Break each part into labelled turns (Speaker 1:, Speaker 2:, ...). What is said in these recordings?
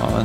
Speaker 1: Ja,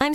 Speaker 2: I'm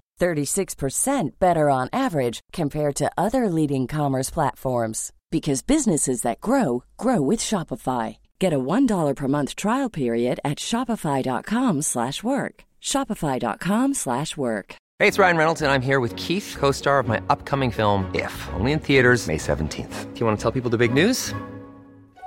Speaker 3: 36% better on average compared to other leading commerce platforms because businesses that grow grow with Shopify. Get a $1 per month trial period at shopify.com/work. shopify.com/work.
Speaker 4: Hey, it's Ryan Reynolds, and I'm here with Keith, co star of my upcoming film, If, only in theaters, May 17th. Do you want to tell people the big news?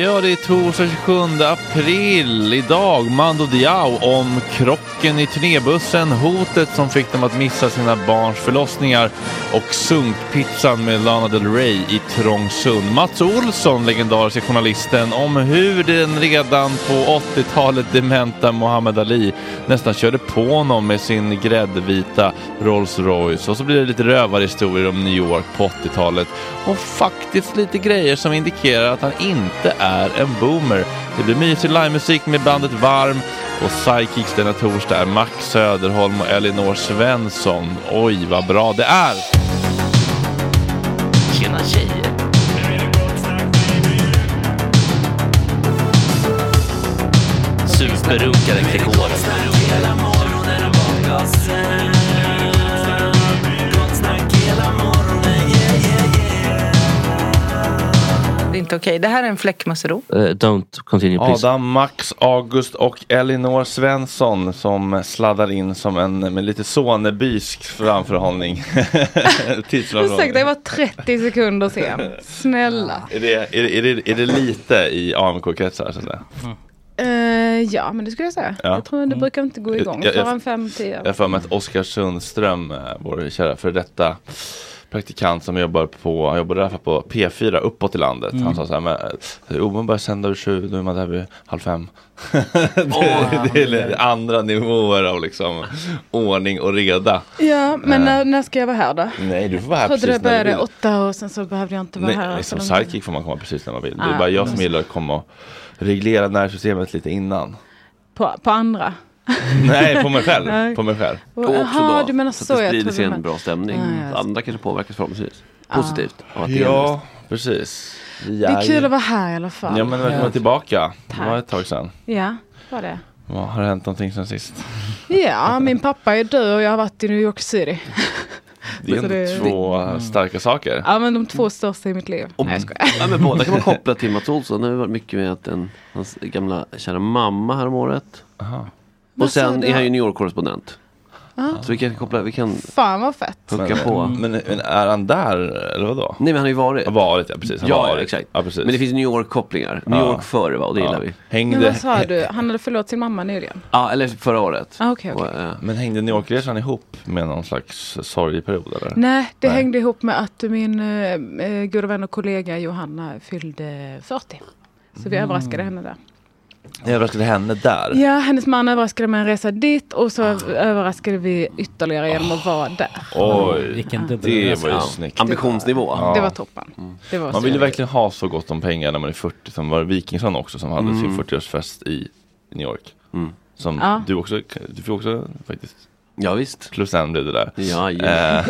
Speaker 1: Ja, det är torsdag 27 april. Idag Mando Diao om krocken i turnébussen, hotet som fick dem att missa sina barns förlossningar och sunkpizzan med Lana Del Rey i Trångsund. Mats Olsson, legendariska journalisten, om hur den redan på 80-talet dementa Muhammad Ali nästan körde på honom med sin gräddvita Rolls Royce. Och så blir det lite rövarhistorier om New York på 80-talet och faktiskt lite grejer som indikerar att han inte är en boomer. Det blir mysig livemusik med bandet Varm och sidekicks denna torsdag är Max Söderholm och Elinor Svensson. Oj, vad bra det är!
Speaker 5: Tjena tjejer! Superrunkaren Gregor.
Speaker 6: Det är inte okej. Det här är en fläckmussero.
Speaker 5: Eh, don't continue please.
Speaker 1: Adam, Max, August och Elinor Svensson som sladdar in som en med lite sonebysk framförhållning. Tidsframförhållning.
Speaker 7: Ursäkta, jag var 30 sekunder sen. Snälla.
Speaker 1: Är det, är, det- är, det, är det lite i AMK-kretsar? Så att säga?
Speaker 7: Eh, ja, men det skulle jag säga.
Speaker 1: Ja. Mm.
Speaker 7: Jag tror det brukar inte gå igång
Speaker 1: Jag- jag-
Speaker 7: förrän 5-10
Speaker 1: Jag har för mig att Oskar Sundström, eh, vår kära för detta praktikant som jobbar på, han jobbade i alla fall på P4 uppåt i landet. Han sa så här, men, eh, oh, man börjar sända vid sju, då är man där vid halv fem. det, det är lite andra nivåer av liksom ordning och reda.
Speaker 7: Ja, men när, när ska jag vara här då?
Speaker 1: Nej, du får vara här
Speaker 7: Jag trodde
Speaker 1: Eh. precis
Speaker 7: det
Speaker 1: när du
Speaker 7: började
Speaker 1: vill.
Speaker 7: åtta och sen så behövde jag inte vara
Speaker 1: Nej,
Speaker 7: här.
Speaker 1: som
Speaker 7: så lång tid.
Speaker 1: sidekick får man komma precis när man vill. det är
Speaker 7: Ah,
Speaker 1: bara jag som gillar att komma och reglera närsystemet lite innan.
Speaker 7: På, på andra.
Speaker 1: Nej, på mig själv.
Speaker 7: Nej.
Speaker 1: på mig själv.
Speaker 7: Och, aha, du menar så.
Speaker 5: att det
Speaker 7: jag
Speaker 5: sprider
Speaker 7: trodde du
Speaker 5: sig en
Speaker 7: men-
Speaker 5: bra stämning.
Speaker 7: Ja, ja.
Speaker 5: Andra kanske påverkas förhoppningsvis. Positivt. av att det är en
Speaker 1: Ja, precis.
Speaker 7: Det är kul att vara här i alla fall.
Speaker 1: Ja
Speaker 7: Ja,
Speaker 1: men välkommen tillbaka. Det var
Speaker 7: Tack.
Speaker 1: ett tag sedan.
Speaker 7: var det.
Speaker 1: Vad har hänt någonting sen sist?
Speaker 7: Ja, min pappa är död och jag har varit i New York City.
Speaker 1: Det är
Speaker 7: Så
Speaker 1: ändå
Speaker 7: det-
Speaker 1: två Äh, starka saker.
Speaker 7: Ja, men de två största i mitt liv. Nej, jag skojar.
Speaker 5: Ja, men båda kan man koppla till Mats Olsson. Det har varit mycket med att en, hans gamla kära mamma häromåret. Och
Speaker 7: Vad sa
Speaker 5: sen
Speaker 7: du?
Speaker 5: är han ju New York-korrespondent. Så vi kan koppla, vi kan
Speaker 7: Fan vad fett.
Speaker 5: hooka på.
Speaker 1: Men, men är han där eller vadå?
Speaker 5: Nej men han har ju varit.
Speaker 1: Har Varit ja precis. Har
Speaker 5: Ja,
Speaker 1: varit.
Speaker 5: exakt.
Speaker 1: Ja, precis.
Speaker 5: Men det finns New York-kopplingar. New
Speaker 1: Ja.
Speaker 5: York före va, och det
Speaker 1: Ja.
Speaker 5: gillar vi.
Speaker 7: Men
Speaker 1: Hängde,
Speaker 7: vad sa du? Han hade förlorat sin mamma nyligen.
Speaker 5: Ja, eller förra året.
Speaker 7: Ah, okej, okej.
Speaker 5: Och, eh,
Speaker 1: men hängde New York-resan ihop med någon slags sorgperiod eller?
Speaker 7: Nej, det
Speaker 1: Nej.
Speaker 7: hängde ihop med att min eh, eh, goda vän och kollega Johanna fyllde 40. Så
Speaker 5: Mm.
Speaker 7: vi överraskade henne där.
Speaker 1: Jag överraskade henne där.
Speaker 7: Ja, hennes man överraskade med en resa dit och så
Speaker 5: Ah.
Speaker 7: överraskade vi ytterligare genom att vara där.
Speaker 1: Oj,
Speaker 8: Vilken
Speaker 1: det
Speaker 8: dubbelresa.
Speaker 1: var ju
Speaker 5: ja.
Speaker 1: snyggt.
Speaker 5: Ambitionsnivå.
Speaker 7: Det var toppen.
Speaker 5: Mm.
Speaker 7: Det var
Speaker 1: Man
Speaker 7: så
Speaker 1: vill ju
Speaker 7: jävla-
Speaker 1: verkligen ha så gott om pengar när man är 40 som var Wikingsson också som hade
Speaker 5: Mm.
Speaker 1: sin 40-årsfest i New York. Som
Speaker 7: Ja.
Speaker 1: du också, du fick också faktiskt
Speaker 5: Ja, visst.
Speaker 1: plus en blev det där.
Speaker 5: Ja, ja.
Speaker 1: Eh,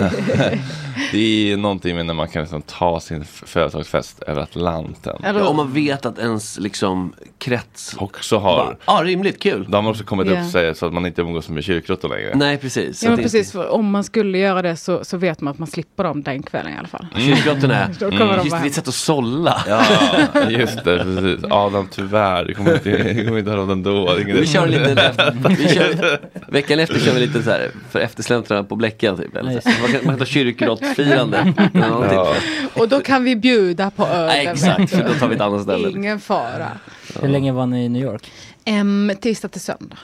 Speaker 1: det är någonting med när man kan liksom ta sin f- företagsfest över Atlanten.
Speaker 7: Eller-
Speaker 5: Ja, om man vet att ens liksom krets...
Speaker 1: Också
Speaker 5: Ja,
Speaker 1: har,
Speaker 5: ah, rimligt kul.
Speaker 1: de har också kommit
Speaker 7: Ja.
Speaker 1: upp sig så att man inte umgås med kyrkråttor längre.
Speaker 5: Nej, precis.
Speaker 7: Ja,
Speaker 5: Att
Speaker 7: men
Speaker 5: det
Speaker 7: precis.
Speaker 5: inte-
Speaker 7: För om man skulle göra det så, så vet man att man slipper dem den kvällen i alla fall.
Speaker 1: Mm.
Speaker 5: Mm. Kyrkgrottorna.
Speaker 7: Då kommer de
Speaker 5: Just det,
Speaker 7: bara
Speaker 5: det är ett sätt att sålla.
Speaker 1: Ja, just det, precis. Adam tyvärr, du kommer inte, du kommer inte ha råd ändå. Det är ingen-
Speaker 5: Vi kör lite, vi kör, veckan efter kör vi lite så här för eftersläntrarna på Bleckan typ. Eller så. Man kan man kan ta kyrkgrottsfirande. eller någonting.
Speaker 1: Ja.
Speaker 7: Och då kan vi bjuda på öl.
Speaker 5: Nej, exakt, för då tar vi ett annat ställe.
Speaker 7: Ingen fara.
Speaker 8: Hur länge var ni i New York?
Speaker 7: Em, tisdag till söndag.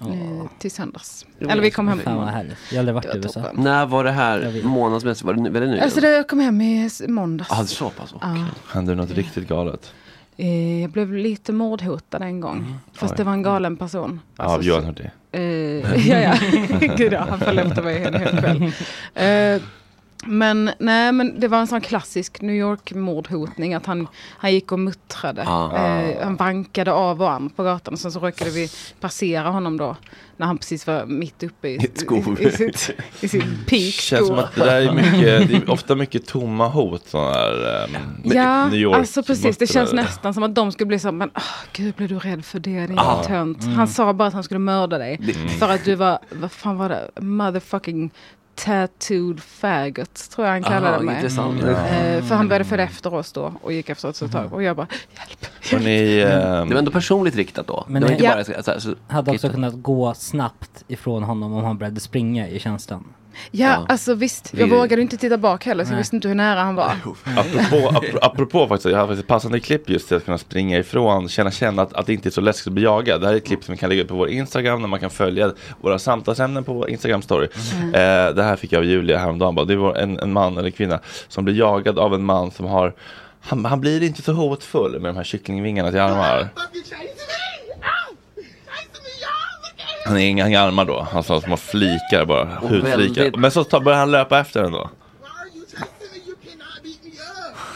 Speaker 7: Eh, till söndags. Eller vi kom hem på
Speaker 8: Fan vad
Speaker 7: måndag.
Speaker 8: härligt. Jag har aldrig varit
Speaker 7: Det
Speaker 8: i
Speaker 7: var
Speaker 8: USA.
Speaker 7: toppen.
Speaker 5: När var det
Speaker 8: Jag vet.
Speaker 5: här månadsmässigt? Var det nu- var det nyligen?
Speaker 7: Alltså det, jag kom hem i s- måndags.
Speaker 5: ah, det är så pass? okej.
Speaker 1: Hände något riktigt galet?
Speaker 7: Eh, jag blev lite mordhotad en gång. Fast det var en galen person.
Speaker 1: Mm. Ja,
Speaker 7: Alltså,
Speaker 1: av Johan Hurtig.
Speaker 7: Eh, ja, ja. Gud, ja, han följde efter mig en hel kväll. Eh, men nej, men det var en sån klassisk New York-mordhotning. Att han, han gick och muttrade.
Speaker 1: Ah.
Speaker 7: Eh, han vankade av och an på gatan. Och sen så råkade vi passera honom då. När han precis var mitt uppe i,
Speaker 5: Ett skov.
Speaker 7: i, i sitt, i sitt peak.
Speaker 1: Känns som
Speaker 7: då.
Speaker 1: att det där är mycket, det är ofta mycket tomma hot sådana här ehm,
Speaker 7: Ja,
Speaker 1: New York
Speaker 7: alltså precis. Det känns
Speaker 1: muttrare.
Speaker 7: nästan som att de skulle bli så men åh, gud blev du rädd för det, din ah. tönt.
Speaker 1: Mm.
Speaker 7: Han sa bara att han skulle mörda dig. För att du var, vad fan var det, motherfucking tattooed faggot, tror jag han kallade
Speaker 5: Ah,
Speaker 7: mig.
Speaker 5: intressant.
Speaker 7: Eh, för han började följa efter oss då och gick efter oss ett
Speaker 1: Mm.
Speaker 7: tag. Och jag bara, hjälp.
Speaker 1: Och ni, ehm,
Speaker 5: Det var ändå personligt riktat då.
Speaker 8: Men
Speaker 5: det var
Speaker 8: nej.
Speaker 5: inte
Speaker 7: Ja.
Speaker 5: bara så, så, här, så,
Speaker 8: Hade också kunnat gå snabbt ifrån honom om han började springa i tjänsten.
Speaker 7: Ja, alltså visst. Jag
Speaker 1: Vi-
Speaker 7: vågade inte titta bak heller så jag
Speaker 1: Nej.
Speaker 7: visste inte hur nära han var.
Speaker 1: Apropå, apropå, apropå faktiskt, jag har faktiskt ett passande klipp just till att kunna springa ifrån, känna, känna att, att det inte är så läskigt att bli jagad. Det här är ett klipp som vi kan lägga upp på vår Instagram där man kan följa våra samtalsämnen på vår Instagram-story.
Speaker 9: Mm.
Speaker 1: Eh, det här fick jag av Julia häromdagen, bara, det var en, en man eller kvinna som blir jagad av en man som har han, han blir inte så hotfull med de här kycklingvingarna till armar. Han har inga inga armar då, han har små flikar bara,
Speaker 9: Och
Speaker 1: hudflikar.
Speaker 9: väldigt-
Speaker 1: Men så tar, börjar han löpa efter den då.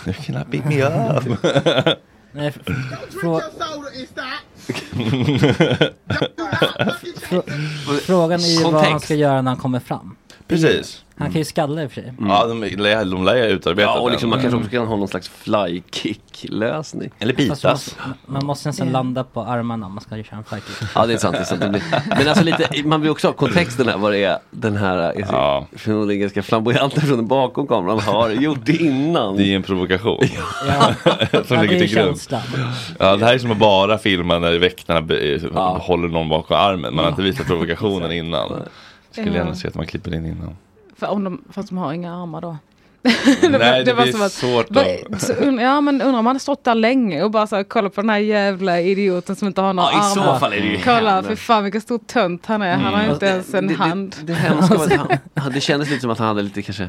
Speaker 1: You cannot beat me up.
Speaker 8: Nej, f- frå- frå- Frågan är ju vad han
Speaker 1: Kontext.
Speaker 8: ska göra när han kommer fram.
Speaker 1: Precis.
Speaker 8: Han kan ju skalla i och för sig.
Speaker 1: Ja, de, lär- de lär ju utarbeta
Speaker 5: Ja, och liksom, man kanske också
Speaker 1: kan ha någon slags flykick-lösning. Eller
Speaker 8: Fast man,
Speaker 1: bitas.
Speaker 8: måste, man måste nästan landa på armarna om man ska köra en flykick.
Speaker 5: Ja det är sant. Det är sant. Det blir... Men alltså lite, man vill också ha kontexten här vad det är den här eh, förmodligen ganska flamboyanta personen bakom kameran har gjort det innan. Det
Speaker 1: är en provokation.
Speaker 8: Ja.
Speaker 1: Som ligger till grund.
Speaker 8: känslan.
Speaker 1: Ja, det här är som att bara filma när väktarna be- eh, håller någon bakom armen. Man har inte visat provokationen innan. Skulle
Speaker 7: Ja.
Speaker 1: gärna se att man klipper in innan.
Speaker 7: För om de, fast de har inga armar då.
Speaker 5: Mm,
Speaker 1: Nej, det blir svårt
Speaker 7: va-
Speaker 1: då.
Speaker 7: så und, ja, men undrar om han hade stått där länge och bara så här, kolla på den här jävla idioten som inte har några
Speaker 5: Ja, i så
Speaker 7: armar.
Speaker 5: fall är det ju
Speaker 7: kolla,
Speaker 5: henne.
Speaker 7: för fan vilken stor tönt han är. Han
Speaker 5: Mm.
Speaker 7: har ju
Speaker 5: Fast
Speaker 7: inte ens en
Speaker 5: det- det-
Speaker 7: hand.
Speaker 5: Det, hemska var att han- han, det kändes lite som att han hade lite kanske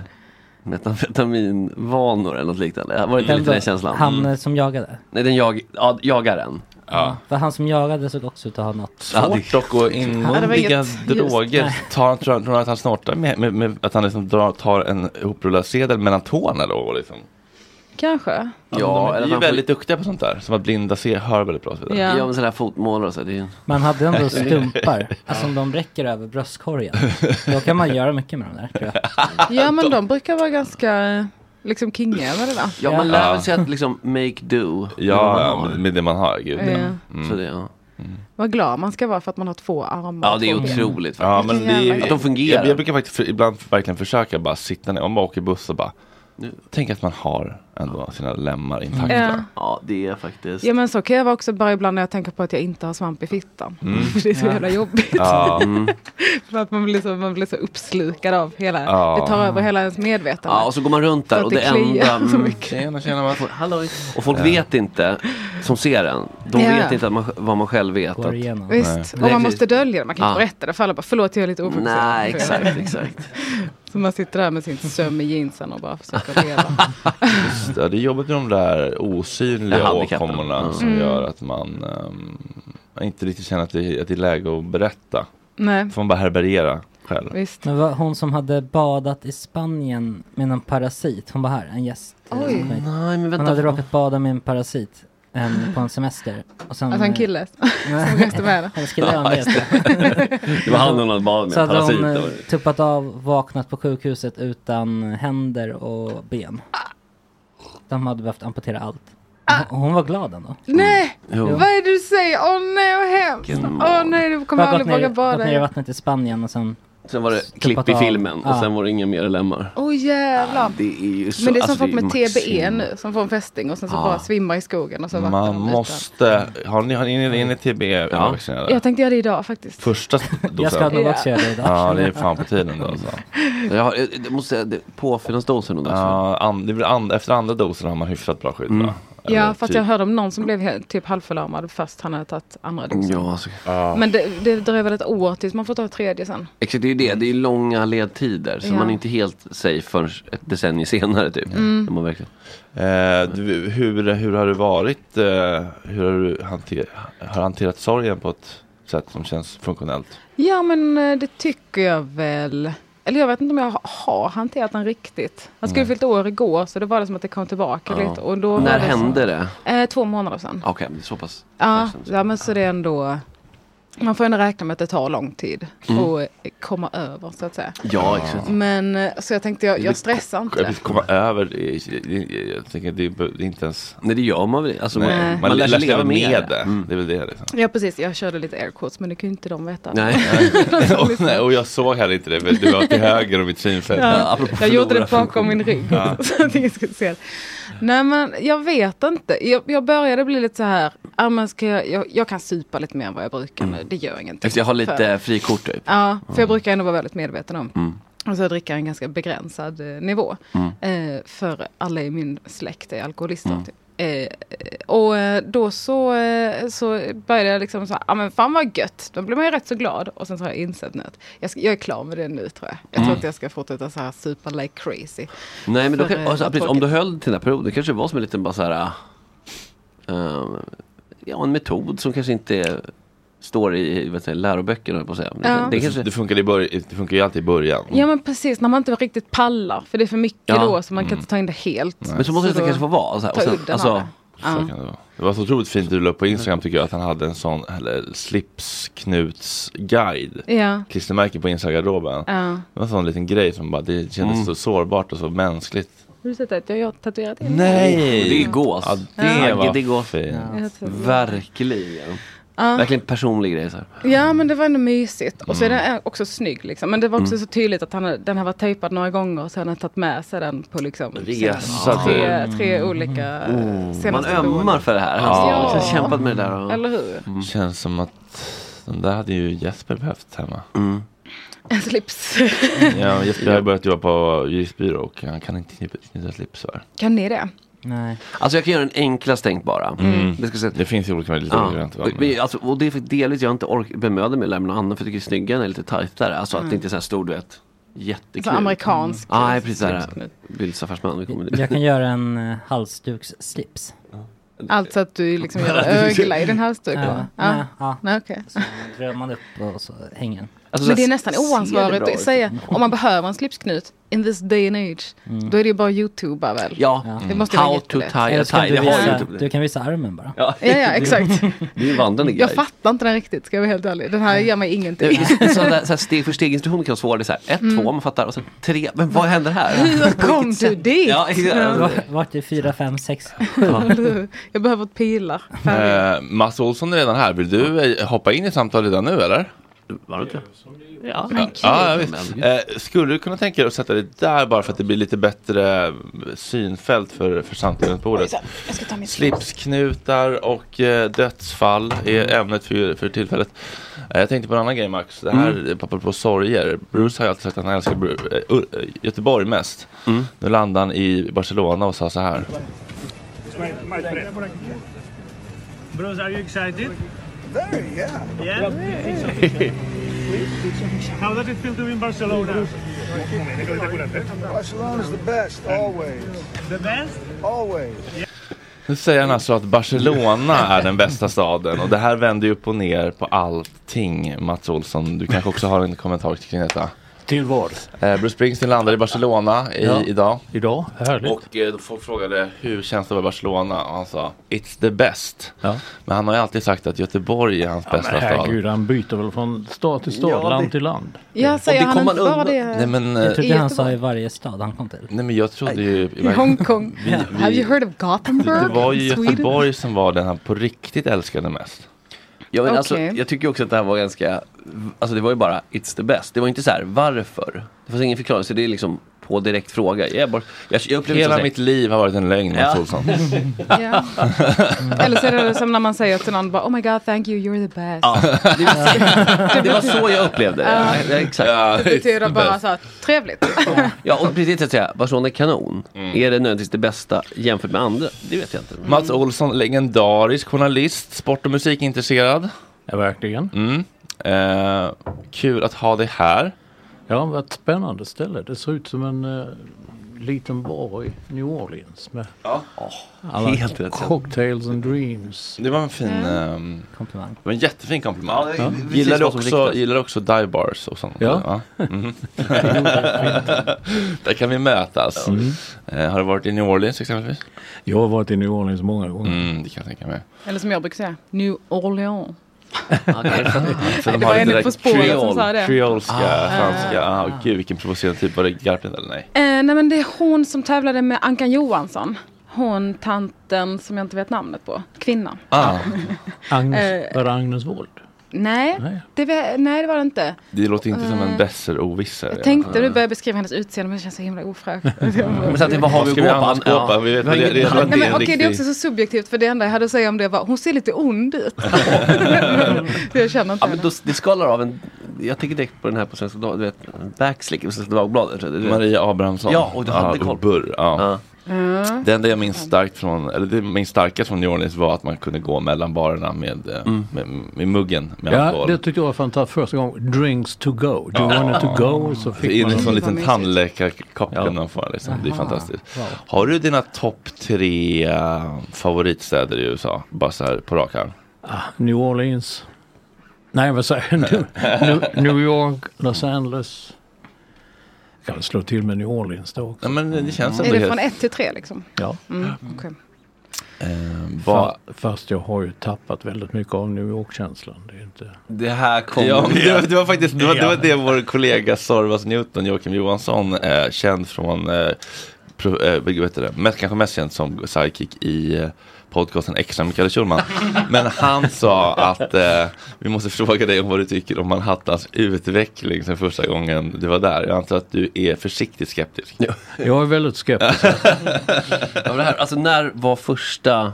Speaker 5: metamfetaminvanor eller något liknande. Var det inte
Speaker 8: Vem
Speaker 5: lite
Speaker 8: då?
Speaker 5: den känslan?
Speaker 8: Han eh, som jagade.
Speaker 5: Nej, den jag, ja, jagaren.
Speaker 1: Mm. Ja.
Speaker 8: För han som jagade såg också ut att ha något.
Speaker 1: Svårt dock
Speaker 8: Ja,
Speaker 1: att
Speaker 8: det var
Speaker 1: inmundiga
Speaker 8: inget-
Speaker 1: droger.
Speaker 8: Nej.
Speaker 1: Tar han, tror, han- tror han att han snortar med, med, med att han liksom drar, tar en ihoprullad sedel mellan tårna då? Liksom.
Speaker 7: Kanske.
Speaker 1: Ja, de är
Speaker 5: eller
Speaker 1: ju
Speaker 5: han får-
Speaker 1: väldigt duktiga på sånt där. Som att blinda ser, hör väldigt bra. och så vidare.
Speaker 5: Ja, men sådana här fotmålare och så. Det är ju...
Speaker 8: Man hade ändå stumpar. Alltså om de räcker över bröstkorgen. Då kan man göra mycket med dem där tror jag.
Speaker 7: Ja, men de brukar vara ganska eh, liksom kingiga med det där.
Speaker 5: Ja, man lär
Speaker 1: Ja.
Speaker 5: väl sig att liksom make do.
Speaker 1: Ja, ja, med det man har. Gud.
Speaker 7: Ja.
Speaker 1: Mm.
Speaker 5: Så det, ja.
Speaker 7: Vad glad man ska vara för att man har två armar.
Speaker 5: Ja, det är
Speaker 7: och två ben.
Speaker 5: otroligt
Speaker 1: Ja,
Speaker 5: faktiskt.
Speaker 1: men det är,
Speaker 5: Att de fungerar.
Speaker 1: Jag, jag brukar faktiskt för, ibland verkligen försöka bara sitta ner. Om man åker buss och bara. Tänk att man har ändå sina lemmar intakta.
Speaker 7: Ja.
Speaker 5: Ja, det är faktiskt.
Speaker 7: Ja men så kan jag vara också bara ibland när jag tänker på att jag inte har svamp i fittan.
Speaker 5: Mm.
Speaker 7: För det är så
Speaker 5: Ja.
Speaker 7: jävla jobbigt.
Speaker 5: Ja. Mm.
Speaker 7: För att man blir, så, man blir så uppslukad av hela,
Speaker 5: Ja.
Speaker 7: det tar över hela ens medvetande.
Speaker 5: Ja, och så går man runt
Speaker 7: Så
Speaker 5: där
Speaker 7: att
Speaker 5: och
Speaker 7: det
Speaker 5: det
Speaker 7: kliar
Speaker 5: enda...
Speaker 7: så
Speaker 5: Mm,
Speaker 7: mycket.
Speaker 1: tjena, tjena, man får,
Speaker 5: hallå. och folk vet inte, som ser den, de
Speaker 7: Ja.
Speaker 5: vet inte att man, vad man själv vet. Att,
Speaker 7: Visst, och man måste dölja det. Man kan
Speaker 5: Ja.
Speaker 7: inte berätta det för alla bara, förlåt jag är lite ofokuserad.
Speaker 5: Nej, exakt, exakt.
Speaker 7: Så man sitter där med sin söm i jeansen och bara försöker leva.
Speaker 1: Just det, det är jobbigt med de där
Speaker 5: Ja,
Speaker 1: osynliga
Speaker 5: handikappen.
Speaker 1: åkommorna
Speaker 5: Mm.
Speaker 1: som
Speaker 7: Mm.
Speaker 1: gör att man ehm, inte riktigt känner att det, att det är läge att berätta.
Speaker 7: Nej.
Speaker 1: får man bara härbärgera själv.
Speaker 8: Men vad, hon som hade badat i Spanien med någon parasit. Hon var här, en gäst. eh,
Speaker 7: Oj.
Speaker 8: som kom hit.
Speaker 5: Nej, men
Speaker 8: Hon
Speaker 5: vänta.
Speaker 8: hade råkat bada med en parasit. en- På en semester. Och sen,
Speaker 7: Alltså en
Speaker 8: eh,
Speaker 7: kille som reste med henne.
Speaker 8: Hennes kille, han
Speaker 5: Ja,
Speaker 8: vet
Speaker 5: just det. Det var han hon hade badat med,
Speaker 8: Så hade hon
Speaker 5: parasit,
Speaker 8: eh,
Speaker 5: eller?
Speaker 8: tuppat av, vaknat på sjukhuset utan händer och ben. De hade behövt amputera allt. Och hon var glad ändå.
Speaker 7: Ah. Nej,
Speaker 5: Mm.
Speaker 8: Jo.
Speaker 7: vad är det du säger? Åh nej, vad hemskt.
Speaker 8: Vilken
Speaker 7: Åh nej, du kommer
Speaker 8: Bara gått
Speaker 7: aldrig
Speaker 8: ner-
Speaker 7: våga
Speaker 8: Gått ner i
Speaker 7: bada.
Speaker 8: vattnet i Spanien och sen...
Speaker 5: Sen var det klipp i
Speaker 8: av. Ah,
Speaker 5: filmen och
Speaker 8: Ja.
Speaker 5: sen var det inga mer lemmar.
Speaker 7: Åh jävlar.
Speaker 5: Det är ju så,
Speaker 7: Men det är som
Speaker 5: alltså,
Speaker 7: folk med E.
Speaker 5: maxim-
Speaker 7: TBE nu, som får en fästing och sen så
Speaker 1: Ja.
Speaker 7: bara svimmar i skogen och så vattnar
Speaker 1: Man
Speaker 7: de utan.
Speaker 1: måste, har ni, har ni, är ni- är ni TB vaccinerade?
Speaker 7: Jag tänkte göra det idag faktiskt.
Speaker 1: Första dosen?
Speaker 7: ska nog också göra det idag.
Speaker 1: Ja, det är fan på tiden då. Alltså.
Speaker 5: Jag, har, jag, jag måste säga, det- påfyllnadsdosen alltså. då.
Speaker 1: Ja, an, det blir and, efter andra dosen har man hyfsat bra skydd
Speaker 5: Mm.
Speaker 1: va?
Speaker 7: Ja, för att
Speaker 1: typ.
Speaker 7: jag hörde om någon som blev he- typ halvförlamad fast han hade tagit andra dosen.
Speaker 5: Ja, alltså.
Speaker 7: Men det, det dröjer väl ett år tills man får ta tredje sen.
Speaker 5: Exakt, det är ju det. Det är ju långa ledtider. Så
Speaker 7: Ja.
Speaker 5: man är inte helt safe förrän ett decennium senare typ.
Speaker 7: Mm.
Speaker 5: När Man verkligen...
Speaker 1: Eh, du, hur, hur har det varit? Eh, hur har du hanter, har hanterat sorgen på ett sätt som känns funktionellt?
Speaker 7: Ja, men eh, det tycker jag väl. Eller jag vet inte om jag ha- har hanterat den riktigt. Han skulle
Speaker 5: Nej.
Speaker 7: fyllt år igår så det var det som att det kom tillbaka
Speaker 5: Ja.
Speaker 7: lite. Och då var
Speaker 5: När
Speaker 7: det så-
Speaker 5: hände det?
Speaker 7: Eh, två månader sedan.
Speaker 5: Okej, men det är så pass.
Speaker 7: Ja, ja, men så det är ändå... Man får ändå räkna med att det tar lång tid
Speaker 5: Mm.
Speaker 7: att eh, komma över så att säga.
Speaker 1: Ja, exakt.
Speaker 7: Men eh, så jag tänkte jag, jag stressar
Speaker 1: Jag
Speaker 7: inte.
Speaker 1: vill komma över, det- det- det- jag tänker det är det är inte ens...
Speaker 5: Nej det gör man väl alltså,
Speaker 1: Nej.
Speaker 7: man-
Speaker 1: Man,
Speaker 5: man
Speaker 1: lär sig leva med,
Speaker 5: med
Speaker 1: det. Det är väl det liksom.
Speaker 7: Ja precis, jag körde lite air quotes men det kunde ju inte de veta.
Speaker 1: och, nej, och jag såg heller inte det, för du var till höger om mitt synfält.
Speaker 7: Ja, jag gjorde det bakom min rygg.
Speaker 1: Ja.
Speaker 7: Så att ingen skulle se det. Nej men jag vet inte. Jag, jag började bli lite så här, ah, men ska jag, jag, jag kan supa lite mer än vad jag brukar nu. Det gör ingenting.
Speaker 5: Eftersom jag har lite
Speaker 7: Typ För-
Speaker 5: frikort typ.
Speaker 7: Ja, för jag brukar ändå vara väldigt medveten om.
Speaker 5: Mm.
Speaker 7: Alltså dricka en ganska begränsad eh, nivå. Eh, för alla i min släkt är alkoholister.
Speaker 10: Mm.
Speaker 7: Typ. Eh, och eh, då så, eh, så började jag liksom så här, ja men fan vad gött. Då blev man ju rätt så glad. Och sen så har jag insett nu att jag, ska, jag är klar med det nu tror jag. Jag tror inte jag ska fortsätta så här supa like crazy.
Speaker 5: Mm. Nej men då
Speaker 7: För,
Speaker 5: kan,
Speaker 7: eh,
Speaker 5: alltså,
Speaker 7: vad
Speaker 5: precis, om
Speaker 7: tråkigt.
Speaker 5: du höll till den här perioden, det kanske var som en liten bara så här, ah, eh, ja, en metod som kanske inte står i vet du, läroböckerna, höll jag på att säga. Men
Speaker 7: Ja.
Speaker 5: Det, det
Speaker 1: Det
Speaker 5: kanske,
Speaker 1: funkar, i börj- det funkar ju alltid i början.
Speaker 7: Ja men precis, när man inte riktigt pallar. För det är för mycket
Speaker 5: Ja. Mm.
Speaker 7: då så man kan inte ta in det helt.
Speaker 5: men så måste det
Speaker 7: då
Speaker 5: kanske få vara. Så här, och
Speaker 7: ta
Speaker 5: sen,
Speaker 7: udden av
Speaker 5: alltså,
Speaker 7: det.
Speaker 1: Så kan det, vara. det var så otroligt fint att du la upp på Instagram tycker jag att han hade en sån eller, slipsknutsguide.
Speaker 7: Ja.
Speaker 1: Klistermärke på Instagram-garderoben.
Speaker 7: Ja.
Speaker 1: Det var en sån liten grej som bara, det kändes
Speaker 5: Mm.
Speaker 1: så sårbart och så mänskligt.
Speaker 7: Har du sett att jag har tatuerat in?
Speaker 5: det är gås.
Speaker 1: Ja, det
Speaker 5: Ja.
Speaker 1: var
Speaker 5: Det är gås.
Speaker 1: fint.
Speaker 7: Jag har tatuerat in.
Speaker 5: Verkligen. Verkligen personlig grej. Så här.
Speaker 7: Ja men det var ändå mysigt. Och så är
Speaker 5: Mm.
Speaker 7: den också snygg liksom. Men det var också så tydligt att han, hade- den här var tejpad några gånger så han hade tagit med sig den på liksom
Speaker 5: Resa Mm.
Speaker 7: senaste- tre, tre olika oh,
Speaker 5: Man
Speaker 7: senaste
Speaker 5: ömmar
Speaker 7: boende.
Speaker 5: för det här. Han
Speaker 7: Ja.
Speaker 5: har liksom kämpat med det där. Och,
Speaker 7: Eller hur?
Speaker 1: Mm. Känns som att den där hade ju Jesper behövt hemma.
Speaker 5: Mm.
Speaker 7: En slips.
Speaker 1: Ja, Jesper har ju börjat jobba på juristbyrå och han kan inte knyta- knyta slipsar.
Speaker 7: kan ni det?
Speaker 8: Nej.
Speaker 5: Alltså jag kan göra den enklaste tänkbara. Mm.
Speaker 1: Mm.
Speaker 5: Det ska säga,
Speaker 1: Det finns ju olika lite olika
Speaker 5: Ja.
Speaker 1: varianter, va?
Speaker 5: Och, men, alltså, och det är för delvis jag inte orkar bemöda mig att lämna annan för jag tycker snygga är lite tajtare. Alltså att det inte är så här stor du vet,
Speaker 7: Mm. Så
Speaker 5: jättekul.
Speaker 7: amerikansk.
Speaker 5: Nej precis såhär,
Speaker 7: slipsknut.
Speaker 5: bildsaffärsman. Vi kommer dit.
Speaker 8: Jag kan göra en eh, halsduksslips.
Speaker 7: Alltså att du liksom gör ögla i den här stugan?
Speaker 8: Ja.
Speaker 7: Ja.
Speaker 8: Ja. Ja.
Speaker 7: Nej, okej.
Speaker 8: Så drar man upp och så hänger den.
Speaker 5: Alltså,
Speaker 7: Men
Speaker 5: så
Speaker 7: det
Speaker 5: här,
Speaker 7: är nästan
Speaker 5: ser det
Speaker 7: oansvarigt
Speaker 5: bra
Speaker 7: att
Speaker 5: ut? Mm.
Speaker 7: säga, om man behöver en slipsknut in this day and age,
Speaker 8: Mm.
Speaker 7: då är det ju bara youtuba väl?
Speaker 5: Ja,
Speaker 7: Det måste vara
Speaker 5: how to tie
Speaker 7: jättelätt.
Speaker 5: a
Speaker 8: Eller så kan
Speaker 5: tie.
Speaker 8: du,
Speaker 5: Det har ju
Speaker 8: visa,
Speaker 5: inte.
Speaker 8: du kan visa armen bara.
Speaker 5: Ja,
Speaker 7: Ja, ja, exakt.
Speaker 5: det är ju en vandrande
Speaker 7: Jag
Speaker 5: guide.
Speaker 7: fattar inte den riktigt, ska jag vara helt ärlig. Den här ger mig ingenting.
Speaker 5: Sådana där steg för steg instruktioner kan vara svåra. Det är så här, ett, två, man fattar och sen tre, men vad händer här?
Speaker 7: Mm. Hur kom du dit? Mm.
Speaker 5: Ja, exakt.
Speaker 8: Vart- Vart är 4, 5, 6?
Speaker 7: Jag behöver pilar.
Speaker 1: Eh, Mats Olsson är redan här. Vill du eh, hoppa in i samtalet redan nu eller?
Speaker 5: Var det Ja,
Speaker 1: Ja, ja, visst. Eh, skulle du kunna tänka dig att sätta dig där bara för att det blir lite bättre eh, synfält för, för samtalet på bordet?
Speaker 7: Jag ska ta mitt
Speaker 1: Slipsknutar och eh, dödsfall är
Speaker 5: Mm.
Speaker 1: ämnet för, för tillfället. Eh, jag tänkte på en annan grej Max, det här mm. på sorger. Bruce har ju alltid sagt att han älskar Bru- eh, Ur- eh, Göteborg mest.
Speaker 5: Mm.
Speaker 1: Nu landade han i Barcelona och sa så här.
Speaker 9: Bros, are you excited? Very, yeah. Yeah? How does it feel to be in Barcelona?
Speaker 11: Barcelona's the best, always.
Speaker 9: The best?
Speaker 11: Always.
Speaker 1: Nu säger han alltså att Barcelona är den bästa staden och det här vänder ju upp och ner på allting Mats Olsson. Du kanske också har en kommentar kring detta.
Speaker 9: Till vad?
Speaker 1: Eh, Bruce Springsteen landade i Barcelona i,
Speaker 9: Ja.
Speaker 1: idag.
Speaker 9: Idag? Härligt.
Speaker 1: Och eh, folk frågade hur känns det att vara i Barcelona? Och han sa It's the best.
Speaker 9: Ja.
Speaker 1: Men han har ju alltid sagt att Göteborg är hans
Speaker 9: Ja,
Speaker 1: bästa
Speaker 9: men
Speaker 1: stad.
Speaker 9: herregud, han byter väl från stad till stad,
Speaker 5: Ja, det-
Speaker 9: land till land.
Speaker 7: Ja, säger
Speaker 5: det
Speaker 7: han
Speaker 5: kom
Speaker 7: inte
Speaker 5: man
Speaker 7: bara
Speaker 5: undan.
Speaker 7: det?
Speaker 1: Nej men, eh,
Speaker 8: Jag trodde han sa
Speaker 7: Göteborg.
Speaker 8: i varje stad han kom till.
Speaker 1: nej men jag trodde ju
Speaker 7: I Hongkong. Have you heard of Gothenburg?
Speaker 1: det var ju
Speaker 7: Sweden?
Speaker 1: Göteborg som var den han på riktigt älskade mest.
Speaker 5: Ja, men alltså,
Speaker 7: Okej.
Speaker 5: jag tycker också att det här var ganska, alltså det var ju bara it's the best. Det var inte så här varför. Det fanns ingen förklaring, så det är liksom på direkt fråga. Jag, är bara, jag, jag upplevde
Speaker 1: Hela
Speaker 5: så
Speaker 1: mitt liv har varit en lögn Mats
Speaker 5: Ja.
Speaker 1: Olsson.
Speaker 7: Ja. Eller så är det som när man säger till någon bara, oh my god, thank you, you're the best.
Speaker 5: det var så jag upplevde det. Ja, exakt.
Speaker 1: Ja,
Speaker 7: Det betyder
Speaker 1: it's the
Speaker 7: bara
Speaker 1: best.
Speaker 7: så här, trevligt.
Speaker 5: Ja, och precis det jag säger, Barcelona är kanon. Är det nödvändigtvis det bästa jämfört med andra? Det vet jag inte.
Speaker 1: Mm. Mats
Speaker 7: Mm.
Speaker 1: Olsson, legendarisk journalist, sport och musikintresserad.
Speaker 9: Ja, verkligen.
Speaker 1: Mm. Eh, kul att ha dig här.
Speaker 9: Ja, vad ett spännande ställe. Det ser ut som en eh, liten bar i New Orleans med alla
Speaker 5: Helt rätt.
Speaker 9: cocktails and dreams.
Speaker 1: Det var en fin,
Speaker 7: Mm.
Speaker 1: ehm,
Speaker 8: Komplimang.
Speaker 1: det var en jättefin komplimang.
Speaker 5: Ja, det är precis
Speaker 1: Gillar du
Speaker 5: vad som
Speaker 1: också,
Speaker 5: riktas.
Speaker 1: gillar du också dive bars och sånt?
Speaker 9: Ja.
Speaker 1: Mhm. Där kan vi mötas. Eh, har du varit i New Orleans exempelvis?
Speaker 9: Mm. Jag har varit i New Orleans många gånger.
Speaker 1: Mm, det kan jag tänka mig.
Speaker 7: Eller som jag brukar säga, New Orleans.
Speaker 1: Så
Speaker 7: Det var en På spåret som sa det.
Speaker 1: Kreolska, franska. Ah, gud vilken provocerande typ. Var det Garplind eller nej?
Speaker 7: Eh, nej men det är hon som tävlade med Ankan Johansson. Hon tanten som jag inte vet namnet på. Kvinnan.
Speaker 1: Ah,
Speaker 7: Eh,
Speaker 9: Agnes, var det Agnes Wold?
Speaker 7: Nej,
Speaker 9: Nej.
Speaker 7: det, var- nej det var det inte.
Speaker 1: det låter inte som en besserwisser.
Speaker 7: Eh, Jag tänkte du började beskriva hennes utseende men det känns så himla ofräscht.
Speaker 5: Men så att det, vad har vi
Speaker 1: Vad ska
Speaker 5: att gå
Speaker 1: vi
Speaker 5: på?
Speaker 1: annars gå
Speaker 5: Ja.
Speaker 1: på? Vi vet
Speaker 5: har
Speaker 1: redan
Speaker 5: inget-
Speaker 1: att
Speaker 7: Nej,
Speaker 1: det
Speaker 7: men,
Speaker 1: är
Speaker 7: okej, det är
Speaker 1: riktigt.
Speaker 7: också så subjektivt för det enda jag hade att säga om det var hon ser lite ond ut. jag känner inte
Speaker 5: Ja, men
Speaker 7: henne.
Speaker 5: då, det skalar av en jag tänker direkt på den här på Svenska Dagbladet, du vet, Backslick på Svenska Dagbladet. du vet.
Speaker 1: Maria Abrahamsson.
Speaker 5: Ja, och du hade
Speaker 1: och
Speaker 5: koll.
Speaker 1: Burr, ja.
Speaker 7: Mm.
Speaker 1: Det enda jag minns starkt från, eller det minns starkast från New Orleans var att man kunde gå mellan barerna med, eh,
Speaker 5: Mm.
Speaker 1: med, med muggen med
Speaker 9: Ja,
Speaker 1: alkohol.
Speaker 9: det tyckte jag var fantastiskt. Första gången, drinks to go. Do you want it to go? Så fick
Speaker 1: in
Speaker 9: man
Speaker 1: i en sån liten
Speaker 9: Mysigt.
Speaker 1: tandläkarkopp kunde man få. Liksom. Det är
Speaker 9: Aha.
Speaker 1: fantastiskt.
Speaker 9: Wow.
Speaker 1: Har du dina topp tre eh, favoritstäder i USA? Bara så här på rak arm.
Speaker 9: Ah, New Orleans. Nej, vad säger jag? New, New, New York, Los Angeles. Jag kan väl slå till med New Orleans då också.
Speaker 1: Nej, men det känns
Speaker 7: Är det från ett till tre liksom?
Speaker 9: Ja.
Speaker 7: Mm, okej.
Speaker 9: Fa- Fast jag har ju tappat väldigt mycket av New York-känslan. Det är inte...
Speaker 5: Det här kommer
Speaker 1: Ja, men det, var,
Speaker 5: igen.
Speaker 1: det var faktiskt det, var, det, var
Speaker 5: Ja.
Speaker 1: det vår kollega Sorvas Newton, Joakim Johansson, eh, känd från, eh, pro, eh, vad heter det, mest, kanske mest känd som sidekick i eh, podcasten Extra Mikael Schulman. Men han sa att eh, vi måste fråga dig om vad du tycker om Manhattans utveckling sen första gången du var där. Jag antar att du är försiktigt skeptisk.
Speaker 9: Jag är väldigt skeptisk.
Speaker 5: Ja, men det här, alltså när var första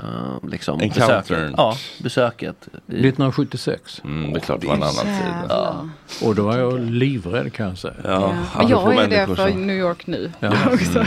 Speaker 5: eh, liksom, besöket?
Speaker 1: Encountern.
Speaker 5: Ja, besöket. I-
Speaker 9: 1976.
Speaker 1: Mm, det är klart, det
Speaker 5: Åh,
Speaker 1: var en
Speaker 5: det är
Speaker 1: annan tid.
Speaker 7: Ja.
Speaker 9: Och då var jag livrädd kan jag säga.
Speaker 1: Ja,
Speaker 7: Men jag är det för New York nu.
Speaker 9: Ja. Mm.
Speaker 7: Också.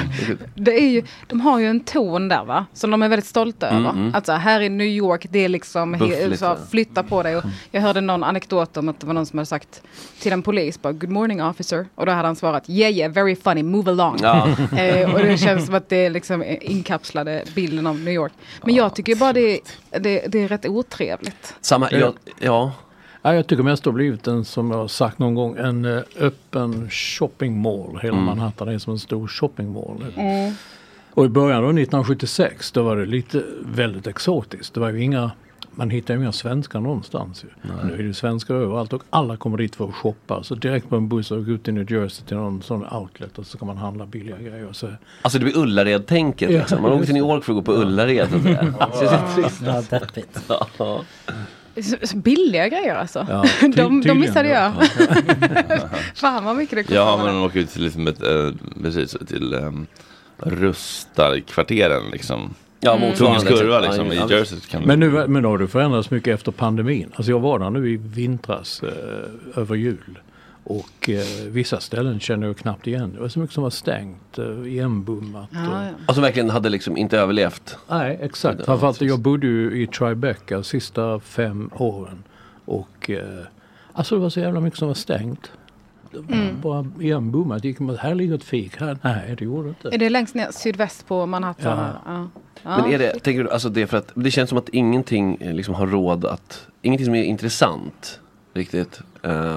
Speaker 7: Det är ju, de har ju en ton där va, som de är väldigt stolta
Speaker 9: Mm,
Speaker 7: över.
Speaker 9: mm.
Speaker 7: Att så här, här i New York, det är liksom he,
Speaker 9: Buffligt,
Speaker 7: så här,
Speaker 9: ja. Mm.
Speaker 7: flytta på dig. Och jag hörde någon anekdot om att det var någon som hade sagt till en polis bara good morning officer. Och då hade han svarat yeah yeah very funny move along.
Speaker 5: Ja.
Speaker 7: Eh, och det känns som att det är liksom eh, inkapslade bilden av New York. Men jag tycker bara det, är- det, det är rätt otrevligt.
Speaker 5: Samma, jag, ja.
Speaker 9: Ja, jag tycker mest det har blivit en, som jag har sagt någon gång, en eh, öppen shopping mall. Hela
Speaker 5: Mm.
Speaker 9: Manhattan är som en stor shopping mall.
Speaker 7: Mm.
Speaker 9: Och i början av 1976 då var det lite väldigt exotiskt. Det var ju inga, man hittade ju inga svenskar någonstans. Ju. Nu är det svenskar överallt och alla kommer dit för att shoppa. Så direkt på en buss och gå ut i New Jersey till någon sån outlet och så kan man handla billiga grejer. Och så
Speaker 5: Alltså det blir Ullared-tänket
Speaker 9: Ja,
Speaker 5: liksom. Man åker
Speaker 9: just
Speaker 5: till New York för att gå på Ullared. så att säga.
Speaker 9: Ja.
Speaker 5: Det känns lite trist.
Speaker 8: Ja, deppigt.
Speaker 5: Ja.
Speaker 7: Så, så billiga grejer alltså.
Speaker 1: Ja,
Speaker 7: de,
Speaker 1: ty-
Speaker 7: de
Speaker 1: tydligen,
Speaker 7: missade jag.
Speaker 1: ja.
Speaker 7: Fan vad mycket det kostar.
Speaker 1: Ja, men de åker ut till, liksom ett, eh, precis, till um, rustarkvarteren liksom.
Speaker 5: Ja,
Speaker 1: Mm.
Speaker 5: motsvarande,
Speaker 1: Kungens kurva
Speaker 5: typ.
Speaker 1: liksom
Speaker 5: Ja,
Speaker 1: i
Speaker 5: ja,
Speaker 1: Jersey. Kan
Speaker 9: Men, nu, men har det förändrats mycket efter pandemin. Alltså jag var där nu i vintras eh, över jul. Och eh, vissa ställen känner jag knappt igen. Det var så mycket som var stängt, eh, igenbommat. och-
Speaker 5: Alltså verkligen hade liksom inte överlevt.
Speaker 9: Nej, exakt. Framförallt jag bodde ju i Tribeca de sista fem åren. Och eh, alltså det var så jävla mycket som var stängt. Det var
Speaker 7: Mm.
Speaker 9: Bara igenbommat. Gick man, här ligger ett fik. Här, nej, det gjorde det inte.
Speaker 7: Är det längst ner, sydväst på Manhattan?
Speaker 9: Ja.
Speaker 7: Ja. Ja.
Speaker 5: Men är det, tänker du, alltså det är för att det känns som att ingenting eh, liksom har råd att, ingenting som är intressant riktigt.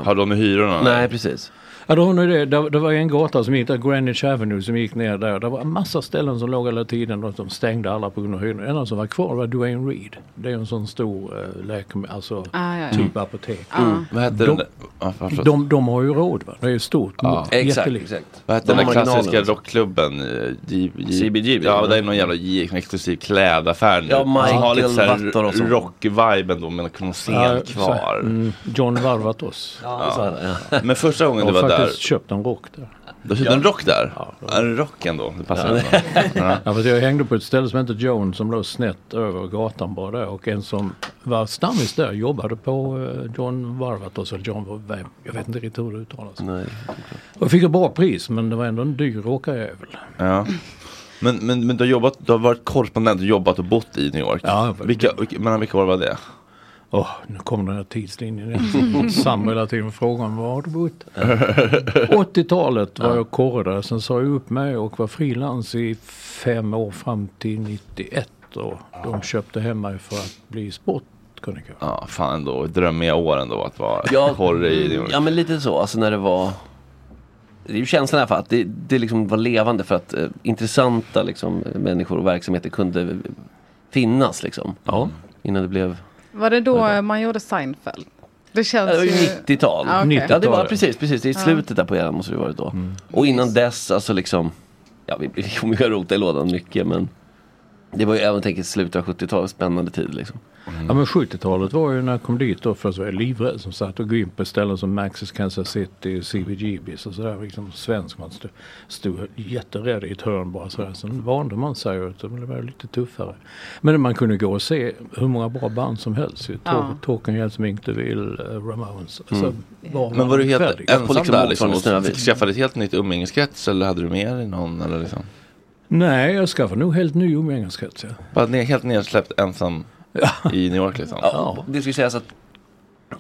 Speaker 5: har
Speaker 1: de med hyrorna?
Speaker 5: Nej, precis.
Speaker 9: Ja, då har ni det. Det, det var en gata som gick där, Greenwich Avenue, som gick ner där. Det var en massa ställen som låg hela tiden och de stängde alla på grund av hyrorna. Det enda som var kvar var Duane Reed. Det är en sån stor eh, läkemedel, alltså
Speaker 7: Ah, ja, ja.
Speaker 9: typ apotek.
Speaker 7: Mm. Ah.
Speaker 1: Vad heter
Speaker 9: de,
Speaker 1: den där- Ja, förlåt.
Speaker 9: de, de har ju råd va? Det är ju stort.
Speaker 1: Ja.
Speaker 9: jättelikt.
Speaker 1: Vad hette den där klassiska
Speaker 5: liksom-
Speaker 1: rockklubben? eh, J- J-
Speaker 5: CBGB,
Speaker 1: Ja,
Speaker 5: eller?
Speaker 1: det är någon jävla j- exklusiv klädaffär nu.
Speaker 5: Ja,
Speaker 1: Som har lite
Speaker 5: Michael
Speaker 1: så
Speaker 5: Vattor och
Speaker 1: här
Speaker 5: sånt.
Speaker 1: rock-vibe ändå, men någon scen
Speaker 9: Ja, så här,
Speaker 1: kvar.
Speaker 9: mm, John Varvatos.
Speaker 1: Men första gången
Speaker 9: Jag
Speaker 1: du
Speaker 9: har
Speaker 1: var där,
Speaker 9: faktiskt köpt en rock där.
Speaker 1: då köpte du en rock där? En rock ändå, det passar
Speaker 9: Ja.
Speaker 1: ändå. Ja.
Speaker 9: Ja, fast jag hängde på ett ställe som hette Joan som låg snett över gatan bara där och en som var stammis där jobbade på eh, John Varvatos eller John Vem. Jag vet inte riktigt hur det uttalas.
Speaker 5: Nej.
Speaker 9: Och fick ett bra pris men det var ändå en dyr åkarjävel.
Speaker 1: Ja. Men, men, men du, har jobbat, du har varit korrespondent och jobbat och bott i New York. Ja, vilka, vilka, men vilka år var det?
Speaker 9: Åh, nu kommer den här tidslinjen igen. Sam hela tiden frågar var har du bott? 80-talet var jag korre sen sa jag upp mig och var frilans i fem år fram till 91 och de köpte hem mig för att bli sportkrönikör.
Speaker 1: Ja, fan ändå. Drömmiga år ändå att vara
Speaker 5: Ja, mm,
Speaker 1: korre i New York.
Speaker 5: ja men lite så, alltså när det var Det är ju känslan i alla fall att det, det liksom var levande för att eh, intressanta liksom, människor och verksamheter kunde eh, finnas liksom. Ja. Innan det blev
Speaker 7: Var det då eh, man gjorde Seinfeld? Det
Speaker 5: Ja, Det
Speaker 7: känns
Speaker 5: var ju 90-tal.
Speaker 7: Ja, okej.
Speaker 5: ja, det var precis, precis. Det är i
Speaker 7: Ja.
Speaker 5: slutet där på eran måste det varit då. Och innan dess, alltså liksom. Ja, vi vi kommer ju att rota i lådan mycket men. Det var ju, även tänker slutet av 70-talet, spännande tid liksom.
Speaker 9: Mm. Ja men 70-talet var ju när jag kom dit då först var jag livrädd som sagt och gå in på ställen som Maxis Kansas City, CBGBs och sådär. Liksom svensk man stod, stod jätterädd i ett hörn bara sådär. Sen vande man sig och det blev lite tuffare. Men man kunde gå och se hur många bra band som helst. ju.
Speaker 5: Ja.
Speaker 9: Tor- Talking Heads, Mink DeVille, eh, Ramones. Alltså,
Speaker 1: Mm.
Speaker 9: var
Speaker 1: Men var du helt
Speaker 9: färdig.
Speaker 1: ensam där liksom? Och skaffade ett helt nytt umgängeskrets eller hade du med dig någon? Eller liksom?
Speaker 9: Nej, jag skaffade nog helt ny umgängeskrets. Ja.
Speaker 1: Bara ne- helt nedsläppt ensam i New York liksom?
Speaker 5: Ja, det skulle sägas att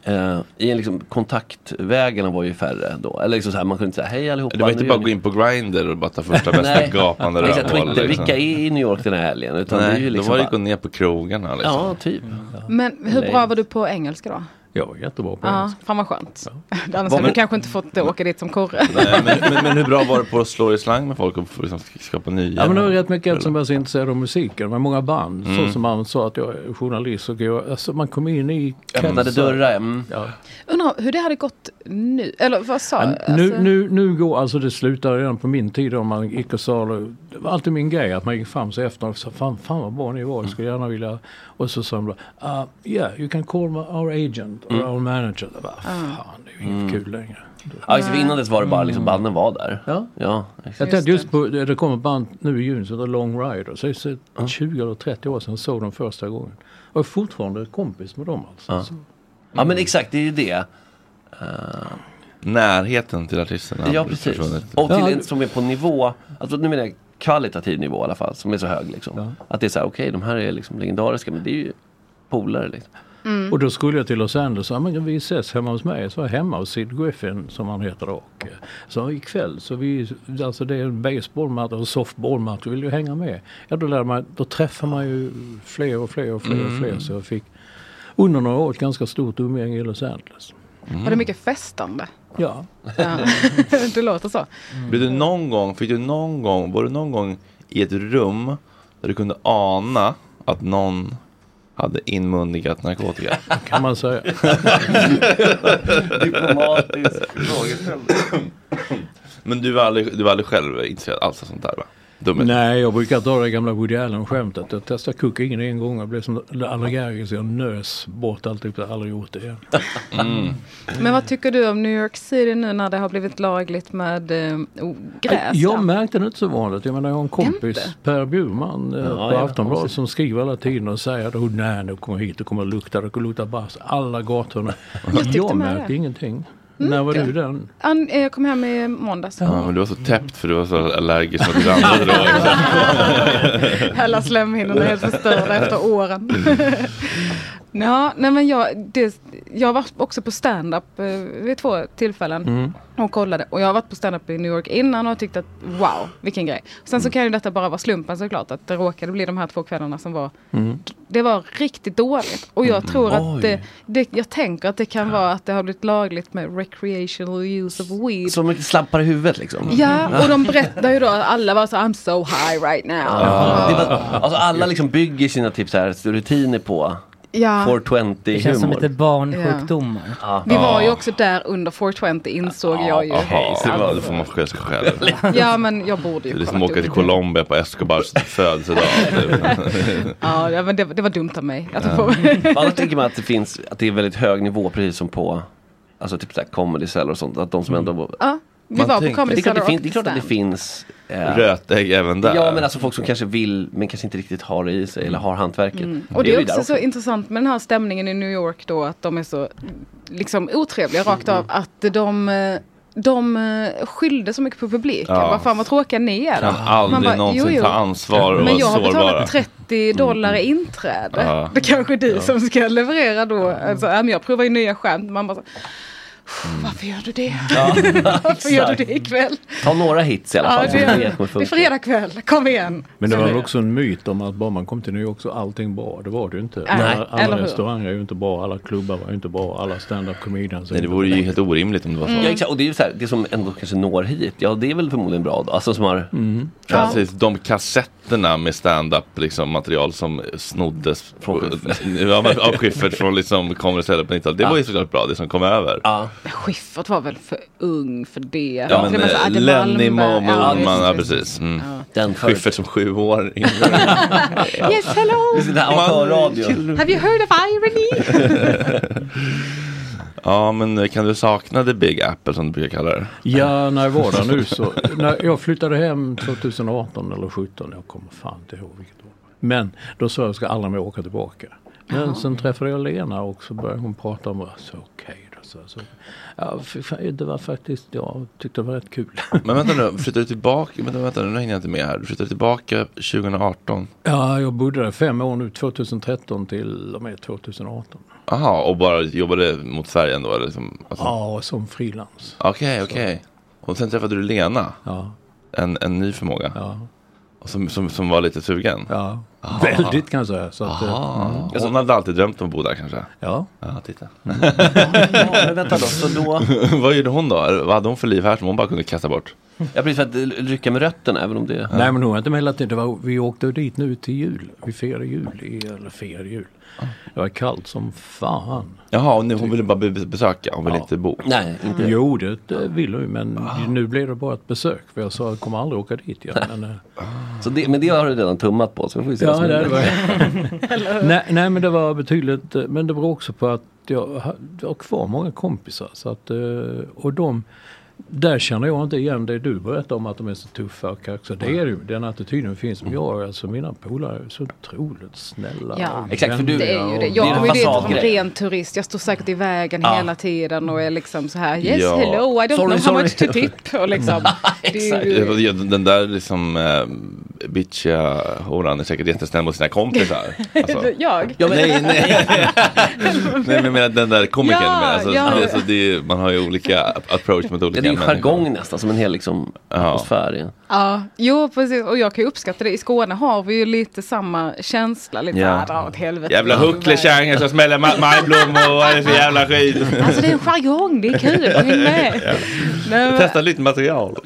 Speaker 5: eh, i en liksom, kontaktvägarna var ju färre då. Eller liksom så här, man kunde inte säga hej allihopa.
Speaker 1: Det var inte
Speaker 5: nu
Speaker 1: bara
Speaker 5: gör
Speaker 1: att
Speaker 5: ni-"
Speaker 1: gå in på Grindr och bara ta första bästa
Speaker 5: Nej.
Speaker 1: gapande
Speaker 5: Exakt,
Speaker 1: rövhål. liksom.
Speaker 5: och inte, Vilka är i New York den här helgen? Utan
Speaker 1: Nej,
Speaker 5: det är ju liksom
Speaker 1: då var det
Speaker 5: bara-
Speaker 1: gå ner på krogarna liksom.
Speaker 5: Ja, typ.
Speaker 7: Men hur bra var du på engelska då?
Speaker 9: Jag var jättebra på
Speaker 7: Ja, fan vad skönt. Annars
Speaker 1: Vad-
Speaker 7: hade du kanske inte fått åka dit som korre.
Speaker 1: Nej, men, men, men hur bra var du på att slå i slang med folk och få- liksom, skapa nya?
Speaker 9: Ja, men det var rätt mycket som var så intresserad av musiken. Men många band,
Speaker 1: Mm.
Speaker 9: så som han sa att jag är journalist. Och jag, alltså man kom in i...
Speaker 5: Öppnade
Speaker 9: kretsar.
Speaker 5: dörrar, mm.
Speaker 9: ja.
Speaker 7: Undrar hur det hade gått nu. Eller vad sa
Speaker 9: Ja,
Speaker 7: alltså,
Speaker 9: nu, nu, nu går, alltså det slutade redan på min tid om man gick och sa, det var alltid min grej att man gick fram sig efter och sa fan, fan vad bra ni var, jag skulle gärna vilja, och så sa de bara, "Ah, yeah you can call my, our agent or
Speaker 5: Mm.
Speaker 9: our manager. Jag bara, fan det är ju inget kul längre.
Speaker 5: Ja, just, för innan dess var det bara
Speaker 7: Mm.
Speaker 5: liksom banden var där.
Speaker 9: Ja.
Speaker 5: ja
Speaker 9: Jag
Speaker 5: exakt.
Speaker 9: tänkte just på, det kommer ett band nu i juni som heter Long Rider. Så det är så 20 eller 30 år sedan jag såg dem första gången. Och jag är fortfarande kompis med dem alltså.
Speaker 5: Ja.
Speaker 9: Så-
Speaker 5: ja, men exakt, det är ju det. Eh,
Speaker 1: Närheten till artisterna.
Speaker 5: Ja
Speaker 1: har
Speaker 5: precis.
Speaker 1: försvunnit.
Speaker 5: Och till en som är på nivå, alltså nu menar jag kvalitativ nivå i alla fall, som är så hög liksom. Att det är så här, okej de här är liksom legendariska men det är ju polare liksom.
Speaker 7: Mm.
Speaker 9: Och då skulle jag till Los Angeles och sa, men vi ses hemma hos mig. Så var jag hemma hos Sid Griffin som han heter då. Och, eh, Så ikväll så vi, alltså det är en baseballmatch och softballmatch, vill du hänga med? Ja då lär man, då träffar man ju fler och fler och fler och fler.
Speaker 7: Mm.
Speaker 9: Så jag fick under några år ett ganska stort umgänge i Los Angeles.
Speaker 7: Var
Speaker 1: Mm.
Speaker 7: det mycket festande?
Speaker 9: Ja.
Speaker 7: ja. det låter så.
Speaker 1: Blev du någon gång, fick du någon gång, var du någon gång i ett rum där du kunde ana att någon hade inmundigat narkotika?
Speaker 9: Kan man säga.
Speaker 5: Diplomatisk frågeställning.
Speaker 1: Men du var aldrig, du var aldrig själv intresserad alls av sånt där va? Dumhet.
Speaker 9: Nej, jag brukar dra det gamla Woody Allen-skämtet. Jag testade kokain en gång och blev som allergisk. Jag nös bort alltihop. Jag har aldrig gjort det igen.
Speaker 7: Men vad tycker du om New York City nu när det har blivit lagligt med eh, oh, gräs?
Speaker 9: Jag märkte det inte så vanligt. Jag menar jag har en kompis, Per Bjurman eh,
Speaker 5: Ja,
Speaker 9: på
Speaker 5: ja,
Speaker 9: Aftonbladet
Speaker 5: precis.
Speaker 9: som skriver hela tiden och säger att oh, nej, nu kommer jag hit, det kommer att lukta, det kommer att lukta bast. Alla gatorna.
Speaker 7: Jag
Speaker 9: Jag,
Speaker 7: tyckte med
Speaker 9: märkte
Speaker 7: det. Mm.
Speaker 9: ingenting. När var du den?
Speaker 7: An, eh, jag kom hem i måndags. Mm.
Speaker 1: Ja, men du var så täppt för du var så allergisk mot andra droger.
Speaker 7: Hela slemhinnorna är helt förstörda efter åren. ja, nej men jag, det, jag var också på stand-up eh, vid två tillfällen. Och kollade. Och jag har varit på stand-up i New York innan och tyckt att wow, vilken grej. Sen så kan ju detta bara vara slumpen såklart att det råkade bli de här två kvällarna som var
Speaker 9: Mm.
Speaker 7: det var riktigt dåligt. Och jag tror
Speaker 5: Mm. Oj.
Speaker 7: att det, det, jag tänker att det kan vara att det har blivit lagligt med recreational use of weed.
Speaker 5: Så mycket slappar i huvudet liksom.
Speaker 7: Ja, och de berättar ju då, alla var så I'm so high right now.
Speaker 5: Ja. Det var, alltså alla liksom bygger sina typ så här, rutiner på
Speaker 7: Ja.
Speaker 5: 420
Speaker 7: Det känns som
Speaker 5: humor.
Speaker 7: lite barnsjukdomar. Vi var ju också där under 420 insåg jag ju.
Speaker 1: Jaha, det, var, det
Speaker 7: Alltså,
Speaker 1: får man skälla sig själv.
Speaker 7: ja men jag borde
Speaker 1: Det
Speaker 7: ju
Speaker 1: är som
Speaker 7: kollat
Speaker 1: att åka
Speaker 7: upp
Speaker 1: till Colombia på Escobars födelsedag. typ.
Speaker 7: Ja, ja, men det, var- det var dumt av mig. Att
Speaker 5: Ja.
Speaker 7: få...
Speaker 5: Men Annars tänker Eh, man att det finns, att det är väldigt hög nivå precis som på Alltså typ såhär comedy cellar och sånt, att de som ändå
Speaker 7: Mm. ja, vi var på Comedy
Speaker 5: det,
Speaker 7: Cellar
Speaker 5: är klart det,
Speaker 7: och
Speaker 5: finns, det är klart att det
Speaker 7: stand.
Speaker 5: finns eh,
Speaker 1: Rötägg även där.
Speaker 5: Ja men alltså folk som kanske vill men kanske inte riktigt har det i sig eller har hantverket.
Speaker 7: Mm. Och det
Speaker 5: ju
Speaker 7: är
Speaker 5: där
Speaker 7: också så intressant med den här stämningen i New York då att de är så liksom otrevliga rakt av att de eh, de eh, skyllde så mycket på publiken.
Speaker 1: Ja.
Speaker 7: Vad fan vad tråkiga ni är. då.
Speaker 1: Kan aldrig
Speaker 7: Man bara,
Speaker 1: någonsin ta ansvar och
Speaker 7: Men
Speaker 1: vara
Speaker 7: jag har
Speaker 1: sårbara.
Speaker 7: betalat 30 dollar i inträde.
Speaker 1: Ja.
Speaker 7: Det kanske är du
Speaker 1: Ja.
Speaker 7: som ska leverera då. Alltså, ja, men jag provar ju nya skämt. Man bara så, varför gör du det?
Speaker 5: Ja,
Speaker 7: varför gör du
Speaker 5: exakt.
Speaker 7: det ikväll?
Speaker 5: Ta några hits i alla fall.
Speaker 7: Ja, det,
Speaker 5: så
Speaker 7: är,
Speaker 5: vet man
Speaker 7: det är
Speaker 5: funkar.
Speaker 7: fredag kväll, kom igen.
Speaker 9: Men det var
Speaker 7: Så-
Speaker 9: väl också en myt om att bara man kom till New York så är allting bra. Det var det ju inte.
Speaker 7: Nej,
Speaker 9: Alla,
Speaker 7: eller
Speaker 9: alla
Speaker 7: hur?
Speaker 9: restauranger är ju inte bra, alla klubbar var ju inte bra, alla stand-up comedians är
Speaker 1: Nej, det
Speaker 9: inte
Speaker 1: vore
Speaker 9: bra.
Speaker 1: ju helt orimligt om det var så.
Speaker 5: Ja exakt, och det är ju så här, det som ändå kanske når hit, ja det är väl förmodligen bra då. Alltså som har
Speaker 9: Mm.
Speaker 1: Ja. Precis, de kassetterna med stand-up liksom, material som snoddes från ja, men av Schyffert från liksom, kommer istället på 90-talet. Det
Speaker 7: Ja.
Speaker 1: var ju såklart bra, det som kom över.
Speaker 5: Ja,
Speaker 7: Schiffert var väl för ung för det.
Speaker 1: ja
Speaker 7: Till och
Speaker 1: men
Speaker 7: med så
Speaker 1: eh,
Speaker 7: Adde
Speaker 1: Lenny
Speaker 7: Malmberg.
Speaker 1: Momo
Speaker 7: Ja,
Speaker 1: Ullman, ja
Speaker 7: visst, visst.
Speaker 1: precis. Mm.
Speaker 7: Ja.
Speaker 5: Den
Speaker 1: Schyffert som sju år
Speaker 7: Yes, hello!
Speaker 5: Det är sån här amatörradio.
Speaker 7: Have you heard of irony?
Speaker 1: Ja, men kan du sakna The Big Apple som du brukar kalla det?
Speaker 9: Ja, när jag var där nu så. När jag flyttade hem 2018 eller 17. Jag kommer fan inte ihåg vilket år. Men då sa jag att jag ska aldrig mer åka tillbaka. Men
Speaker 12: Jaha.
Speaker 9: sen träffade jag Lena och så började hon prata om så okej då. Så, så. Ja, fy fan, det var faktiskt, jag tyckte det var rätt kul.
Speaker 1: Men vänta nu, flyttar du tillbaka? Men vänta nu, nu hänger jag inte med här. Du flyttade tillbaka 2018.
Speaker 9: Ja, jag bodde där fem år nu, 2013 till och med 2018.
Speaker 1: Aha, och bara jobbade mot färgen då? Eller som, alltså.
Speaker 9: Ja, som frilans.
Speaker 1: Okej, okej. Och sen träffade du Lena. En, en ny förmåga. Och Som, som, som var lite sugen.
Speaker 9: Ja,
Speaker 1: Aha.
Speaker 9: väldigt kan jag säga. Så att, eh,
Speaker 1: Aha.
Speaker 9: mm.
Speaker 1: Alltså, Hon hade alltid drömt om att bo där kanske?
Speaker 9: Ja.
Speaker 1: Ja, titta.
Speaker 5: men vänta då, så då-
Speaker 1: Vad gjorde hon då? Vad hade hon för liv här som hon bara kunde kasta bort?
Speaker 5: Jag blir för att eh, rycka med rötterna även om det...
Speaker 9: Nej men hon var inte med hela tiden. Det var, vi åkte dit nu till jul. Vi firade jul. I, eller firade jul. Det var kallt som fan.
Speaker 1: Jaha, och nu, hon ville bara be- besöka, hon ville inte bo.
Speaker 9: Jo, det, det ville vi. Men nu blev det bara ett besök. För jag sa jag kommer aldrig åka dit igen. Men, eh,
Speaker 5: Så det, men det har du redan tummat på Ah, så vi får vi se
Speaker 9: Ja,
Speaker 5: vad som
Speaker 9: det
Speaker 5: händer.
Speaker 9: var nej, nej men det var betydligt, eh, men det beror också på att jag ha- jag har kvar många kompisar. Så att, eh, och de, där känner jag inte igen det du berättar om att de är så tuffa och kaxiga. Det är ju, den attityden finns. Men jag, alltså mina polare är så otroligt snälla.
Speaker 7: Ja.
Speaker 9: och
Speaker 5: Exakt, för du-
Speaker 9: vänliga
Speaker 7: Det är ju det.
Speaker 9: och-
Speaker 7: Jag kommer ju dit som ren turist. Jag står säkert i vägen
Speaker 9: Ja.
Speaker 7: hela tiden och är liksom så här yes
Speaker 1: Ja.
Speaker 7: hello I don't
Speaker 1: Sorry,
Speaker 7: know
Speaker 1: sorry.
Speaker 7: how much to tip. Och liksom, det är ju,
Speaker 1: Ja, Den där liksom eh, bitchiga horan är säkert jättesnäll mot sina kompisar. Alltså.
Speaker 7: jag.
Speaker 1: Nej, nej. Nej men jag menar den där komikern.
Speaker 7: Ja,
Speaker 1: men alltså,
Speaker 7: ja.
Speaker 1: det, alltså, det är, man har ju olika approach mot olika
Speaker 5: Det är ju
Speaker 1: människor.
Speaker 5: jargong nästan, som en hel liksom, atmosfär. i-
Speaker 7: Ja, jo precis. Och jag kan ju uppskatta det. I Skåne har vi ju lite samma känsla. Lite
Speaker 1: Ja.
Speaker 7: ja. åt helvete.
Speaker 1: Jävla hucklekärringar som smäller ma- majblommor, vad är det för jävla skit?
Speaker 7: Alltså det är en jargong, det är kul. Jag är med. Nej, men-
Speaker 1: Testa nytt material.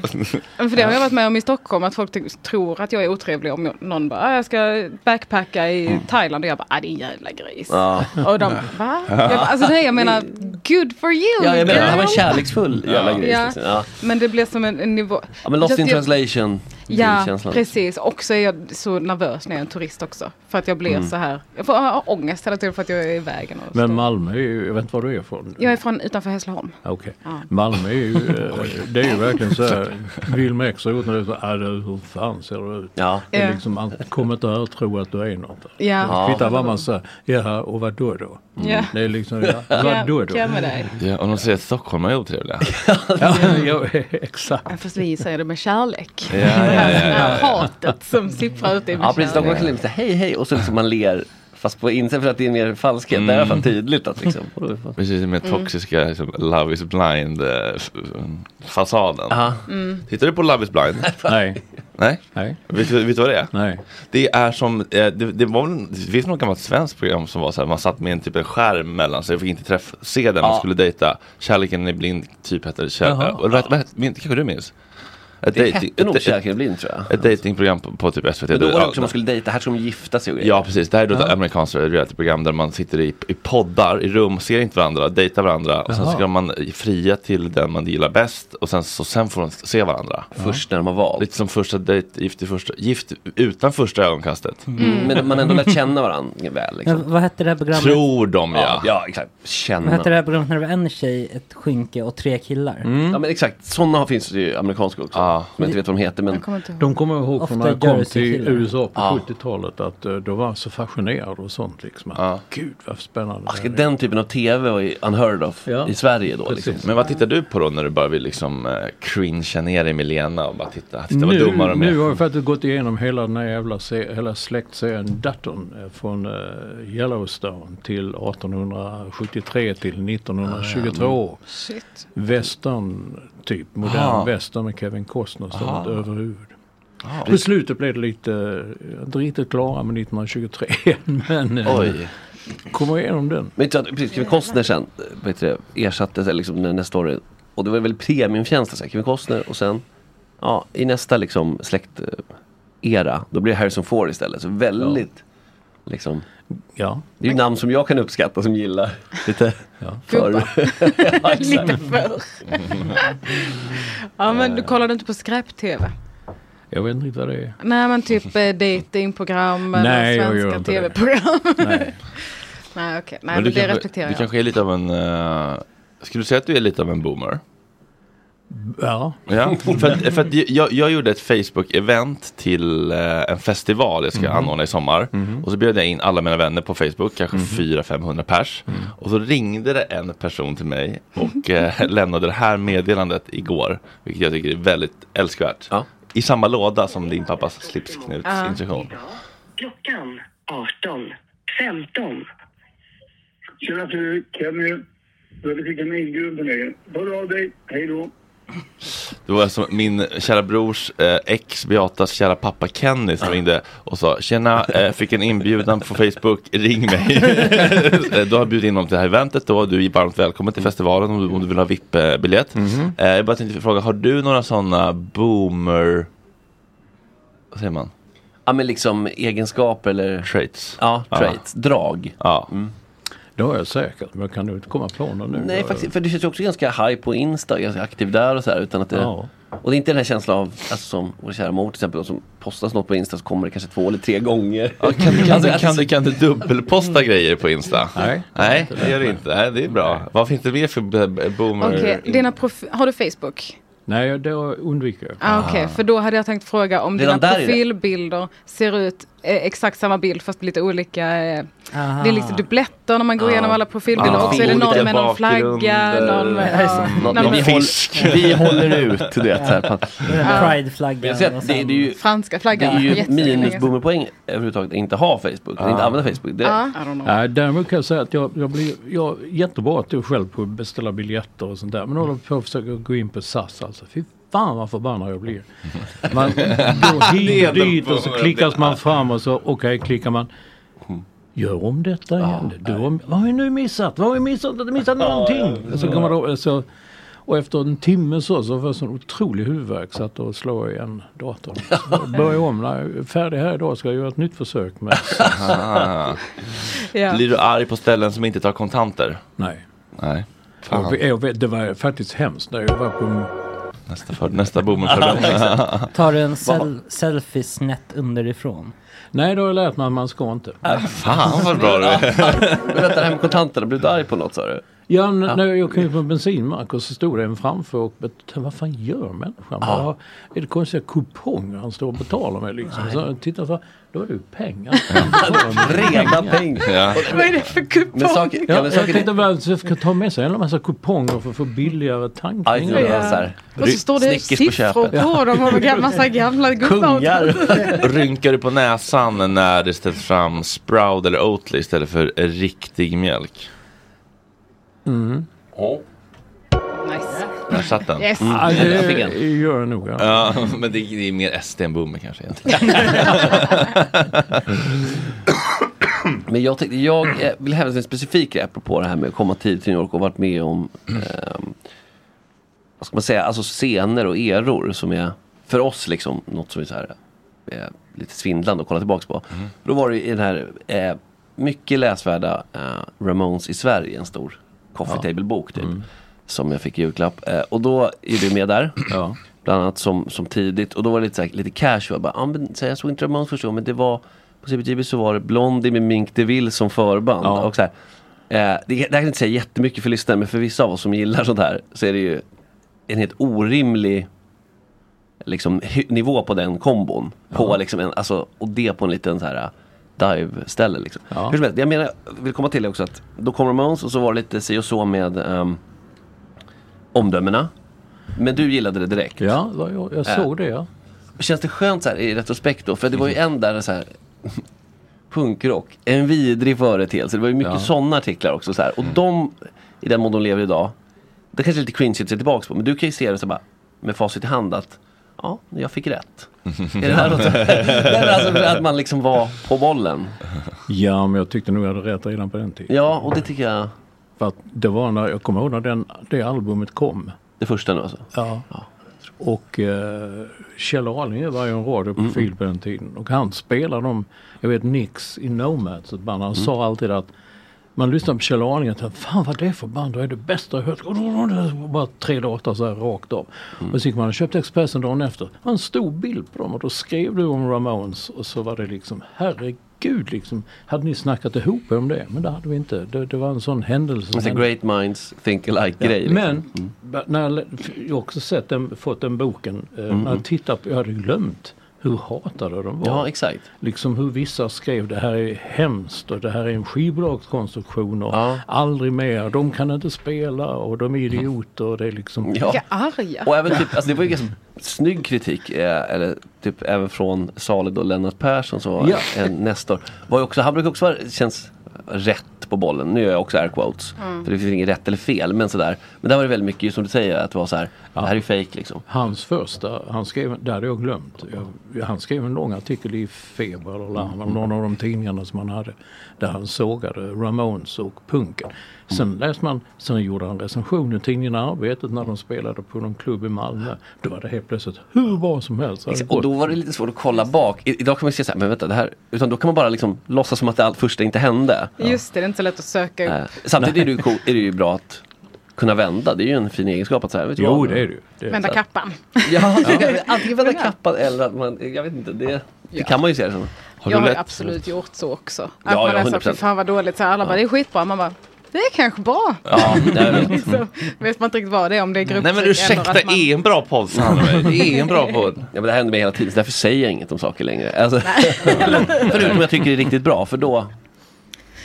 Speaker 7: Men För det har jag varit med om i Stockholm, att folk ty- tror att jag är otrevlig om jag- någon bara, "Ah, jag ska backpacka i Thailand och jag bara, ah, din jävla gris.
Speaker 5: Mm. Ja.
Speaker 7: Och de, va? Jag bara, alltså nej, jag menar, good for you
Speaker 5: Ja, jag menar, det här var en
Speaker 7: girl."
Speaker 5: kärleksfull jävla grej.
Speaker 7: Ja.
Speaker 5: Liksom. Ja.
Speaker 7: Men det blev som en, en nivå.
Speaker 5: ja, men lost
Speaker 7: Just
Speaker 5: in liksom.
Speaker 7: jag- typ-
Speaker 5: translation.
Speaker 7: Ja,
Speaker 5: känslan.
Speaker 7: precis. Och så är jag så nervös när jag är en turist också. För att jag blir
Speaker 9: Mm.
Speaker 7: så här, jag får jag har ångest hela tiden för att jag är i vägen. Och
Speaker 9: Men Malmö är ju, jag vet inte var du är ifrån.
Speaker 7: jag är från utanför Hässleholm.
Speaker 9: Okej.
Speaker 7: Ja.
Speaker 9: Malmö är ju, eh, det är ju verkligen så här. Wilmer X har gjort när du så här, "Äh, du, hur fan ser du ut?
Speaker 5: Ja.
Speaker 9: Det är
Speaker 7: Ja.
Speaker 9: liksom, man kommer inte här och tro att du är något.
Speaker 7: Ja.
Speaker 9: Det kvittar vad man säger, ja och vad då då?
Speaker 7: Mm. Ja.
Speaker 9: Det är liksom, ja, vad då då?
Speaker 7: Ja, med dig.
Speaker 1: Ja, och de säger att Stockholm är otrevliga.
Speaker 9: ja, ja, exakt.
Speaker 7: Ja, Fast vi säger det med kärlek.
Speaker 1: Ja, ja, ja, ja,
Speaker 7: Det här
Speaker 5: ja.
Speaker 7: hatet som sipprar ut i
Speaker 5: Ja, precis. De går till lite hej hej och så liksom man ler. Fast på insidan för att det är mer falskhet. Det är i alla fall tydligt att liksom.
Speaker 1: Precis, med
Speaker 5: Mm.
Speaker 1: toxiska liksom, Love is blind eh, f- fasaden.
Speaker 5: Ja.
Speaker 1: Mm. Tittar du på Love is blind?
Speaker 9: Nej.
Speaker 1: Nej?
Speaker 9: Nej.
Speaker 1: Vet, du- vet du vad det är?
Speaker 9: Nej.
Speaker 1: Det är som, eh, det, det var väl, det finns något gammalt svenskt program som var så här, man satt med en typ en skärm mellan sig och fick inte träff, se den man
Speaker 5: Ja.
Speaker 1: skulle dejta. Kärleken är blind, typ hette det. Kär,
Speaker 5: Jaha.
Speaker 1: eller, vad- vad hette- min- kanske du minns? Ett
Speaker 5: Det
Speaker 1: dating-
Speaker 5: hette nog
Speaker 1: ett-
Speaker 5: Kärleken är blind, tror jag.
Speaker 1: Ett dejtingprogram på, på typ SVT.
Speaker 5: Men då var det
Speaker 1: Ja,
Speaker 5: också man skulle dejta, här ska de gifta sig och grejer.
Speaker 1: Ja precis, det här är då ett
Speaker 5: Ja.
Speaker 1: amerikanskt realityprogram där man sitter i, i poddar, i rum, ser inte varandra, dejtar varandra och sen
Speaker 5: Jaha.
Speaker 1: ska man fria till den man gillar bäst och sen, så, sen får de se varandra.
Speaker 5: Först när de har valt.
Speaker 1: Lite som första dejt, gift, i första, gift utan första ögonkastet.
Speaker 5: Mm. Men man ändå lärt känna varandra väl. Liksom.
Speaker 8: Men vad hette det här programmet?
Speaker 1: Tror de ja.
Speaker 5: Ja, ja exakt. Känna.
Speaker 8: Vad hette det här programmet när det var en tjej, ett skynke och tre killar?
Speaker 5: Mm. Ja men exakt, sådana finns det ju amerikanska också. Som jag inte vet vad de heter men.
Speaker 9: De kommer jag ihåg från när jag
Speaker 8: Ofta
Speaker 9: kom till
Speaker 8: Jersey-killar.
Speaker 9: USA på
Speaker 5: Ja.
Speaker 9: 70-talet att eh, då var jag så fascinerad och sånt liksom. Att, Gud vad spännande. det här
Speaker 5: Alltså,
Speaker 9: är.
Speaker 5: den typen av tv var ju unheard of i Sverige då. Liksom.
Speaker 1: Men vad tittar du på då när du bara vill liksom eh, cringea ner dig med Lena och bara titta, titta vad
Speaker 9: nu,
Speaker 1: dumma de
Speaker 9: nu
Speaker 1: är.
Speaker 9: har jag faktiskt gått igenom hela den här jävla se- hela släktserien Dutton eh, från eh, Yellowstone till 1873 till 1922.
Speaker 12: Ah,
Speaker 9: år.
Speaker 12: Shit.
Speaker 9: Western typ, modern
Speaker 12: Ah.
Speaker 9: western med Kevin Costner och sånt
Speaker 12: Ah.
Speaker 9: över huvudet.
Speaker 12: Ah.
Speaker 9: På slutet blev det lite, eh, inte riktigt klara med 1923 men eh,
Speaker 5: Oj.
Speaker 9: kommer igenom den.
Speaker 5: Men inte så att- precis, Kevin Costner sen eh, vad heter det, ersatte sig liksom när nästa år. Och det var väl premiumtjänsten sen, Kevin Costner och sen ja, i nästa liksom släkt eh, era då blir det Harrison Ford istället. Så väldigt liksom.
Speaker 9: Ja.
Speaker 5: Det är ju namn som jag kan uppskatta som gillar lite ja. för. Ja, exakt.
Speaker 7: Lite för. ja men du kollade inte på skräp-tv?
Speaker 9: Jag vet inte riktigt vad det är.
Speaker 7: Nej men typ eh, datingprogram eller
Speaker 9: Nej, jag gör
Speaker 7: svenska
Speaker 9: inte det.
Speaker 7: tv-program.
Speaker 9: Nej.
Speaker 7: Nej okej, nej
Speaker 1: Men
Speaker 7: men
Speaker 1: du
Speaker 7: det
Speaker 1: kanske,
Speaker 7: respekterar
Speaker 1: Du
Speaker 7: jag.
Speaker 1: kanske är lite av en... eh, skulle du säga att du är lite av en boomer?
Speaker 9: Ja.
Speaker 1: Ja, för, att, för att jag, jag gjorde ett Facebook-event till eh, en festival jag ska
Speaker 9: Mhm.
Speaker 1: anordna i sommar. Och så bjöd jag in alla mina vänner på Facebook, kanske 400-500 pers.
Speaker 9: Mm.
Speaker 1: Och så ringde det en person till mig och eh, lämnade det här meddelandet igår. Vilket jag tycker är väldigt älskvärt. I samma låda som din pappas
Speaker 12: Ja.
Speaker 1: slipsknutsinstruktion.
Speaker 12: Klockan 18. 15. Tjena fru, Kenny. Jag vet inte vilken ingrund den är. Hör av dig. Hej då.
Speaker 1: Det var alltså min kära brors eh, ex Beatas kära pappa Kenny som ringde och sa Tjena, eh, fick en inbjudan på Facebook, ring mig. Eh, du har bjudit in honom till det här eventet då, du är varmt välkommen till festivalen om du, om du vill ha VIP-biljett.
Speaker 13: Mhm.
Speaker 1: Eh, jag bara tänkte fråga, har du några sådana boomer... Vad säger man?
Speaker 5: Ja men liksom egenskaper eller...
Speaker 1: Traits.
Speaker 5: Ja, traits. Drag. Mm.
Speaker 1: Ja.
Speaker 9: Det har jag säkert, men jag kan du inte komma på någon nu?
Speaker 5: Nej, faktiskt, för du känns ju också ganska high på Insta, ganska aktiv där och så här, utan att det,
Speaker 9: Ja.
Speaker 5: Och det är inte den här känslan av, alltså, som vår kära mor till exempel, då, som postas något på Insta så kommer det kanske två eller tre gånger. Alltså, Mm.
Speaker 1: kan, Kan du, kan, du, kan du dubbelposta grejer på Insta? Nej. Nej, det gör du inte. Nej, det är bra. Vad finns det mer för b- b- boomer?
Speaker 7: Okej, dina profi- har du Facebook?
Speaker 9: Nej, det undviker jag.
Speaker 7: Ah, Okej, för då hade jag tänkt fråga om
Speaker 9: Redan
Speaker 7: dina
Speaker 9: där är det.
Speaker 7: profilbilder ser ut eh, exakt samma bild fast lite olika. Eh, det är lite dubbletter när man går
Speaker 5: Ah.
Speaker 7: igenom alla profilbilder
Speaker 5: Ah.
Speaker 7: och så är det någon
Speaker 5: Olika
Speaker 7: med någon flagga,
Speaker 5: bakgrunder.
Speaker 7: någon med... Ja.
Speaker 5: Någon-
Speaker 7: Nej,
Speaker 5: någon
Speaker 7: men-
Speaker 5: fisk. Vi håller ut, du vet. så Här, på att-
Speaker 8: Den där
Speaker 5: Ja.
Speaker 8: Pride-flaggan
Speaker 5: Men jag ser att det, det är ju
Speaker 7: Franska
Speaker 5: Det
Speaker 7: flaggan.
Speaker 5: är ju
Speaker 7: Jättelänge sedan.
Speaker 5: minusboomerpoäng överhuvudtaget att inte ha Facebook, att inte använda Facebook. Det,
Speaker 7: Ja. I don't know.
Speaker 9: Nej, däremot kan jag säga att jag, jag blir jag, jättebra att du själv på att beställa biljetter och sånt där. Men håller på att försöka gå in på SAS alltså. Fy fan vad förbannad jag blir. Man går
Speaker 13: Det är den
Speaker 9: hit, dit och så
Speaker 13: bra
Speaker 9: klickas
Speaker 13: idén.
Speaker 9: man fram och så okej klickar man. Gör om detta igen. Du har, vad har jag nu missat? Vad har jag missat? Jag har missat någonting. Så kommer då, så, och efter en timme så, så får jag sån otrolig huvudvärk så att då slår jag igen datorn. Så Börjar jag om. När jag är färdig här idag ska jag göra ett nytt försök med
Speaker 1: Ah.
Speaker 7: Ja.
Speaker 1: Blir du arg på ställen som inte tar kontanter?
Speaker 9: Nej.
Speaker 1: Nej.
Speaker 9: Jag,
Speaker 1: Fan.
Speaker 9: vet- jag vet, det var faktiskt hemskt när jag var på...
Speaker 1: Nästa, för, nästa boomerfördomar.
Speaker 8: Tar du en sel- selfie snett underifrån?
Speaker 9: Nej, då har jag lärt mig att man ska inte.
Speaker 1: Äh,
Speaker 5: Ah,
Speaker 1: Fan vad bra du är.
Speaker 5: Berätta det här med kontanterna, blev du arg på något sa du?
Speaker 9: Ja, n- när jag kom ut på en bensinmack och så stod det en framför och bet- vad fan gör människan?
Speaker 5: Ja.
Speaker 9: Vad är det konstiga kuponger han står och betalar med liksom? Så jag tittar så då är det ju pengar.
Speaker 5: Rena pengar.
Speaker 1: Ja.
Speaker 7: Vad är det för kuponger?
Speaker 5: Men saker- ja,
Speaker 9: Ja,
Speaker 5: men
Speaker 9: jag
Speaker 5: saker-
Speaker 9: tänkte bara så jag ska ta med sig en massa kuponger för att få billigare
Speaker 5: Aj, det
Speaker 9: tankningar.
Speaker 5: var så här.
Speaker 7: Och så står det siffror på dem och en massa gamla gubbar.
Speaker 1: Rynkar du på näsan när det ställs fram Sprout eller Oatly istället för riktig mjölk?
Speaker 9: Mm.
Speaker 7: Nice.
Speaker 1: Där satt den. Mm.
Speaker 7: Yes.
Speaker 9: Ja,
Speaker 1: Jag fick
Speaker 9: det
Speaker 1: en.
Speaker 9: gör det nog. Ja.
Speaker 1: Ja, men det är, det är mer SD än boomer kanske egentligen.
Speaker 5: Men jag, tänkte, jag eh, vill hävda en specifik grej apropå det här med att komma tid till New York och varit med om ehm, vad ska man säga, alltså scener och eror som är för oss liksom något som är så här eh, lite svindlande att kolla tillbaks på.
Speaker 14: Mm.
Speaker 5: Då var det ju i den här eh, mycket läsvärda eh, Ramones i Sverige, en stor coffee
Speaker 9: Ja.
Speaker 5: table-bok typ. Som jag fick i julklapp. Eh, och då är du med där. Bland annat som, som tidigt. Och då var det lite, så här, lite casual. Bara, ah, men, så här, jag såg inte Ramones första gången men det var på CBGB så var det Blondie med Mink DeVille som förband. Och så här, eh, det, det här kan jag inte säga jättemycket för lyssnarna men för vissa av oss som gillar sånt här så är det ju en helt orimlig liksom, hy- nivå på den kombon. På liksom en, alltså, och det på en liten så här äh, dive-ställe. Liksom. Hur som helst, jag menar, jag vill komma till det också att då kom Ramones och så var det lite si och så med ehm, omdömena. Men du gillade det direkt. Äh.
Speaker 9: Ja, jag, jag såg det ja.
Speaker 5: Känns det skönt så här i retrospekt då? För det var ju en där så här punkrock, en vidrig företeelse. Det var ju mycket
Speaker 9: Ja. Mm.
Speaker 5: sådana artiklar också så här. Och de, i den mån de lever idag, det kanske är lite cringe att se tillbaka på. Men du kan ju se det så här bara, med facit i hand att ja, jag fick rätt. är det här något? Nej, men alltså, att man liksom var på bollen.
Speaker 9: Ja, men jag tyckte nog jag hade rätt redan på den tiden.
Speaker 5: Ja, och det tycker jag.
Speaker 9: För att det var när, jag kommer ihåg när den, det albumet kom.
Speaker 5: Det första nu alltså?
Speaker 9: Ja. Och eh, Kjell Arlinge var ju en
Speaker 5: Mm.
Speaker 9: radioprofil på den
Speaker 5: Mm.
Speaker 9: tiden. Och han spelade om, jag vet Nix i Nomads, ett band. Han sa alltid att man lyssnar på Kjell Arning och tänkte, fan vad det är för band, det är det bästa jag hört. Och Bara tre låtar så här rakt av. Och så gick man och köpte Expressen dagen efter. Han en stor bild på dem och då skrev du om Ramones och så var det liksom, herregud liksom. Hade ni snackat ihop er om det? Men det hade vi inte. Det, det var en sån händelse.
Speaker 5: Alltså,
Speaker 9: som
Speaker 5: great minds think alike grej.
Speaker 9: Ja,
Speaker 5: Liksom.
Speaker 9: Men ba- när jag, lä- f- jag har också sett den, fått den boken. Eh,
Speaker 5: Mm.
Speaker 9: När jag tittar på, jag hade ju glömt hur hatade de var.
Speaker 5: Ja, exakt.
Speaker 9: Liksom hur vissa skrev det här är hemskt och det här är en skivbolagskonstruktion och aldrig mer, de kan inte spela och de är
Speaker 5: Mm-hmm.
Speaker 9: idioter och det är liksom...
Speaker 5: Ja. Vilka
Speaker 7: arga.
Speaker 5: Och även typ, alltså det var ju ganska snygg kritik, eh, eller typ även från Saleh och Lennart Persson som var
Speaker 9: Ja.
Speaker 5: en nästor. Var ju också, han brukar också vara, känns rätt på bollen. Nu gör jag också air quotes.
Speaker 9: Mm.
Speaker 5: För det finns inget rätt eller fel, men sådär. Men där var det väldigt mycket, som du säger, att det var så här, det här är ju fake liksom.
Speaker 9: Hans första, han skrev, det hade jag glömt. Jag, han skrev en lång artikel i Feber eller Larm, eller någon av de tidningarna som han hade. Där han sågade Ramones och punken. Sen
Speaker 1: Mm.
Speaker 9: läste man, sen gjorde han recension i tidningen Arbetet när de spelade på någon klubb i Malmö. Då var det helt plötsligt hur bra som helst. Det hade
Speaker 5: Exakt, Och då
Speaker 9: gått.
Speaker 5: var det lite svårt att kolla bak. I, idag kan man ju se så här, men vänta det här. Utan då kan man bara liksom låtsas som att det allt första inte hände.
Speaker 7: Just det, det är inte så lätt att söka upp.
Speaker 5: Eh, Samtidigt är det, ju cool, är det ju bra att kunna vända. Det är ju en fin egenskap att så här, vet du
Speaker 9: Jo,
Speaker 5: vad?
Speaker 9: det är det ju. Det
Speaker 7: Vända kappan.
Speaker 5: Ja, antingen vända kappan eller att man, jag vet inte, det, det
Speaker 7: Ja.
Speaker 5: kan man ju liksom. se det som.
Speaker 7: jag har ju absolut gjort så också. Att
Speaker 5: Ja,
Speaker 7: man
Speaker 5: ja,
Speaker 7: läser
Speaker 5: 100%.
Speaker 7: att fan vad dåligt, så här, alla bara det är skitbra. Man bara det är kanske bra.
Speaker 1: Ja, jag vet.
Speaker 7: liksom, vet man inte riktigt vad det är om det är grupptryck
Speaker 1: Nej men ursäkta,
Speaker 7: eller att man...
Speaker 1: är en bra podd Sandberg? Det är en bra podd.
Speaker 5: Ja, men det händer mig hela tiden, så därför säger jag inget om saker längre. Alltså, förutom jag tycker det är riktigt bra, för då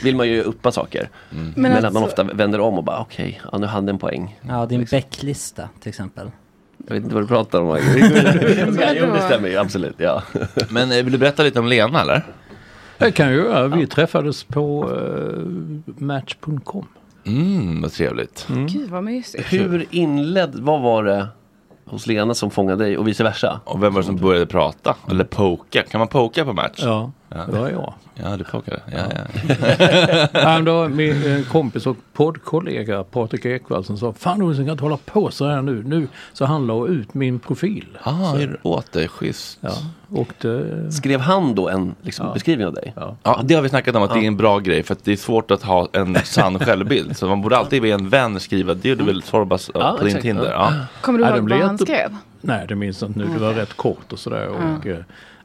Speaker 5: vill man ju uppa saker.
Speaker 9: Mm.
Speaker 5: Men, att man
Speaker 8: alltså-
Speaker 5: ofta vänder om och bara okej, ja, nu hann den poäng.
Speaker 8: Ja, din bäcklista till exempel.
Speaker 5: Jag vet inte vad du pratar om. Magnus. jo,
Speaker 8: Vadå?
Speaker 5: det stämmer ju absolut. Ja.
Speaker 1: Men eh, vill du berätta lite om Lena eller?
Speaker 9: Det kan jag göra. Vi träffades på eh, Match.com.
Speaker 1: Mm, vad trevligt.
Speaker 7: Gud vad mysigt.
Speaker 5: Hur inledd, vad var det hos Lena som fångade dig och vice versa?
Speaker 1: Och vem var det som började prata? Eller poka? Kan man poka på match?
Speaker 9: Ja, det var jag.
Speaker 1: Ja, du pokade. Ja,
Speaker 9: Nej, men det var min eh, kompis och poddkollega Patrik Ekwall som sa Fan Olsson kan inte hålla på så här nu. nu. Så han la ut min profil.
Speaker 1: Ah,
Speaker 9: så,
Speaker 1: är det åt dig? Schysst.
Speaker 9: Ja, och det,
Speaker 5: Skrev han då en liksom, beskrivning av dig?
Speaker 1: Ja, det har vi snackat om att det är en bra grej för att det är svårt att ha en sann självbild. Så man borde alltid be en vän skriva, det
Speaker 5: Mm.
Speaker 1: gjorde väl Sorbas eh,
Speaker 9: Ja,
Speaker 1: på din
Speaker 9: exakt,
Speaker 1: Tinder?
Speaker 9: ja.
Speaker 1: Ja.
Speaker 7: Kommer du
Speaker 9: Ja, det
Speaker 7: ihåg
Speaker 9: blev
Speaker 7: vad han
Speaker 9: jätte-
Speaker 7: skrev?
Speaker 9: nej, det minns jag inte nu. Det var
Speaker 7: Okej.
Speaker 9: rätt kort och sådär. Och, eh,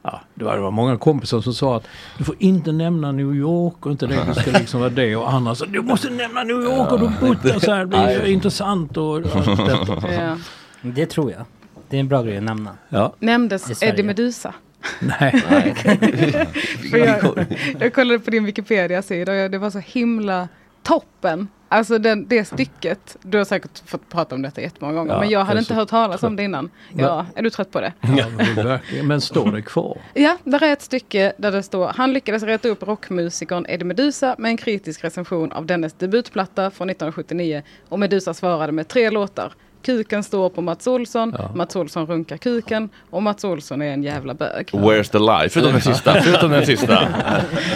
Speaker 9: ja, det, var, det var många kompisar som sa att du får inte nämna New York och inte det. Du ska liksom vara det och annars. Du måste nämna New York och du buttar så här. Det blir
Speaker 8: Nej.
Speaker 9: intressant och allt detta.
Speaker 7: Ja.
Speaker 8: Det tror jag. Det är en bra grej att nämna.
Speaker 9: Ja.
Speaker 8: I
Speaker 7: Nämndes
Speaker 8: Sverige.
Speaker 7: Eddie Meduza?
Speaker 9: Nej.
Speaker 7: För
Speaker 8: Mm.
Speaker 7: jag, jag kollade på din Wikipedia-sida och jag- det var så himla toppen. Alltså den, det stycket, du har säkert fått prata om detta jättemånga gånger,
Speaker 9: Ja,
Speaker 7: men jag
Speaker 9: jag är
Speaker 7: hade inte
Speaker 9: så
Speaker 7: hört talas om det innan. Ja,
Speaker 9: Va?
Speaker 7: är du trött på det?
Speaker 9: Ja, men, verkligen. men står det kvar?
Speaker 7: Ja, där är ett stycke där det står Han lyckades reta upp rockmusikern Eddie Meduza med en kritisk recension av dennes debutplatta från 1979 och Meduza svarade med tre låtar. Kuken står på Mats Olsson, Mats Olsson runkar kuken och Mats Olsson är en jävla bög.
Speaker 1: Where's the lie? Förutom den sista. Förutom den sista.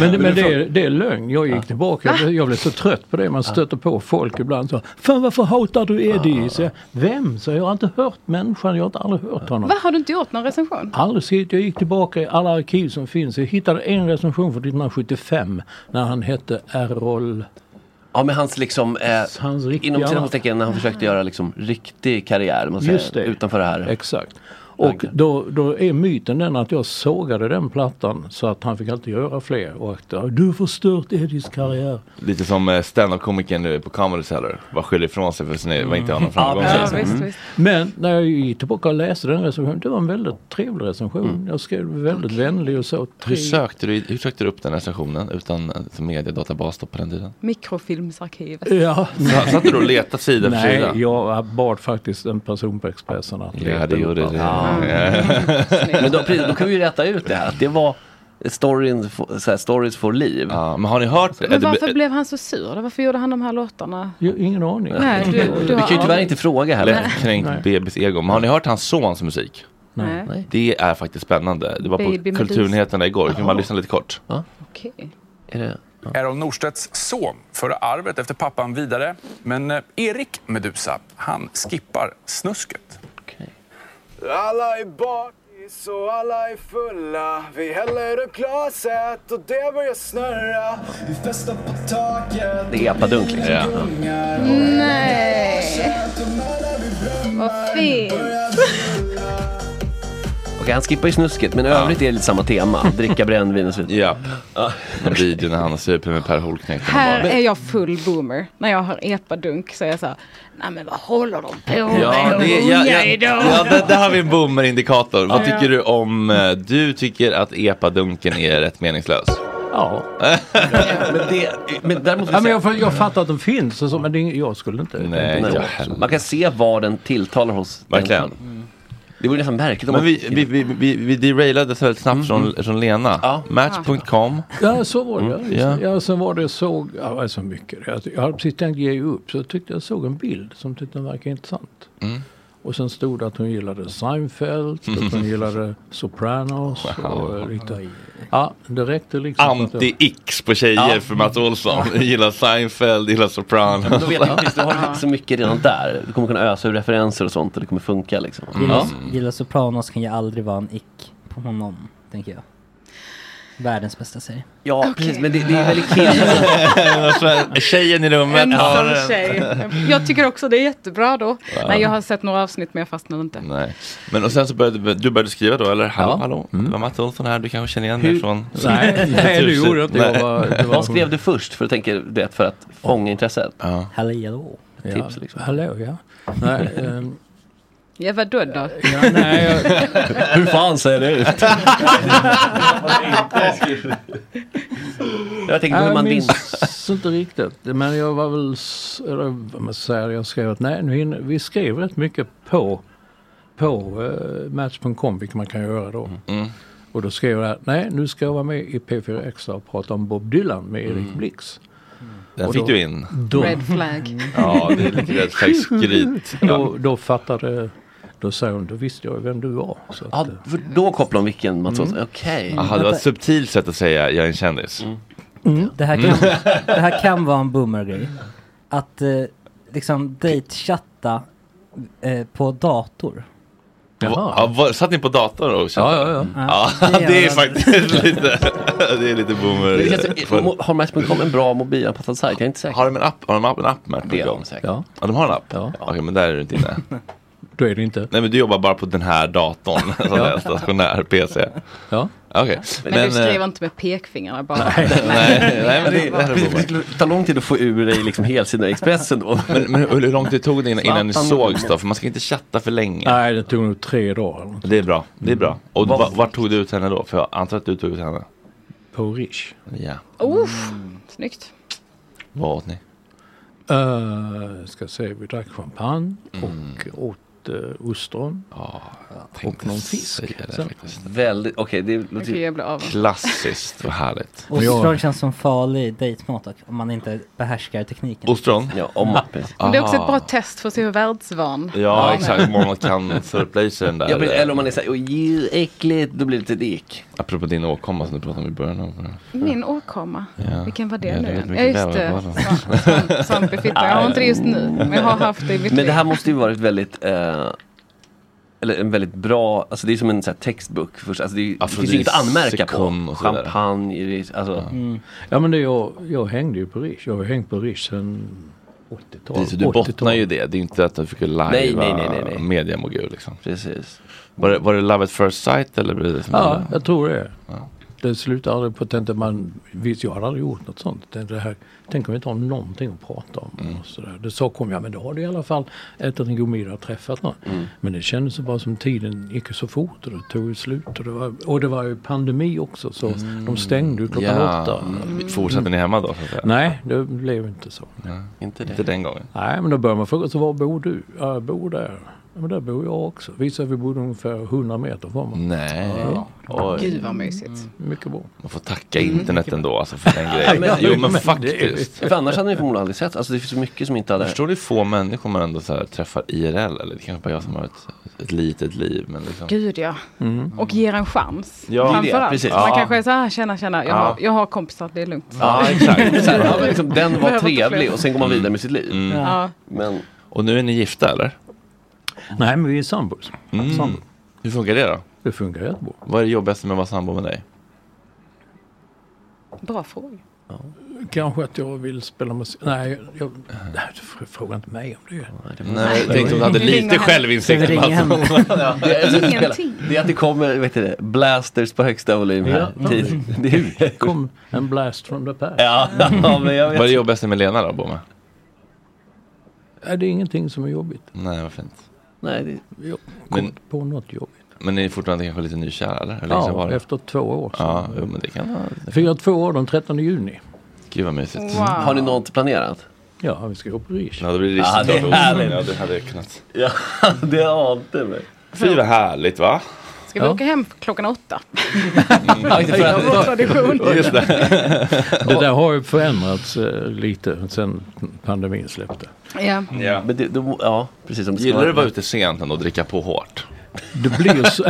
Speaker 9: Men, men det, är, det är lögn. Jag gick tillbaka. Jag blev, jag blev så trött på det. Man stöter på folk ibland. Så, Fan varför hatar du Eddie? Så jag, Vem? Så jag har inte hört människan. Jag har inte aldrig hört honom.
Speaker 7: Va, har du inte gjort någon recension?
Speaker 9: Aldrig skrivit. Jag gick tillbaka i alla arkiv som finns. Jag hittade en recension från 1975 när han hette Errol...
Speaker 5: Ja, men hans liksom, eh,
Speaker 9: Hans riktiga...
Speaker 5: inom citationstecken när han försökte göra liksom riktig karriär, man
Speaker 9: Just
Speaker 5: säger,
Speaker 9: det.
Speaker 5: utanför det här.
Speaker 9: Exakt. Och då, då är myten den att jag sågade den plattan så att han fick alltid göra fler. Och att, du har förstört Eddies karriär.
Speaker 1: Lite som eh, standup-komikern nu på Comedy Cellar. Bara skyller ifrån sig för att var inte har någon framgång.
Speaker 7: Mm.
Speaker 1: Mm.
Speaker 7: Ja, visst, visst.
Speaker 9: Men när jag gick tillbaka och läste den recensionen, det var en väldigt trevlig recension.
Speaker 1: Mm.
Speaker 9: Jag skrev väldigt vänlig och så.
Speaker 1: Hur sökte, du, hur sökte du upp den här stationen utan alltså, mediedatabas då på den tiden?
Speaker 7: Mikrofilmsarkivet.
Speaker 9: Ja.
Speaker 1: Så- Satt du då och letade sida för
Speaker 9: Nej,
Speaker 1: sida?
Speaker 9: jag bad faktiskt en person på Expressen att
Speaker 1: Ja, det gjorde det.
Speaker 9: Ja. Mm.
Speaker 5: Men då, precis, då kan vi ju rätta ut det här. Att det var storyn, f- så här, stories for liv.
Speaker 1: Ja, men har ni hört
Speaker 7: Men varför blev han så sur? Varför gjorde han de här låtarna?
Speaker 9: Jag, ingen aning.
Speaker 7: Nej, du, du
Speaker 5: Vi kan ju
Speaker 7: har...
Speaker 5: tyvärr inte fråga heller.
Speaker 1: Lättkränkt bebis-ego. Men har ni hört hans sons musik?
Speaker 7: Nej. Nej.
Speaker 1: Det är faktiskt spännande. Det var
Speaker 7: Baby
Speaker 1: på
Speaker 7: Medusa.
Speaker 1: Kulturnyheterna igår. Kan man lyssna lite kort?
Speaker 7: Okej.
Speaker 5: Är det?
Speaker 13: Errol Norstedts son för arvet efter pappan vidare. Men eh, Erik Medusa, han skippar snusket.
Speaker 5: Okej.
Speaker 12: Alla är barn i
Speaker 15: Så alla är fulla, vi häller upp glaset och det börjar snurra. Vi festar på taket.
Speaker 5: Det är epadunk liksom.
Speaker 7: Nej. Vad fint.
Speaker 5: Okej, han skippar ju snusket, men i övrigt är det lite samma tema. Dricka brännvin och så
Speaker 1: vidare. Ja, videon när han är super med Per Holknekt.
Speaker 7: Här är jag full boomer. När jag hör epadunk så är jag så här, nej men vad håller de på med?
Speaker 1: Ja, det,
Speaker 7: De
Speaker 1: ja,
Speaker 7: unga
Speaker 1: ja,
Speaker 7: idag."
Speaker 1: ja, det, det har vi en boomerindikator. Vad
Speaker 7: Ja.
Speaker 1: tycker du om, eh, du tycker att epadunken är rätt meningslös?
Speaker 9: Ja.
Speaker 5: men det, men däremot
Speaker 9: Ja, men jag, fa- jag fattar att de finns, och så, men det, är ing- jag skulle inte.
Speaker 5: Nej,
Speaker 9: inte
Speaker 5: jag heller. Man kan se vad den tilltalar hos
Speaker 1: Verkligen.
Speaker 5: Det vore nästan märkligt om
Speaker 1: Men
Speaker 5: man-
Speaker 1: vi, vi, vi, vi, vi derailade så väldigt
Speaker 5: Mm.
Speaker 1: snabbt från, från Lena. Match.com.
Speaker 9: Ja, så var det.
Speaker 1: Mm,
Speaker 9: Ja.
Speaker 1: ja.
Speaker 9: Ja, sen var det jag såg, ja, det var så mycket. Jag, jag hade precis tänkt ge upp, så jag tyckte jag såg en bild som tyckte den verkade intressant.
Speaker 1: Mm.
Speaker 9: Och sen stod det att hon gillade Seinfeld, att hon gillade Sopranos och eh, lite... Ja, det räckte liksom. för att jag-
Speaker 1: Anti-X på tjejer
Speaker 9: Ja.
Speaker 1: för Mats Olsson. Gillar Seinfeld, gillar Sopranos.
Speaker 5: Då vet man precis, du har liksom så mycket redan där. Du kommer kunna ösa ur referenser och sånt och det kommer funka liksom.
Speaker 1: Mm.
Speaker 8: Gilla, gilla Sopranos kan ju aldrig vara en ick på honom, tänker jag. Världens bästa serie.
Speaker 5: Ja, precis. Men det, det är väldigt kul.
Speaker 1: Alltså, Tjejen i rummet
Speaker 7: Ensam tjej. Jag tycker också det är jättebra då.
Speaker 1: Ja.
Speaker 7: Nej, jag har sett några avsnitt men jag fastnade inte.
Speaker 1: Nej. Men och sen så började du började skriva då, eller? Hallå,
Speaker 5: Ja.
Speaker 1: hallå? Det var Mats Olsson här, du kanske känner igen
Speaker 5: Hur-
Speaker 1: mig från...
Speaker 5: Nej,
Speaker 9: nej, det gjorde jag inte. Jag
Speaker 1: Nej.
Speaker 9: var- det var-
Speaker 5: Vad skrev du först för att tänka det för att fånga intresset?
Speaker 1: Ja.
Speaker 8: Hallå.
Speaker 9: Ja,
Speaker 5: Tips liksom.
Speaker 9: Hallå, ja. Nej, ehm,
Speaker 7: Ja, vadå då?
Speaker 9: ja, nej, jag...
Speaker 5: Hur fan ser det ut? Jag tänkte på hur man vinner.
Speaker 9: minns inte riktigt. Men jag var väl, s- eller vad man säger, jag skrev att nej, nu hinner, vi skrev rätt mycket på, på eh, Match.com, vilket man kan göra då.
Speaker 5: Mm.
Speaker 9: Och då skrev jag att nej, nu ska jag vara med i P4 Extra och prata om Bob Dylan med Erik Blix.
Speaker 1: Den
Speaker 9: Och
Speaker 1: Mm.
Speaker 9: då-
Speaker 1: fick du in.
Speaker 9: då-
Speaker 7: Red flag.
Speaker 1: Ja, det är lite red flag skryt.
Speaker 9: Då, då fattade, då sa hon, då visste jag vem du var. Så att,
Speaker 5: då kopplade hon vilken Mats Olsson, okej. Mm.
Speaker 1: Jaha, det var ett subtilt sätt att säga jag är en kändis.
Speaker 8: Mm.
Speaker 1: Mm.
Speaker 8: Det, här kan, det här kan vara en boomergrej. Att eh, liksom dejtchatta eh, på dator.
Speaker 1: Ja, var, satt ni på datorn och
Speaker 8: Ja,
Speaker 1: chattade?
Speaker 8: ja, ja.
Speaker 1: ja.
Speaker 8: Ja,
Speaker 1: det är
Speaker 8: jävlar.
Speaker 1: faktiskt lite, det är lite boomer.
Speaker 5: Det känns- mo- har Match.com en bra mobilanpassad sajt? Jag är inte säker.
Speaker 1: Har de en app? Har de app- en app Match.com?
Speaker 5: Det har de säkert.
Speaker 9: Ja.
Speaker 1: ja, de har en app? Ja. Okej, men där är du inte inne.
Speaker 9: då är det inte.
Speaker 1: Nej, men du jobbar bara på den här datorn som
Speaker 9: Ja.
Speaker 1: är stationär PC.
Speaker 9: Ja.
Speaker 1: Okej.
Speaker 7: Men,
Speaker 1: eh,
Speaker 7: du skriver inte med pekfingrarna bara.
Speaker 1: nej, nej, men det, det här är
Speaker 5: Det
Speaker 1: boomer.
Speaker 5: skulle ta lång tid att få ur dig liksom helsidan i Expressen då.
Speaker 1: Men, men hur hur lång tid tog det innan, innan ni
Speaker 5: Zlatan-
Speaker 1: sågs då? För man ska inte chatta för länge.
Speaker 9: Nej, det tog nog tre dagar
Speaker 1: Det är bra. Det är bra. Och
Speaker 9: Vad-
Speaker 1: va, vart tog du ut henne då? För jag antar att du tog ut henne.
Speaker 9: på Rish.
Speaker 1: Ja.
Speaker 7: Uff, snyggt.
Speaker 1: Vad åt ni?
Speaker 9: Uh, ska se, vi drack champagne
Speaker 1: Mm.
Speaker 9: och åt eh, ostron. och någon fisk. liksom. Sen-
Speaker 5: Väldigt, okej det
Speaker 7: Okej, jag blir av.
Speaker 1: Klassiskt, vad härligt.
Speaker 8: Ostron känns som farlig dejtmat dock, om man inte behärskar tekniken.
Speaker 1: Ostron?
Speaker 5: Ja, om
Speaker 8: Ja.
Speaker 7: Men det är också ett bra test för att se hur världsvan
Speaker 1: Ja,
Speaker 7: man är.
Speaker 1: exakt. Om man kan förplace den där. eh,
Speaker 5: Ja, men, eller om man är såhär, åh ju äckligt, då blir det lite dick.
Speaker 1: Apropå din åkomma som du pratade om i början av.
Speaker 7: Min åkomma.
Speaker 1: Ja.
Speaker 7: Vilken var det
Speaker 1: Ja,
Speaker 7: nu?
Speaker 1: jag vet
Speaker 7: igen? Ja,
Speaker 1: mycket
Speaker 7: just
Speaker 1: väl
Speaker 7: det.
Speaker 1: vad det var.
Speaker 7: Svamp- svamp- Svamp i fittan. Jag har inte det just nu, men jag har haft det i mitt
Speaker 5: Mm. Men det
Speaker 7: liv.
Speaker 5: här måste ju varit väldigt, eh, eller en väldigt bra, alltså det är som en sån här textbook. Först. Alltså det, är- det finns ju inget att anmärka
Speaker 1: sekund
Speaker 5: på.
Speaker 1: och så vidare.
Speaker 5: Champagne, det är- alltså.
Speaker 9: Ja men det, jag, jag hängde ju på Rish. Jag har hängt på Rish sedan 80-talet.
Speaker 1: Så du
Speaker 9: 80-talet.
Speaker 1: bottnar ju det. Det är ju inte att du fick lajva
Speaker 5: Nej, nej, nej, nej, nej.
Speaker 1: mediamogul liksom.
Speaker 5: Precis.
Speaker 1: Var det, var det Love at first sight eller blev det som
Speaker 9: Ja,
Speaker 1: hände?
Speaker 9: jag tror det. Det slutar aldrig på, tänkte man, visst jag hade aldrig gjort något sånt. Tänkte, Det här, tänk om vi inte har någonting att prata om.
Speaker 1: Mm.
Speaker 9: Och sådär. Det sa kom jag, men då har du i alla fall ätit en god middag och träffat någon.
Speaker 1: Mm.
Speaker 9: Men det kändes så bara som tiden gick så fort och det tog ju slut. Och det var, och det var ju pandemi också så de stängde ju klockan
Speaker 1: Mm. Ja.
Speaker 9: åtta.
Speaker 1: Fortsatte ni hemma då? Så att säga?
Speaker 9: Nej, det blev inte så.
Speaker 5: Inte det.
Speaker 1: Inte den gången.
Speaker 9: Nej, men då börjar man fråga, så var bor du? Ja, jag bor där. Ja, men där bor jag också. Visar vi bodde ungefär 100 meter från varandra.
Speaker 1: Nej.
Speaker 9: Ja. Mm,
Speaker 1: Oj.
Speaker 7: Gud vad mysigt.
Speaker 9: Mycket bra.
Speaker 1: Man får tacka internet ändå alltså för den grejen.
Speaker 5: men-
Speaker 1: Jo men
Speaker 5: men
Speaker 1: faktiskt.
Speaker 5: För annars hade ni förmodligen aldrig sett, alltså det finns så mycket som inte hade...
Speaker 1: Jag förstår hur få människor man ändå så här träffar IRL. Eller det kanske bara jag som har ett, ett litet liv. Men liksom.
Speaker 7: Gud ja. Och ger en chans.
Speaker 1: Ja, det är det,
Speaker 7: Framförallt.
Speaker 1: precis.
Speaker 7: Man
Speaker 1: Ja.
Speaker 7: kanske är så här, tjena, tjena, jag,
Speaker 1: Ja.
Speaker 7: har, jag har kompisar, det är lugnt.
Speaker 5: Ja exakt. Så här, ja, men liksom, den var
Speaker 7: Behöver inte
Speaker 5: trevlig
Speaker 7: fler.
Speaker 5: och sen går man
Speaker 1: Mm.
Speaker 5: vidare med sitt liv.
Speaker 7: Ja.
Speaker 5: Men
Speaker 1: Och nu är ni gifta eller?
Speaker 9: Nej, men vi är sambos.
Speaker 1: Mm.
Speaker 9: Sambo.
Speaker 1: Hur funkar det då?
Speaker 9: Det funkar jättebra.
Speaker 1: Vad är det jobbigaste med att vara sambo med dig?
Speaker 7: Bra fråga.
Speaker 9: Kanske att jag vill spela musik. Nej, jag, nej du frågar inte mig om det.
Speaker 1: Nej, jag tänkte om du hade
Speaker 5: Vi lite ringer henne. självinsikt. Vi ringer henne. Ja, det är- det är- Ingenting.
Speaker 9: Det är att det kommer vet du, blasters på högsta volym
Speaker 5: här.
Speaker 9: Det kom en blast from the past.
Speaker 1: Vad är det jobbigaste med Lena då, Bomme?
Speaker 9: Nej, det är ingenting som är jobbigt.
Speaker 1: Nej, vad fint.
Speaker 9: Nej, det... Jag kom
Speaker 1: Men-
Speaker 9: inte på något jobb.
Speaker 1: Men ni är fortfarande kanske lite nykära, eller? Hur länge sedan var
Speaker 9: Ja,
Speaker 1: det?
Speaker 9: efter två år. så-
Speaker 1: Ja, jo, men det kan vara.
Speaker 9: Fyra två år den 13 juni.
Speaker 1: Gud vad mysigt.
Speaker 9: Wow. Har ni
Speaker 1: något planerat?
Speaker 9: Ja, vi ska gå på Rish.
Speaker 1: Ja, det blir riktigt
Speaker 9: Ja, det är
Speaker 1: klart.
Speaker 9: härligt.
Speaker 1: Ja, det hade jag kunnat.
Speaker 5: Ja, det ante mig.
Speaker 1: Fy vad härligt va?
Speaker 7: Ska vi
Speaker 1: Ja.
Speaker 7: åka hem klockan åtta?
Speaker 9: Ja, inte för att-
Speaker 7: Vår tradition.
Speaker 1: Just det.
Speaker 9: Det där har ju förändrats eh, lite sen pandemin släppte.
Speaker 7: Ja.
Speaker 1: Ja.
Speaker 5: Men det, då, ja, precis som det ska
Speaker 1: Gillar
Speaker 5: vara.
Speaker 1: du att vara ute sent ändå och dricka på hårt?
Speaker 9: Det blir så,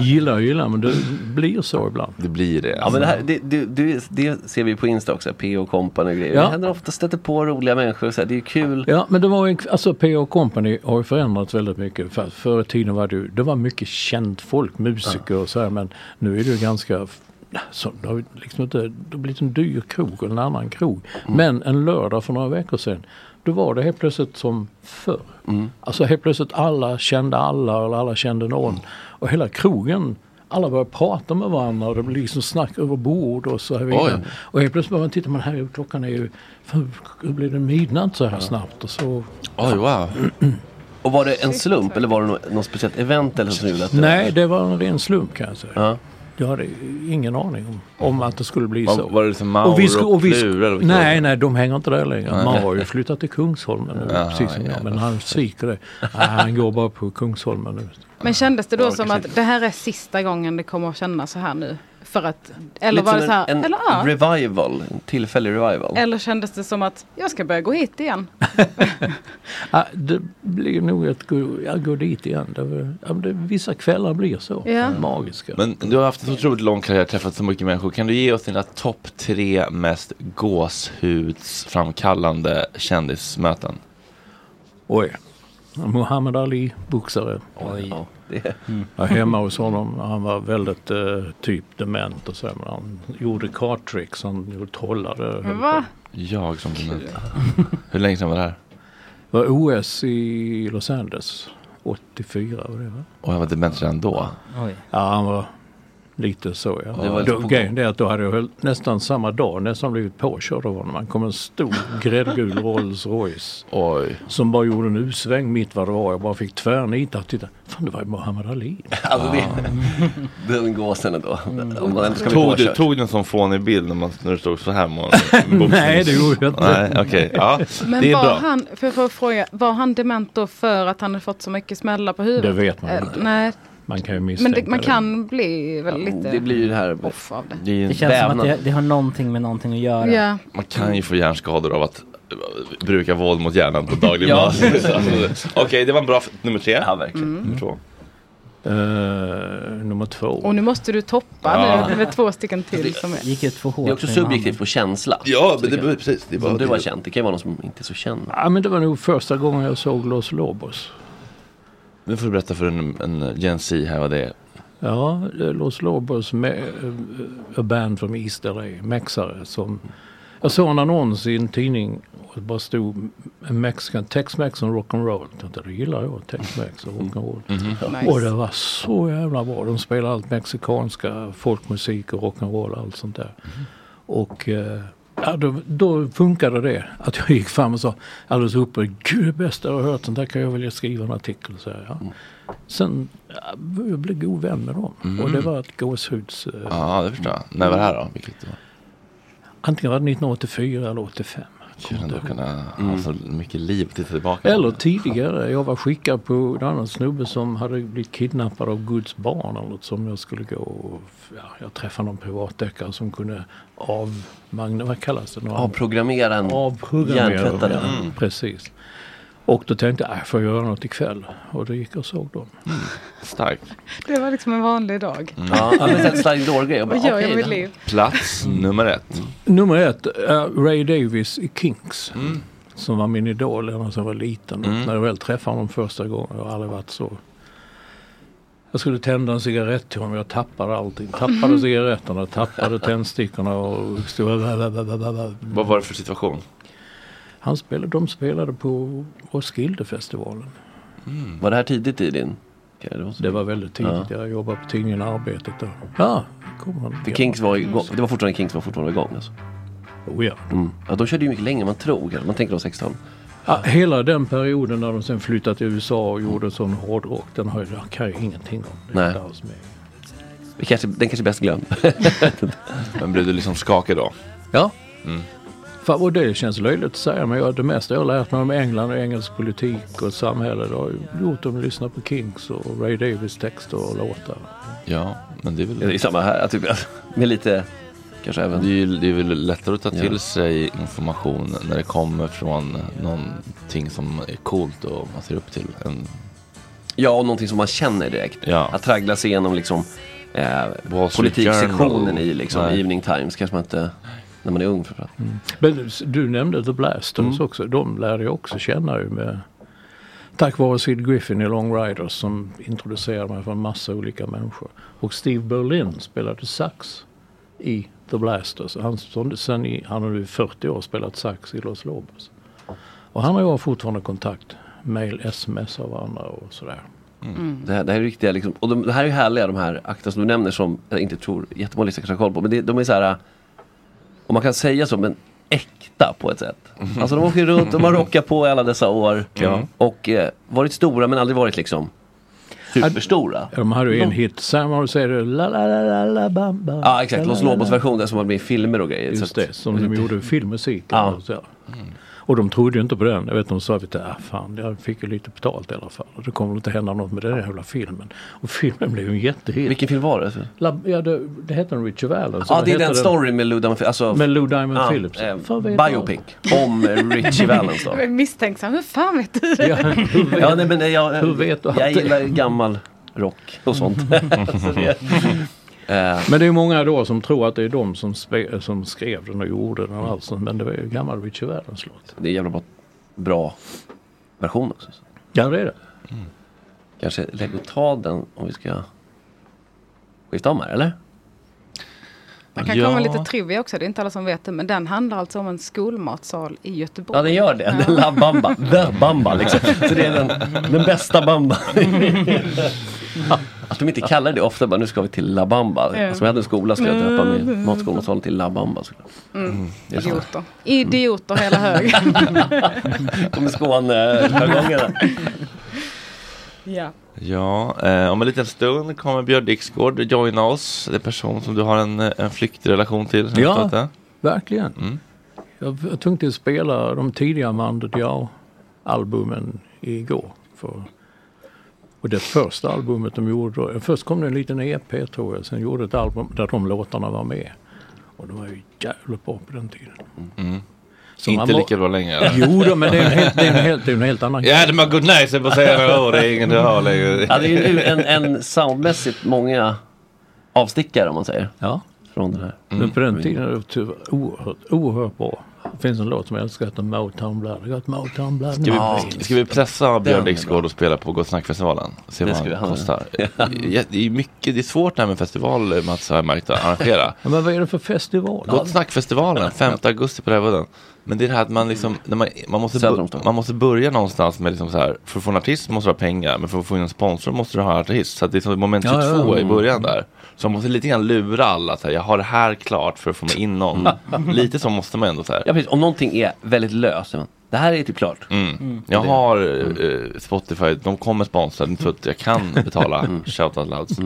Speaker 9: gillar och gillar men det blir så ibland.
Speaker 1: Det blir det. alltså.
Speaker 5: Ja, men det, här, det, det, det, det ser vi på Insta också, P.O. Company och grejer.
Speaker 9: Ja.
Speaker 5: Det händer ofta stöter på roliga människor, och så här, det är ju kul.
Speaker 9: Ja, men det var ju, en- alltså P.O. Company har ju förändrats väldigt mycket. För, förr i tiden var det, ju- det var mycket känt folk, musiker och så här, men nu är det ju ganska så, det har ju liksom inte, det har blivit en dyr krog och en annan krog.
Speaker 1: Mm.
Speaker 9: Men en lördag för några veckor sedan, då var det helt plötsligt som förr.
Speaker 5: Mm.
Speaker 9: Alltså helt plötsligt alla kände alla eller alla kände någon.
Speaker 1: Mm.
Speaker 9: Och hela krogen, alla började prata med varandra och det blev liksom snack över bord och så här vidare.
Speaker 5: Oj.
Speaker 9: Och helt plötsligt började man titta, men herregud klockan är ju, fan, hur blev det midnatt så här snabbt? Och så
Speaker 1: Oj, wow.
Speaker 5: Och var det en slump eller var det något, något speciellt event eller så som gjorde att det-
Speaker 9: Nej, det var en ren slump kan jag säga.
Speaker 5: Ja.
Speaker 9: Jag hade ingen aning om, om att det skulle bli
Speaker 1: Var-
Speaker 9: så.
Speaker 1: var det liksom Mauro
Speaker 9: sku-
Speaker 1: och
Speaker 9: sku-
Speaker 1: Plura eller vilka var
Speaker 9: Nej,
Speaker 1: det?
Speaker 9: nej, de hänger inte där längre.
Speaker 1: Nej.
Speaker 9: Mauro har ju flyttat till Kungsholmen nu,
Speaker 1: Ja,
Speaker 9: precis som jag.
Speaker 1: jävlar.
Speaker 9: Men han sviker det. Nej, han går bara på Kungsholmen nu.
Speaker 7: Men kändes det då
Speaker 9: Ja,
Speaker 7: som
Speaker 9: kanske
Speaker 7: att det här är sista gången det kommer att kännas så här nu? För att, eller
Speaker 5: Lite
Speaker 7: var det
Speaker 5: som
Speaker 7: så här,
Speaker 5: en, en
Speaker 7: eller ja.
Speaker 5: revival, en tillfällig revival.
Speaker 7: Eller kändes det som att jag ska börja gå hit igen?
Speaker 9: Ja, det blir nog att gå, ja, gå dit igen. Det, var- ja, men det, vissa kvällar blir så.
Speaker 7: Ja.
Speaker 9: Magiska.
Speaker 1: Men du har haft en otroligt lång karriär, träffat så mycket människor. Kan du ge oss dina topp tre mest gåshudsframkallande kändismöten?
Speaker 9: Oj. Muhammad Ali, boxare. Oj. Ja, Jag var hemma hos honom. Han var väldigt eh, typ dement och så. här, Men han gjorde karttricks. Han gjorde trollade. höll
Speaker 7: Va?
Speaker 1: Jag som dement. Hur länge sedan var det här?
Speaker 9: Det var OS i Los Angeles. 84 var det va?
Speaker 1: Och jag var dement redan då.
Speaker 9: Oj. Ja, han var lite så ja.
Speaker 1: Det
Speaker 9: då,
Speaker 1: var lite på-
Speaker 9: grejen är att då hade jag höll- nästan samma dag nästan blivit påkörd av honom. Han kom en stor gräddgul Rolls Royce.
Speaker 1: Oj.
Speaker 9: Som bara gjorde en U-sväng mitt vad det var. Jag bara fick tvärnita. Titta, fan det var ju Muhammad Ali.
Speaker 5: Alltså det, den gåsen ändå.
Speaker 9: Mm.
Speaker 5: Om man ändå ska bli
Speaker 1: Tog du,
Speaker 5: påkörd.
Speaker 1: tog du en sån fånig bild när, man, när du stod så här med honom?
Speaker 9: Nej, det gjorde jag inte.
Speaker 1: Nej, okej. Ja,
Speaker 7: Men
Speaker 1: det är
Speaker 7: var
Speaker 1: bra.
Speaker 7: han, för jag får fråga, var han dement då för att han hade fått så mycket smällar på huvudet?
Speaker 9: Det vet man
Speaker 7: Eh,
Speaker 9: inte.
Speaker 7: Nej,
Speaker 9: Man kan ju
Speaker 7: men
Speaker 9: misstänka
Speaker 7: det, man kan bli väl lite...
Speaker 5: Det blir ju det här.
Speaker 7: Off av det.
Speaker 5: är ju en
Speaker 8: Det känns som att
Speaker 5: vävnad.
Speaker 8: det, det har någonting med någonting att göra.
Speaker 7: Ja.
Speaker 1: Man kan ju få hjärnskador av att eh, bruka våld mot hjärnan på daglig
Speaker 8: Ja.
Speaker 1: basis. Alltså, Okej, det var en bra f- nummer tre. Ja,
Speaker 5: verkligen.
Speaker 7: Mm.
Speaker 1: Nummer två.
Speaker 9: Eh, nummer två.
Speaker 7: Och nu måste du toppa
Speaker 9: Ja.
Speaker 7: nu, det är två stycken till som är...
Speaker 8: Gick ut för hårt.
Speaker 5: Det är också
Speaker 9: med handen.
Speaker 5: subjektivt på känsla.
Speaker 1: Ja,
Speaker 5: men det,
Speaker 1: precis. Det
Speaker 5: är som du har känt. Det kan ju vara någon som inte är så känd.
Speaker 9: Ja, men det var nog första gången jag såg Los Lobos.
Speaker 1: Nu får du berätta för en, en Gen Z här vad det är.
Speaker 9: Ja, eh, Los Lobos med eh, a band from East LA, mexare som... Jag såg en annons i en tidning och det bara stod Mexican, Tex-Mex och rock'n'roll. Jag tänkte, Det gillar jag, Tex-Mex och rock'n'roll.
Speaker 5: Mhm.
Speaker 9: Och det var så jävla bra. De spelade allt mexikanska, folkmusik och rock'n'roll och allt sånt där. Och eh, ja, då, då funkade det. Att jag gick fram och sa alldeles uppe, gud det bästa jag har hört, sånt där kan jag vilja skriva en artikel. Så här, ja. Sen ja, jag blev god vän med dem.
Speaker 1: Mm.
Speaker 9: Och det var ett gåshuds... Eh,
Speaker 1: Ja, det förstår jag. När var det här då? Vilket år?
Speaker 9: Antingen var det 1984 eller 85.
Speaker 1: Gud, ändå kunna ha så mycket liv att titta tillbaka på.
Speaker 9: Eller tidigare. Jag var skickad på en annan snubbe som hade blivit kidnappad av Guds barn eller något som jag skulle gå och... Ja, jag träffade någon privatdeckare som kunde av... Magne, vad kallas det? Någon-
Speaker 5: Avprogrammera en
Speaker 9: Avprogrammera Mm.
Speaker 5: hjärntvättare.
Speaker 9: dem, ja.
Speaker 1: Mm.
Speaker 9: Precis. Och då tänkte jag, "Äh, får jag göra något ikväll? Och då gick jag och såg dem.
Speaker 1: Mm. Starkt.
Speaker 7: Det var liksom en vanlig dag.
Speaker 1: Mm.
Speaker 9: Ja, men sen slide door-grej. Jag bara,
Speaker 7: Vad gör jag
Speaker 9: okej,
Speaker 7: med mitt
Speaker 9: det-
Speaker 7: liv?
Speaker 1: Plats nummer ett.
Speaker 9: Nummer ett, eh, Ray Davis i Kinks. Som var min idol redan som jag var liten.
Speaker 1: Mm.
Speaker 9: När jag väl träffade honom första gången, jag har aldrig varit så Jag skulle tända en cigarett till honom. Jag tappade allting. Tappade cigaretterna, tappade tändstickorna och stod
Speaker 1: Vad var det för situation?
Speaker 9: Han spelade, de spelade på Roskildefestivalen.
Speaker 1: Mm.
Speaker 5: Var det här tidigt i din karriär?
Speaker 9: Det var väldigt tidigt. Jag jobbade på tidningen Arbetet då. Ja, kom han.
Speaker 5: För Kinks var igång, det var fortfarande Kinks var fortfarande igång alltså?
Speaker 9: Oh ja.
Speaker 5: Mm. ja. De körde ju mycket längre än man tror. kanske. Man tänker de 16.
Speaker 9: Ja, hela den perioden när de sen flyttade till USA och gjorde sån hårdrock. Den har jag kan ju ingenting om.
Speaker 5: Nej. Vi kanske, den kanske är bäst glömd.
Speaker 1: Men blev du liksom skakig då?
Speaker 9: Ja.
Speaker 1: Mm.
Speaker 9: Fan, och det känns löjligt att säga men jag, det mesta jag har lärt mig om England och engelsk politik och samhälle det har ju gjort dem lyssna på Kings och Ray Davis texter och låtar.
Speaker 1: Ja, men det är väl...
Speaker 5: Det är samma här, typ, med lite... Kanske även...
Speaker 1: Det är, ju, det är väl lättare att ta
Speaker 5: Ja.
Speaker 1: till sig information när det kommer från någonting som är coolt och man ser upp till. En...
Speaker 5: Ja, och någonting som man känner direkt. Att traggla sig igenom liksom, eh, politiksektionen
Speaker 1: Journal.
Speaker 5: i liksom,
Speaker 9: Nej.
Speaker 5: Evening Times. Kanske man inte, när man är ung framförallt.
Speaker 9: Mm. Men du- du nämnde The Blasters
Speaker 5: Mm.
Speaker 9: också. De lärde jag också känna ju med Tack vare Sid Griffin i Long Riders som introducerade mig för en massa olika människor. Och Steve Berlin spelade sax i The Blasters. Han, stod- sen i, han har nu i 40 år spelat sax i Los Lobos. Och han och jag har fortfarande kontakt. Mail, sms av varandra och sådär.
Speaker 5: Mm. Det, här, det här är riktiga, liksom, och de, det här är ju härliga de här akterna som du nämner som jag inte tror jättemånga lyssnare kanske har koll på. Men det, de är så här, om man kan säga så, men äkta på ett sätt. Alltså de åker runt, de har rockat på i alla dessa år.
Speaker 9: Ja.
Speaker 5: Och eh, varit stora men aldrig varit liksom superstora.
Speaker 9: De hade ju en
Speaker 5: De-
Speaker 9: hit. Sam har säger la la la la la bam bam.
Speaker 5: Ja exakt, Los Lobos-version där som var med i filmer och grejer.
Speaker 9: Just
Speaker 5: så att-
Speaker 9: det, som de gjorde filmmusik. Ja. Och, så. och de trodde ju inte på den. Jag vet de sa att ah, fan, jag fick ju lite betalt i alla fall. Det kommer väl inte hända något med den här jävla filmen. Och filmen blev ju en jättehit.
Speaker 5: Vilken film var det? alltså?
Speaker 9: La, ja, det, det hette den Richard Valens.
Speaker 5: Ja,
Speaker 9: Vad
Speaker 5: det är
Speaker 9: hette
Speaker 5: den storyn med Lou Diamond, alltså,
Speaker 9: Med Lou Diamond
Speaker 5: Ja,
Speaker 9: Phillips.
Speaker 5: eh,
Speaker 9: Fan, vet jag.
Speaker 5: biopic om eh, Richie Valens då.
Speaker 7: Jag är misstänksam. Hur fan vet du det?
Speaker 5: ja, nej, men nej, jag, eh,
Speaker 9: Hur vet du
Speaker 5: jag
Speaker 9: allt det?
Speaker 5: gillar gammal rock och sånt. Så det- Eh.
Speaker 9: Men det är ju många då som tror att det är de som, spe, som skrev den och gjorde den. Alltså. Men det var ju gammal Richard Valens låt.
Speaker 5: det är en jävla bra, bra version också.
Speaker 9: Ja, det är det.
Speaker 5: Kanske lägg och ta den om vi ska skifta om här, eller?
Speaker 7: Jag kan komma med lite trivia också, det är inte alla som vet det. Men den handlar alltså om en skolmatsal i Göteborg.
Speaker 5: Ja, den gör det. Den La Bamba. The Bamba liksom. Så det är den, den bästa Bamba.
Speaker 9: Mm.
Speaker 5: Att de inte kallar det ofta, bara nu ska vi till La Bamba.
Speaker 7: Ja.
Speaker 5: Som jag hade en skola skulle jag döpa min matskolematsalarna till La Bamba. såklart.
Speaker 7: Mm.
Speaker 5: Det är så.
Speaker 7: Idioter. Idioter hela högen.
Speaker 5: Kommer eh, Skåne-jargongerna.
Speaker 7: ja.
Speaker 1: Ja, eh, om en liten stund kommer Björn Dixgård joina oss. Det är en person som du har en, eh, en flyktrelation till. som jag
Speaker 9: Ja.
Speaker 1: förstått det.
Speaker 9: Verkligen.
Speaker 1: Mm.
Speaker 9: Jag, jag tänkte spela de tidiga Amanda Diao-albumen igår. För, och det första albumet de gjorde då. Först kom det en liten EP tror jag. Sen gjorde ett album där de låtarna var med. Och de var ju jävligt bra på den tiden. Så man
Speaker 1: Mm. Inte
Speaker 9: må-
Speaker 1: lika bra längre. eller?
Speaker 9: Jo då, men det är en helt, det är en helt, det är en helt annan
Speaker 1: Ja, det var good night, så jag får säga några ord. Det är ingen du har längre.
Speaker 5: Ja, det är ju en, en soundmässigt många avstickare om man säger.
Speaker 9: Ja.
Speaker 5: Från den här. Mm.
Speaker 9: Men på den tiden var det tyvärr oerhört, oerhört bra. Det finns en låt som jag älskar, heter Motown Blood. Jag har ett Motown Blood.
Speaker 1: Ska vi, ska vi pressa
Speaker 9: Den är
Speaker 1: Björn
Speaker 9: bra.
Speaker 1: Dixgård och spela på Gott Snack-festivalen? Se
Speaker 9: Det
Speaker 1: vad
Speaker 9: ska vi
Speaker 1: han
Speaker 9: ha.
Speaker 1: kostar. Ja, det, är mycket, det är svårt det här med festival, Mats, har jag märkt att arrangera.
Speaker 9: Ja, men vad är det för festival?
Speaker 1: Gott Snack-festivalen, 5 augusti på Rävudden. Men det är det här att man liksom, när man, man, måste
Speaker 9: Söder om
Speaker 1: bo-
Speaker 9: stan.
Speaker 1: man måste börja någonstans med liksom så här, för att få en artist måste du ha pengar, men för att få in en sponsor måste du ha en artist. Så att det är som moment
Speaker 9: Ja,
Speaker 1: 22
Speaker 9: ja, ja.
Speaker 1: i början där. Så man måste lite grann lura alla, så här, jag har det här klart för att få mig in någon.
Speaker 9: Mm.
Speaker 1: lite så måste man ändå så här.
Speaker 5: Ja, precis. Om någonting är väldigt löst. men Det här är typ klart. Mm.
Speaker 1: Mm. Jag har eh, Spotify, de kommer sponsra, så att jag kan betala
Speaker 5: Mm.
Speaker 1: Shoutout Louds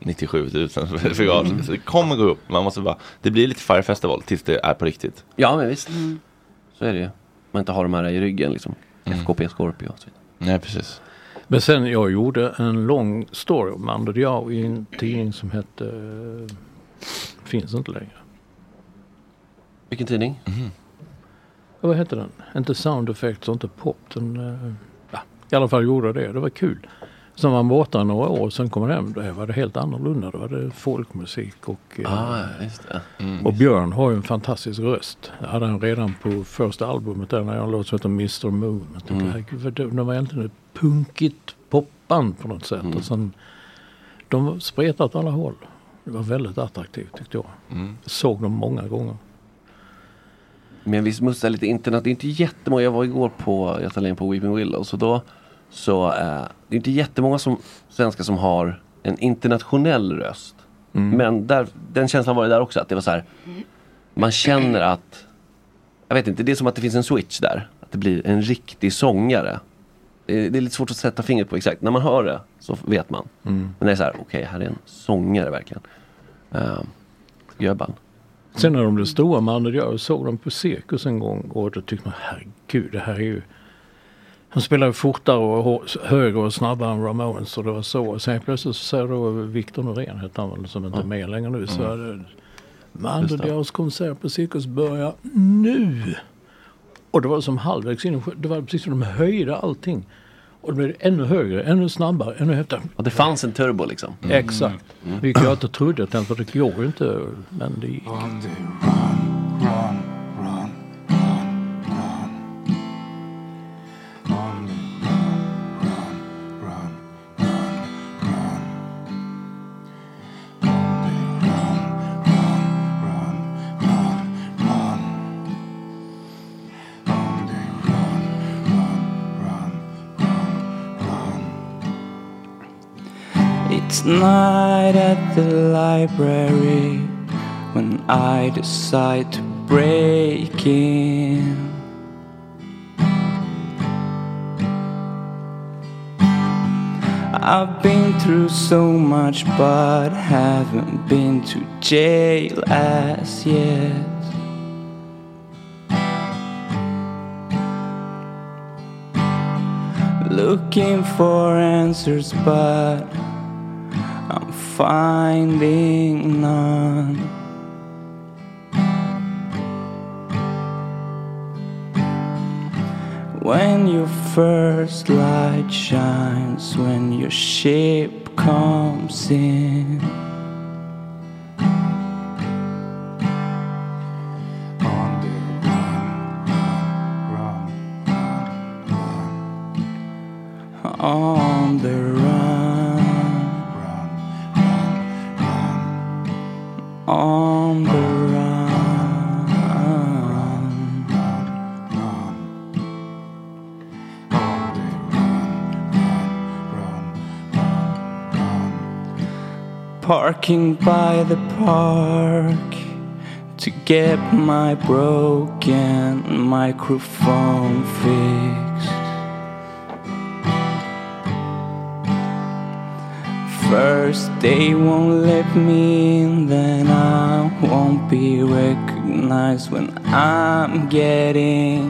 Speaker 1: 97 000 för gas. Så det kommer gå upp, man måste bara, det blir lite Fire Festival tills det är på riktigt.
Speaker 5: Ja, men visst.
Speaker 7: Mm.
Speaker 5: Så är det ju. Man inte har de här i ryggen liksom. FKP Scorpio och så vidare.
Speaker 1: Mm. Nej, precis.
Speaker 9: Men sen jag gjorde en lång story om Ander Diao i en tidning som hette... eh, Finns inte längre.
Speaker 5: Vilken tidning?
Speaker 1: Mhm.
Speaker 9: Ja, Vad hette den? Inte Sound Effects och inte Pop. Den, eh, ja, I alla fall gjorde jag det. Det var kul. Sen var man borta några år. Sen kom man hem. Då var det helt annorlunda. Då var det folkmusik och... eh,
Speaker 5: Ah, just det. Mm.
Speaker 9: Och Björn har ju en fantastisk röst. Det hade han redan på första albumet där när jag låt som heter Mr Moon. Jag tänkte,
Speaker 5: Mm. Mm.
Speaker 9: herregud, vad dum- de var egentligen ett punkigt popband på något sätt. Och sen De spretade åt alla håll. Det var väldigt attraktivt tyckte jag.
Speaker 5: Mm.
Speaker 9: Såg dem många gånger.
Speaker 5: Men vi smutsar lite internet. Det är inte jättemånga. Jag var igår på Göta Lejon på Weeping Willows. Och då så, eh, det är inte jättemånga som, svenskar som har en internationell röst. Men där, den känslan var det där också. Att det var så här. Man känner att, jag vet inte, det är som att det finns en switch där. Att det blir en riktig sångare. Det är, det är lite svårt att sätta fingret på exakt. När man hör det så vet man.
Speaker 9: Mm.
Speaker 5: Men det är så här, okej, här är en sångare verkligen. Uh, Göban.
Speaker 9: Sen när de blev stora med Anders jag såg dem på cirkus en gång och då tyckte man herregud det här är ju de spelar ju fortare och hå- högre och snabbare än Ramones och det var så. Och sen plötsligt så säger då Victor Norén, hette han väl, som inte är med längre nu, så är det
Speaker 5: Just det.
Speaker 9: Mandodias konsert på Cirkus börjar nu! Och det var som halvvägs in, i sjö- det var precis som de höjde allting. Och det blev ännu högre, ännu snabbare, ännu häftigare.
Speaker 5: Och det fanns en turbo liksom.
Speaker 9: Exakt.
Speaker 5: Mm.
Speaker 9: Vilket jag inte trodde att den, för det går ju inte. Men det gick.
Speaker 16: It's night at the library when I decide to break in. I've been through so much, but haven't been to jail as yet. Looking for answers, but I'm finding none. When your first light shines, when your ship comes in. On the run, on the run, parking by the park to get my broken microphone fixed. First they won't let me in, then I won't be recognized when I'm getting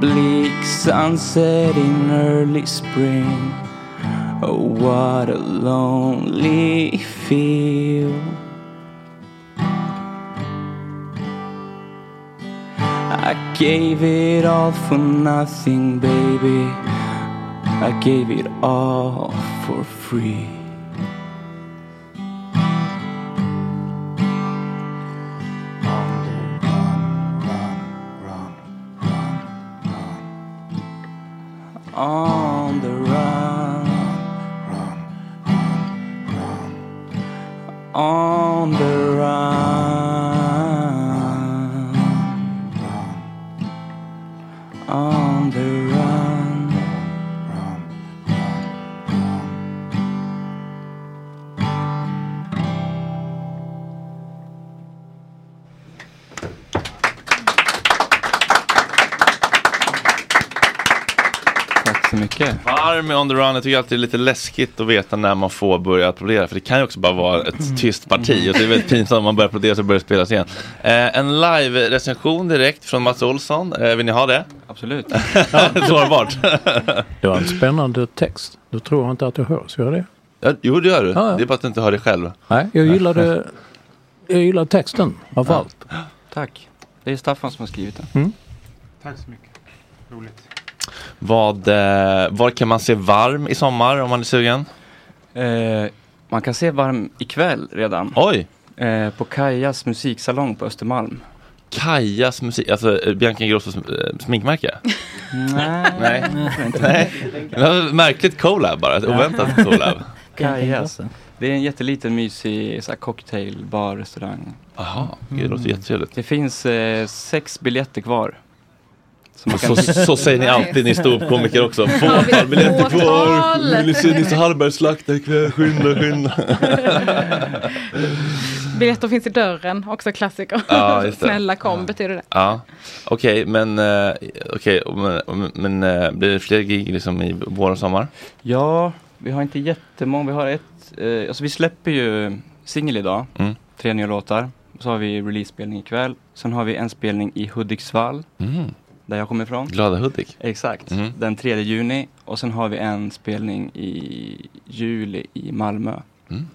Speaker 16: bleak sunset in early spring. Oh, what a lonely feel. I gave it all for nothing, baby. I gave it all for free. On the run, on the run, on the run.
Speaker 1: Tack så mycket. Varm med On the Run. Jag tycker alltid det är lite läskigt att veta när man får börja applådera. För det kan ju också bara vara
Speaker 9: Mm.
Speaker 1: ett tyst parti. Och det är väldigt pinsamt om man börjar applådera så börjar det spelas igen. Eh, en live-recension direkt från Mats Olsson. Eh, vill ni ha det? Absolut. Sårbart.
Speaker 9: Det var en spännande text. Då tror jag inte att det hörs, gör det?
Speaker 1: Ja, jo, det gör du.
Speaker 9: Ja, ja.
Speaker 1: Det är bara att du inte hör dig själv.
Speaker 9: Nej, jag gillade, jag gillade texten framför allt.
Speaker 17: Tack. Det är Staffan som har skrivit den.
Speaker 9: Mm.
Speaker 17: Tack så mycket. Roligt.
Speaker 1: Vad, eh, var kan man se varm i sommar om man är sugen?
Speaker 17: Eh, man kan se varm ikväll redan.
Speaker 1: Oj!
Speaker 17: Eh, på Kajas musiksalong på Östermalm.
Speaker 1: Kajas musik, alltså eh, Bianca Ingrossos eh, sminkmärke?
Speaker 16: Nej.
Speaker 1: Nej.
Speaker 16: jag tror inte.
Speaker 1: Nej. Det var ett märkligt collab bara. Ett oväntat collab.
Speaker 17: Kajas. Det är en jätteliten mysig så här, cocktailbar, restaurang.
Speaker 1: Jaha, det låter jättetrevligt.
Speaker 17: Det finns eh, sex biljetter kvar. Som man
Speaker 1: Så, så säger ni alltid ni ståuppkomiker också. Fåtal biljetter
Speaker 7: Fåtal.
Speaker 1: kvar. Nisse Nisse Hallberg slaktar ikväll. Skynda, skynda.
Speaker 7: Biljetter finns i dörren, också klassiker.
Speaker 1: Ja, just det.
Speaker 7: Snälla kom, betyder det.
Speaker 1: Ja, okej, men, eh, okej, men, men eh, blir det fler gig liksom i vår och sommar?
Speaker 17: Ja, vi har inte jättemånga. Vi har ett, eh, alltså vi släpper ju singel idag,
Speaker 1: Mm.
Speaker 17: tre nya låtar. Så har vi release-spelning ikväll. Sen har vi en spelning i Hudiksvall,
Speaker 1: Mm.
Speaker 17: där jag kommer ifrån.
Speaker 1: Glada Hudik.
Speaker 17: Exakt,
Speaker 1: Mm.
Speaker 17: den 3 juni. Och sen har vi en spelning i juli i Malmö.
Speaker 1: Mm.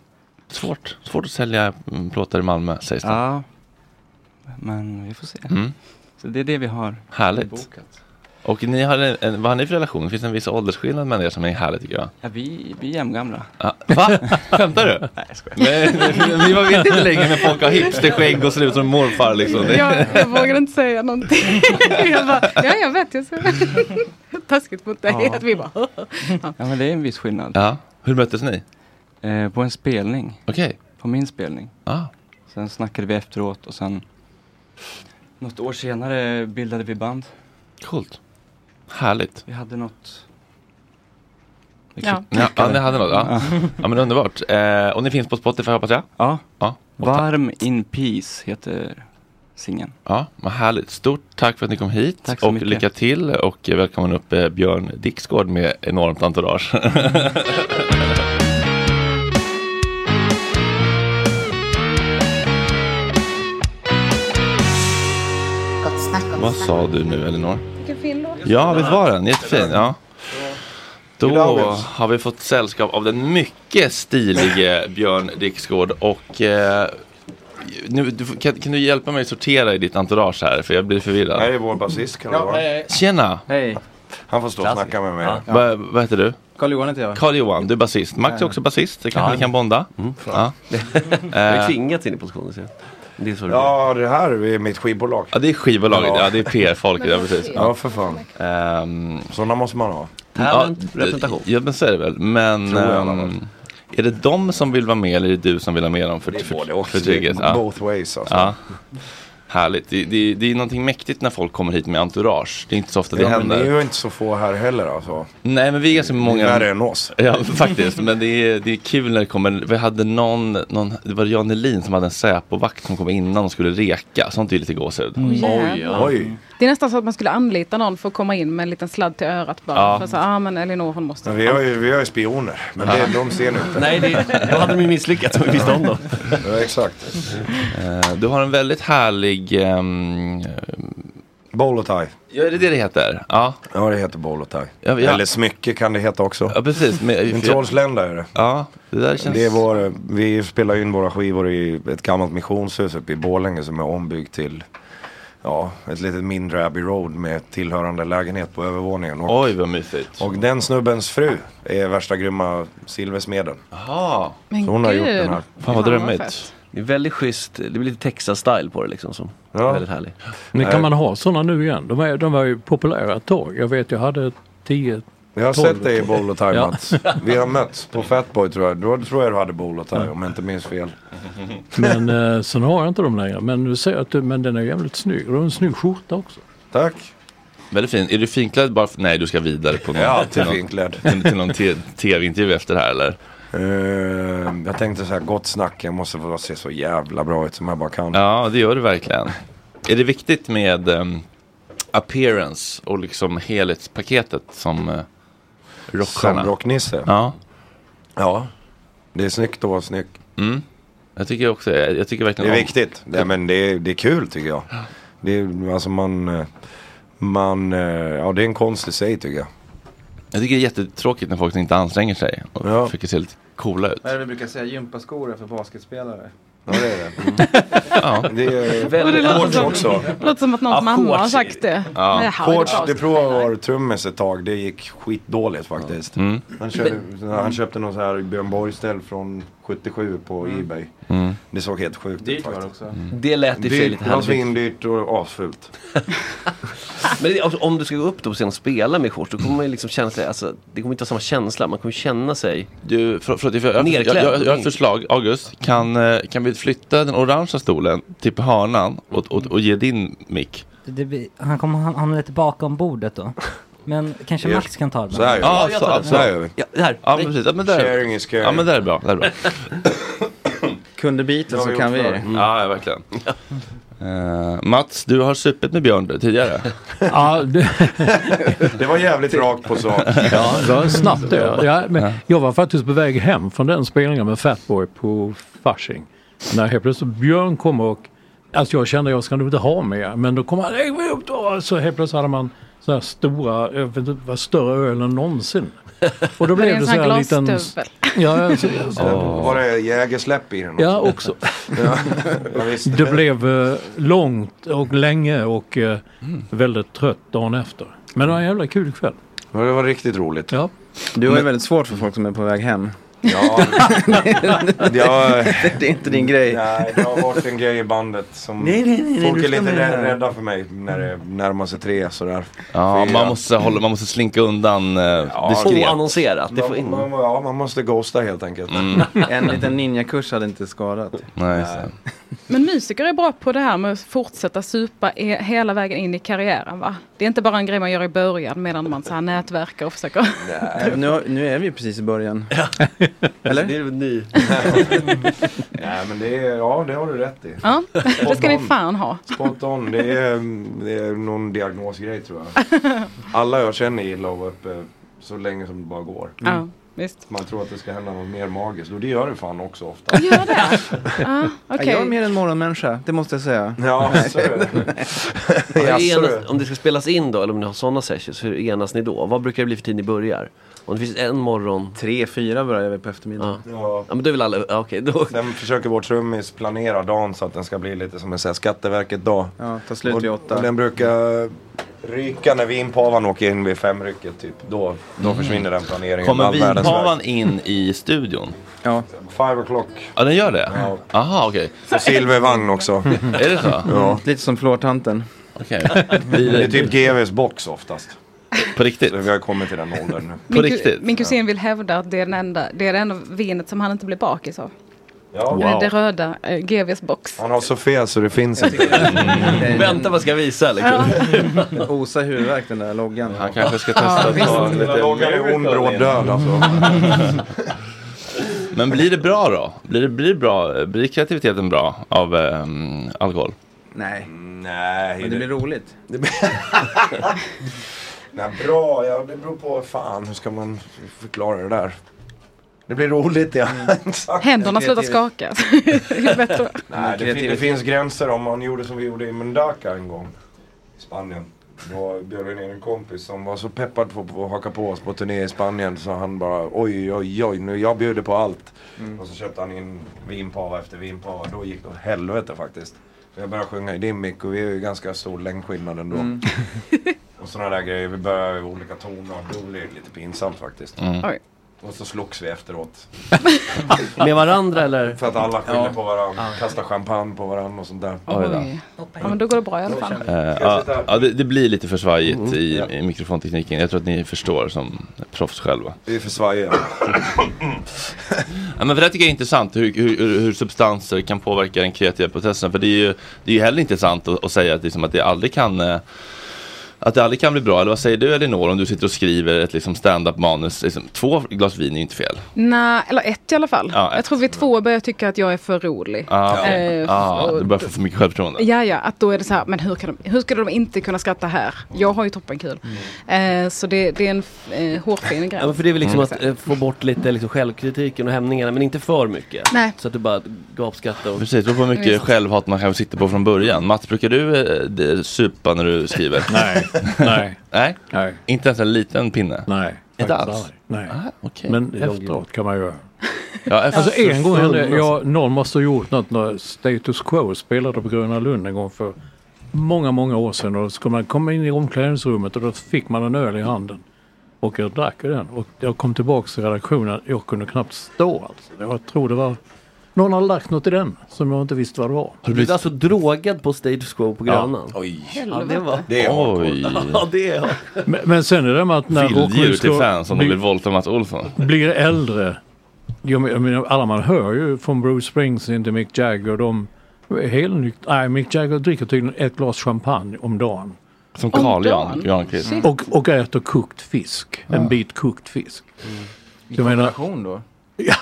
Speaker 1: Svårt, svårt att sälja mm, plåtar i Malmö sägs det.
Speaker 17: Ja, men vi får se.
Speaker 1: Mm.
Speaker 17: Så det är det vi har
Speaker 1: Härligt.
Speaker 17: bokat.
Speaker 1: Och ni har en, en, vad har ni för relation? Finns det en viss åldersskillnad mellan er som är härligt tycker jag?
Speaker 17: Ja, vi, vi är jämngamla.
Speaker 1: Ja, va? Skämtar du?
Speaker 17: Nej, jag skojar.
Speaker 1: Men, vi- man vet inte längre när folk har hipsterskägg och ser ut som morfar liksom. Det-
Speaker 7: Jag, jag vågar inte säga någonting. Jag bara, ja, jag vet, jag ser taskigt mot dig.
Speaker 17: Ja.
Speaker 7: Att vi bara,
Speaker 17: Ja, men det är en viss skillnad.
Speaker 1: Ja. Hur möttes ni?
Speaker 17: Eh, på en spelning.
Speaker 1: Okej.
Speaker 17: På min spelning.
Speaker 1: Ah.
Speaker 17: Sen snackade vi efteråt och sen något år senare bildade vi band.
Speaker 1: Coolt. Härligt.
Speaker 17: Vi hade något... Vi
Speaker 1: Ja,
Speaker 17: klick-
Speaker 1: ja
Speaker 17: klickade.
Speaker 1: ni hade något. Ja, ja men underbart. Eh, och ni finns på Spotify hoppas jag?
Speaker 17: Ja.
Speaker 1: ja.
Speaker 17: Varm in peace heter singeln.
Speaker 1: Ja, vad härligt. Stort tack för att ni kom hit
Speaker 17: Tack så
Speaker 1: och
Speaker 17: mycket.
Speaker 1: lycka till och eh, välkommen upp eh, Björn Dixgård med enormt entourage.
Speaker 18: Gott snack,
Speaker 1: vad sa du nu Elinor?
Speaker 7: vilken fin låt.
Speaker 1: Ja, visst var den? Jättefin. Ja. Då har vi fått sällskap av den mycket stilige Björn Dixgård och eh, nu, du, får- kan, kan du hjälpa mig sortera i ditt entourage här för jag blir förvirrad.
Speaker 19: Här är vår basist kan det vara.
Speaker 1: Tjena!
Speaker 19: Hej. Han får stå och
Speaker 1: Klassiker.
Speaker 19: snacka med mig.
Speaker 1: Va- Vad heter du?
Speaker 19: Carl-Johan heter jag.
Speaker 1: Carl-Johan, du är basist. Max är
Speaker 19: Ja.
Speaker 1: också basist, det kanske
Speaker 19: Ja. Mm.
Speaker 1: ni kan bonda. Ja. Eh.
Speaker 19: Det har
Speaker 1: klingat
Speaker 19: in i positionen. Det är så ja, det här är mitt skivbolag.
Speaker 1: Ja, det är skivbolaget, ja, det är PR-folket, ja precis.
Speaker 19: Ja, för fan.
Speaker 1: Sådana måste man ha.
Speaker 19: Talent, representation.
Speaker 1: Ehm, Ja, men så är det väl. Men
Speaker 19: Tror jag i alla
Speaker 1: ehm, är det de som vill vara med eller är det du som vill ha med dem? För,
Speaker 19: Det är
Speaker 1: för,
Speaker 19: både och.
Speaker 1: för
Speaker 19: Det är
Speaker 1: trygghet? Ja.
Speaker 19: both ways, alltså.
Speaker 1: Ja. Härligt. Det, det, det är någonting mäktigt när folk kommer hit med entourage. Det är inte så ofta det
Speaker 19: Ja, men
Speaker 1: händer.
Speaker 19: ni är ju inte så få här heller alltså.
Speaker 1: Nej men vi är ganska många.
Speaker 19: Ni är värre än oss.
Speaker 1: Ja faktiskt. Men det är, det är kul när det kommer. Vi hade någon, någon det var Jan Elin som hade en Säpo-vakt som kom innan och skulle reka. Sånt är ju lite gåshud.
Speaker 7: Mm. Oj, ja.
Speaker 1: Oj.
Speaker 7: Det är nästan så att man skulle anlita någon för att komma in med en liten sladd till örat bara.
Speaker 19: Ja.
Speaker 7: För att säga, ah, men Elinor hon måste.
Speaker 19: Men vi, har ju, vi har ju spioner, men det, de ser nu inte.
Speaker 5: Nej, det- då hade de ju misslyckats om vi visste om dem.
Speaker 19: Ja, exakt.
Speaker 1: Eh, Du har en väldigt härlig... Um,
Speaker 19: Bowl och tie.
Speaker 1: Ja, är det det det heter? Ja,
Speaker 19: ja det heter bowl och tie.
Speaker 1: Ja, ja.
Speaker 19: Eller smycke kan det heta också.
Speaker 1: Ja, precis. Men-
Speaker 19: en trollslända är det.
Speaker 1: Ja, det där känns...
Speaker 19: Det är vår, vi spelar in våra skivor i ett gammalt missionshus uppe i Borlänge som är ombyggt till ja, ett litet mindre Abbey Road med tillhörande lägenhet på övervåningen. Och,
Speaker 1: Oj, vad mysigt.
Speaker 19: Och den snubbens fru är värsta grymma silversmeden.
Speaker 1: Jaha.
Speaker 7: Men
Speaker 19: Så hon har gjort den här.
Speaker 1: Fan vad drömmigt.
Speaker 5: Det är väldigt schysst, det blir lite Texas-style på det liksom. Som är Väldigt härlig.
Speaker 9: Men kan man ha sådana nu igen? De, är, de var ju populära ett tag. Jag vet, jag hade 10
Speaker 19: Jag har
Speaker 9: 12
Speaker 19: sett dig i
Speaker 9: tror jag.
Speaker 19: Bowl och Time
Speaker 9: Ja.
Speaker 19: Mats. Vi har mötts på Fatboy tror jag. Då tror jag du hade Bowl och Time om jag inte minns fel.
Speaker 9: Men eh, sen har jag inte dem längre. Men du säger att du, men den är jävligt snygg. Och du har en snygg skjorta också.
Speaker 19: Tack.
Speaker 1: Väldigt fin. Är du finklädd bara för... Nej, du ska vidare på någon...
Speaker 19: Jag är alltid
Speaker 1: till någon-
Speaker 19: finklädd.
Speaker 1: Till, till någon te- tv-intervju efter det här eller?
Speaker 19: Eh, jag tänkte så här, gott snack. Jag måste få se så jävla bra ut som jag bara kan.
Speaker 1: Ja, det gör du verkligen. Är det viktigt med ehm, appearance och liksom helhetspaketet som uh, rockstjärna?
Speaker 19: Som rocknisse.
Speaker 1: Ja.
Speaker 19: Ja. Det är snyggt att vara snygg.
Speaker 1: Mm. Jag tycker också jag, jag tycker
Speaker 19: Det
Speaker 1: verkligen
Speaker 19: är
Speaker 1: om-
Speaker 19: viktigt. Det, men det är, det är kul tycker jag. Det är, alltså man, eh, man, eh, ja det är en konst i sig tycker jag.
Speaker 1: Jag tycker det är jättetråkigt när folk inte anstränger sig och försöker se lite coola ut.
Speaker 20: Vad är det vi brukar säga? Gympaskor är för basketspelare.
Speaker 19: Ja det är det.
Speaker 1: Ja.
Speaker 19: Det är
Speaker 7: Och det
Speaker 19: väldigt
Speaker 7: låter
Speaker 19: hårt
Speaker 7: som,
Speaker 19: också.
Speaker 7: låter som att någons
Speaker 19: Ja,
Speaker 7: mamma har
Speaker 19: shorts.
Speaker 7: sagt det. Men det här var
Speaker 19: Coach,
Speaker 7: bra.
Speaker 19: det provade att vara trummis ett tag. Det gick skitdåligt faktiskt.
Speaker 1: Mm.
Speaker 19: Han, körde, han köpte någon så här Björn Borg-ställ från 77 på Ebay.
Speaker 1: Mm.
Speaker 19: Det såg helt sjukt
Speaker 20: Dyrt
Speaker 19: ut
Speaker 20: var det
Speaker 19: faktiskt.
Speaker 20: också.
Speaker 5: Det lät i och för sig
Speaker 19: Dyrt,
Speaker 5: lite
Speaker 19: Det var
Speaker 5: härligt.
Speaker 19: svindyrt och asfult.
Speaker 5: Men det, alltså, om du ska gå upp då på scen och spela med shorts, då kommer man ju liksom känna sig, alltså, det kommer inte ha samma känsla, man kommer känna sig
Speaker 1: du, för, för, jag, jag, jag, jag har ett förslag, August. Kan, eh, kan vi flytta den orangea stolen till på hörnan och, och, och ge din mick?
Speaker 8: Det, det, blir- han kommer ham- hamna lite bakom bordet då. Men kanske
Speaker 1: Ja.
Speaker 8: Max kan ta det.
Speaker 1: Så här gör vi. Ja, jag tar den. Så här gör vi. Ja, det här. Ja, men precis. Ja, men där- Sharing is caring. ja, men där är bra, där är bra.
Speaker 20: Kunde biten så kan vi.
Speaker 1: Mm. Ja, ja, verkligen. Eh, Mats, du har supit med Björn tidigare.
Speaker 9: Ja, det,
Speaker 19: Det var jävligt rakt på sak.
Speaker 9: Ja, det var snabbt det. Ja, men jag var faktiskt på väg hem från den spelningen med Fatboy på Fasching. När helt plötsligt Björn kom och... Alltså jag kände jag ska nog inte ha mer. Men då kom han. "Lägg mig upp då!" Så helt plötsligt hade man så här stora, jag vet inte, det var större öl än någonsin. Och
Speaker 7: Var det
Speaker 9: då blev
Speaker 7: en
Speaker 9: det så
Speaker 7: sån här
Speaker 9: här liten...
Speaker 7: glasdubbel?
Speaker 9: Ja, så,
Speaker 19: Oh. Var det jägersläpp i den också?
Speaker 9: Ja, också.
Speaker 19: ja, jag visste
Speaker 9: Det blev eh, långt och länge och eh,
Speaker 19: Mm.
Speaker 9: väldigt trött dagen efter. Men det var en jävla kul kväll.
Speaker 19: Ja, det var riktigt roligt.
Speaker 9: Ja.
Speaker 20: Du har ju
Speaker 9: Men-
Speaker 20: väldigt svårt för folk som är på väg hem.
Speaker 19: Ja. jag,
Speaker 20: det är inte din grej.
Speaker 19: Nej, det har varit en grej i bandet som...
Speaker 20: Nej, nej, nej, nej,
Speaker 19: folk
Speaker 20: du
Speaker 19: är
Speaker 20: ska
Speaker 19: lite
Speaker 20: med
Speaker 19: rä-
Speaker 20: här.
Speaker 19: rädda för mig när det närmar sig tre sådär.
Speaker 1: Ja,
Speaker 19: Fyra.
Speaker 1: man måste, hålla, man måste slinka undan eh, diskret.
Speaker 19: Man- man- Ja, man måste ghosta helt enkelt.
Speaker 1: Mm.
Speaker 20: En liten ninjakurs hade inte skadat.
Speaker 1: Nej,
Speaker 7: Men musiker är bra på det här med att fortsätta supa e- hela vägen in i karriären va? Det är inte bara en grej man gör i början medan man så här nätverkar och försöker.
Speaker 20: Nej, nu, har- nu är vi ju precis i början. Eller?
Speaker 5: Det är väl ny.
Speaker 19: Nej, men det är... Ja, det har du rätt i.
Speaker 7: Ja, det ska
Speaker 19: Spot
Speaker 7: ni
Speaker 19: on.
Speaker 7: fan ha.
Speaker 19: Spot on. Det är, mm, det är någon diagnosgrej tror jag. Alla jag känner gillar att vara uppe eh, så länge som det bara går.
Speaker 7: Ja,
Speaker 20: Mm.
Speaker 7: visst.
Speaker 19: Man tror att det ska hända något mer magiskt och det gör det fan också ofta.
Speaker 7: Gör det?
Speaker 19: Ah,
Speaker 7: Ja, okej.
Speaker 20: Jag är mer en morgonmänniska, det måste jag säga.
Speaker 19: Ja, så är det.
Speaker 5: Ja,
Speaker 20: Jaså,
Speaker 5: enas,
Speaker 20: du.
Speaker 5: om det ska spelas in då, eller om ni har sådana sessions, hur enas ni då? Vad brukar det bli för tid ni börjar? Om det finns en morgon?
Speaker 20: Tre, fyra börjar vi på eftermiddagen.
Speaker 5: Ja, ja men då är väl alla, ja, okej då.
Speaker 19: Sen försöker vår trummis planera dagen så att den ska bli lite som en så här Skatteverket-dag.
Speaker 20: Ja, ta slut vid
Speaker 19: Och-
Speaker 20: åtta.
Speaker 19: Och den brukar ryka när vinpavan åker in vid femrycket typ. Då,
Speaker 5: Mm.
Speaker 19: då försvinner den planeringen. med
Speaker 1: Kommer
Speaker 19: all världens
Speaker 1: vinpavan
Speaker 19: väg.
Speaker 1: in i studion?
Speaker 20: Ja.
Speaker 19: Five o'clock.
Speaker 1: Ja, den gör det?
Speaker 19: Ja.
Speaker 1: Aha, okej.
Speaker 19: Och silvervagn också.
Speaker 1: Är det så?
Speaker 19: Ja.
Speaker 20: Lite som flårtanten.
Speaker 1: Okej.
Speaker 19: Det är typ GVs box oftast.
Speaker 1: På riktigt?
Speaker 19: Vi har kommit till den åldern nu.
Speaker 7: Min, ku- min kusin vill hävda att det är, den enda, det är det enda vinet som han inte blir bakis av.
Speaker 19: Ja.
Speaker 7: Det är Det röda eh, GVs box.
Speaker 19: Han har så fel så det finns inte.
Speaker 5: Vänta vad ska jag visa liksom.
Speaker 20: Osa huvudvärk den där loggan. Han
Speaker 1: kanske ska testa att ta en liten-
Speaker 19: Loggan är ond, bråd, död alltså.
Speaker 1: Men blir det bra då? Blir, det, blir, det bra, blir kreativiteten bra av ehm, alkohol?
Speaker 20: Nej.
Speaker 19: Nej.
Speaker 20: Men det blir roligt.
Speaker 19: Nej, bra, ja, det beror på fan hur ska man förklara det där. Det blir roligt ja. Exakt.
Speaker 7: Mm. Händerna slutar skaka. Det är bättre.
Speaker 19: Nej, det, fin- det finns gränser. Om man gjorde som vi gjorde i Mundaka en gång i Spanien. Då bjöd vi ner en kompis som var så peppad på på att haka på oss på turné i Spanien så han bara oj, oj, oj, nu jag bjuder på allt. Och så köpte han in vinpava efter vinpava. Då gick det åt helvete faktiskt. För jag började sjunga i din mick och vi är ju ganska stor längdskillnad ändå.
Speaker 20: Mm.
Speaker 19: och sådana där grejer. Vi började i olika toner. Då blev det lite pinsamt faktiskt.
Speaker 1: Mm.
Speaker 7: Oj.
Speaker 19: Och så slogs vi efteråt.
Speaker 5: Med varandra eller?
Speaker 19: För att alla skyller
Speaker 5: Ja.
Speaker 19: på varandra. Kastar champagne på varandra och sånt där.
Speaker 1: Oj då.
Speaker 7: Ja, men då går det bra i alla fall.
Speaker 1: Eh, ja, ja, det, det blir lite för svajigt i, i mikrofontekniken. Jag tror att ni förstår som proffs själva.
Speaker 19: Vi är för svajiga.
Speaker 1: Ja, men för det tycker jag är intressant hur, hur, hur hur substanser kan påverka den kreativa processen. För det är ju, det är ju heller inte sant att, att säga att, liksom, att det aldrig kan eh, att det aldrig kan bli bra, eller vad säger du Elinor om du sitter och skriver ett liksom stand-up manus? Liksom, två glas vin är ju inte fel.
Speaker 7: Nej, eller ett i alla fall.
Speaker 1: Ja,
Speaker 7: jag
Speaker 1: ett.
Speaker 7: tror vi två börjar tycka att jag är för rolig.
Speaker 1: Ah,
Speaker 7: Eh,
Speaker 1: okay. ah,
Speaker 7: och-
Speaker 1: du börjar få för mycket självförtroende.
Speaker 7: Ja, ja, att då är det så här, men hur, kan de, hur skulle de inte kunna skratta här? Jag har ju toppenkul.
Speaker 19: Mm.
Speaker 7: Eh, så det, det är en f- eh, hårfin
Speaker 5: Ja, men
Speaker 7: gräns.
Speaker 5: för det är väl liksom
Speaker 7: Mm.
Speaker 5: att eh, få bort lite liksom, självkritiken och hämningarna men inte för mycket.
Speaker 7: Nej.
Speaker 5: Så att du bara gapskrattar och...
Speaker 1: Precis, det beror på hur mycket
Speaker 5: Visst.
Speaker 1: självhat man kanske sitter på från början. Mats, brukar du eh, d- supa när du skriver?
Speaker 9: Nej. Nej.
Speaker 1: Nej? Inte ens en liten pinne?
Speaker 9: Nej.
Speaker 1: Inte
Speaker 9: faktiskt
Speaker 1: alls? Ah,
Speaker 9: aldrig. Nej.
Speaker 1: okej.
Speaker 9: Men
Speaker 1: Det är lång
Speaker 9: efteråt kan man göra.
Speaker 1: Ja, efter-
Speaker 9: Alltså en gång hände
Speaker 1: Full,
Speaker 9: jag, någon måste ha gjort något när Status Quo spelade på Gröna Lund en gång för många, många år sedan. Och så kom man kom in i omklädningsrummet och då fick man en öl i handen. Och jag drack ju den och jag kom tillbaks till redaktionen. Jag kunde knappt stå alltså. Jag tror det var någon hade lagt något i den som jag inte visste vad det var.
Speaker 5: Du blev alltså drogad på Stage Quo på
Speaker 9: Ja.
Speaker 5: Grönan?
Speaker 19: Oj.
Speaker 5: Ja, det var...
Speaker 1: Det är hardcore. Oj.
Speaker 5: ja, det är
Speaker 9: Men, men sen är det med att när
Speaker 1: Filldjur till fans om de
Speaker 9: blir-
Speaker 1: vill våldta Mats Olsson.
Speaker 9: blir äldre. Jag men- jag menar, alla man hör ju från Bruce Springsteen till Mick Jagger. De är helt nykt- Nej, Mick Jagger dricker tydligen ett glas champagne om dagen.
Speaker 1: Som Om Carl Jan- dagen? Granqvist. Shit.
Speaker 9: Och, och äter kokt fisk. En
Speaker 17: Ja.
Speaker 9: bit kokt fisk.
Speaker 17: I
Speaker 9: Jag menar-
Speaker 17: kombination då?
Speaker 9: Ja.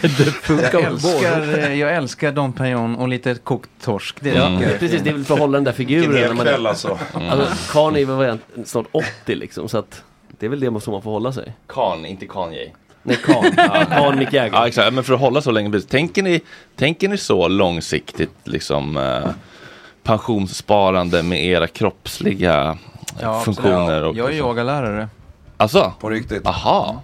Speaker 17: det
Speaker 9: funkar
Speaker 17: jag,
Speaker 9: väl
Speaker 17: älskar,
Speaker 9: både.
Speaker 17: eh, jag älskar Dom Perignon och lite kokt torsk. Det
Speaker 20: Mm.
Speaker 5: Ja,
Speaker 17: tycker jag.
Speaker 5: precis, det är väl för att hålla den där figuren.
Speaker 17: Vilken
Speaker 5: när man-
Speaker 17: kväll, alltså. Mm.
Speaker 5: alltså Kanye är väl vad är han, snart 80 liksom så att det är väl det som man får hålla sig.
Speaker 1: Kan, inte Kanye.
Speaker 5: Nej, Kan. Kan Mick Jagger.
Speaker 1: Ja, exakt. Men för att hålla så länge. precis. Tänker ni, tänker ni så långsiktigt liksom eh, pensionssparande med era kroppsliga eh,
Speaker 17: Ja, absolut.
Speaker 1: funktioner? Och,
Speaker 17: Jag är yogalärare.
Speaker 1: Alltså?
Speaker 19: På riktigt?
Speaker 1: Aha.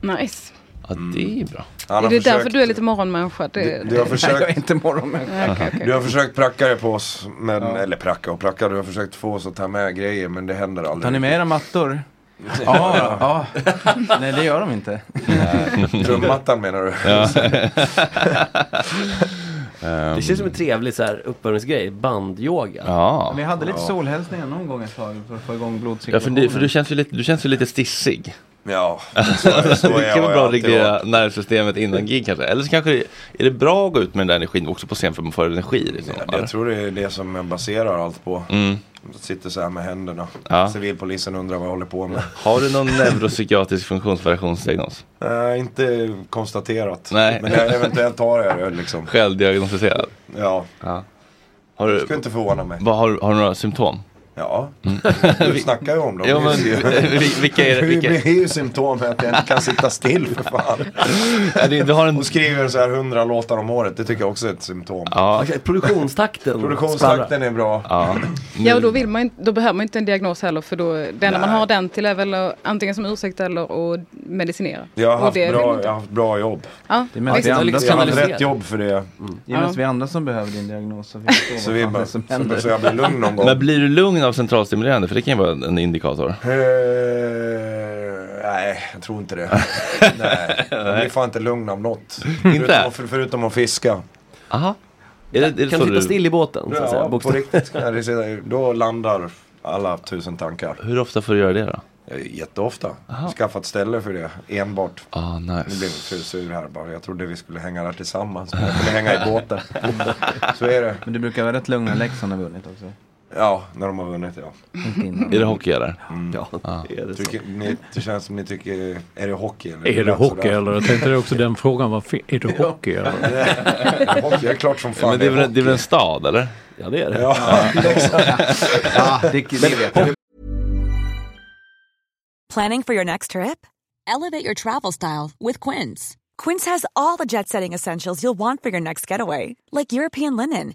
Speaker 7: Nice.
Speaker 1: Ja,
Speaker 19: Mm.
Speaker 1: det är bra.
Speaker 19: Han
Speaker 7: Är
Speaker 19: har
Speaker 7: det
Speaker 19: försökt-
Speaker 7: därför du är lite morgonmänniska? Det,
Speaker 19: Du, du har försökt...
Speaker 7: Nej, okej, okej.
Speaker 19: Du har försökt pracka dig på oss, men, eller pracka och pracka, du har försökt få oss att ta med grejer men det händer aldrig.
Speaker 17: Tar ni med era mattor? ja, ja. Nej, det gör de inte.
Speaker 19: Nej. Trummattan menar du?
Speaker 5: det känns som en trevlig så här, uppvärmningsgrej, bandyoga.
Speaker 1: Ja.
Speaker 17: Vi hade lite solhälsningar någon gång ett tag för att få igång
Speaker 1: Ja, för,
Speaker 17: blodcirkulationen.
Speaker 1: du, för du känns ju lite, du känns ju lite stissig.
Speaker 19: Ja,
Speaker 17: så- så är
Speaker 1: Det
Speaker 17: jag
Speaker 1: kan vara
Speaker 17: och
Speaker 1: bra
Speaker 17: jag
Speaker 1: att reglera nervsystemet innan gig kanske. Eller så kanske det, är det bra att gå ut med den där energin också på scen för man får energi. Liksom.
Speaker 19: Jag tror det är det som jag baserar allt på.
Speaker 1: Mm.
Speaker 19: Jag sitter så här med händerna.
Speaker 1: Ja.
Speaker 19: Civilpolisen undrar vad jag håller på med.
Speaker 1: Har du någon neuropsykiatrisk funktionsvariationsdiagnos?
Speaker 19: Nej, inte konstaterat.
Speaker 1: Nej.
Speaker 19: Men jag eventuellt har jag det liksom.
Speaker 1: Självdiagnostiserad?
Speaker 19: Ja.
Speaker 1: Har du,
Speaker 19: Skulle inte förvåna mig.
Speaker 1: Vad, har, du- har du några symptom?
Speaker 19: Ja,
Speaker 1: Mm.
Speaker 19: du snackar ju om dem.
Speaker 1: Ja,
Speaker 19: Det är
Speaker 1: men
Speaker 19: ju-
Speaker 1: vi- vilka är det- vilka-
Speaker 19: Det är ju symptom att jag inte kan sitta still för fan.
Speaker 1: Du har en...
Speaker 19: Och skriver så här hundra låtar om året, det tycker jag också är ett symptom.
Speaker 1: Ja.
Speaker 5: Okej, produktionstakten
Speaker 19: Produktionstakten
Speaker 5: skvallrar.
Speaker 19: är bra.
Speaker 1: Ja.
Speaker 7: Ja, och då, vill man, ju inte- då behöver man ju inte en diagnos heller för då, det enda man
Speaker 19: Mm. Nej.
Speaker 7: har den till är väl att- antingen som ursäkt eller att medicinera.
Speaker 19: Jag har
Speaker 7: Och
Speaker 19: haft,
Speaker 7: det vill man
Speaker 19: bra,
Speaker 7: inte.
Speaker 19: jag har haft bra jobb.
Speaker 7: Ja,
Speaker 17: Det är mest vi andra
Speaker 19: Jag
Speaker 17: som
Speaker 19: har haft
Speaker 17: analyserar.
Speaker 19: rätt jobb för det. Mm.
Speaker 17: Det är mest
Speaker 7: Ja.
Speaker 17: vi andra som behöver din diagnos. Så vi, förstår
Speaker 19: Så
Speaker 17: vad
Speaker 19: vi
Speaker 17: fan
Speaker 19: bara-
Speaker 17: det är som
Speaker 19: så-
Speaker 17: händer.
Speaker 19: så jag blir lugn någon gång.
Speaker 1: Men blir du lugn av centralstimulerande? För det kan ju vara en indikator.
Speaker 19: Eh, nej, jag tror inte det. nej, jag blir fan inte lugn av något. Förutom, för, förutom att fiska.
Speaker 1: Aha. Är det, är det
Speaker 19: Kan
Speaker 1: så
Speaker 19: sitta still
Speaker 5: i båten?
Speaker 19: Ja, på riktigt. kan jag säga. Då landar alla tusen tankar.
Speaker 1: Hur ofta får du göra det då?
Speaker 19: Eh, Jätteofta. Skaffat ställe för det, enbart.
Speaker 1: Ah, nice.
Speaker 19: Nu blev vi fusur här bara. Jag trodde vi skulle hänga där tillsammans. Men jag kunde hänga i båten. Så är det.
Speaker 17: Men du brukar vara rätt lugn när Leksand har vunnit också.
Speaker 19: Ja, när de har vunnit ja.
Speaker 1: Är det hockey eller?
Speaker 5: Ja,
Speaker 1: är det
Speaker 19: tycker, ni, det känns som ni tycker, är det hockey? Eller?
Speaker 9: Är det
Speaker 19: lät
Speaker 9: hockey
Speaker 19: sådär.
Speaker 9: eller? Jag tänkte det också den frågan. Var fe- är det hockey eller?
Speaker 19: Är det hockey? Jag är klart som fan
Speaker 1: Men det är, väl, det är väl en stad eller?
Speaker 5: Ja det är
Speaker 19: det. Ja, exakt.
Speaker 1: Ja,
Speaker 17: det- det vet jag.
Speaker 21: Planning for your next trip? Elevate your travel style with Quince. Quince has all the jet setting essentials you'll want for your next getaway, like European linen,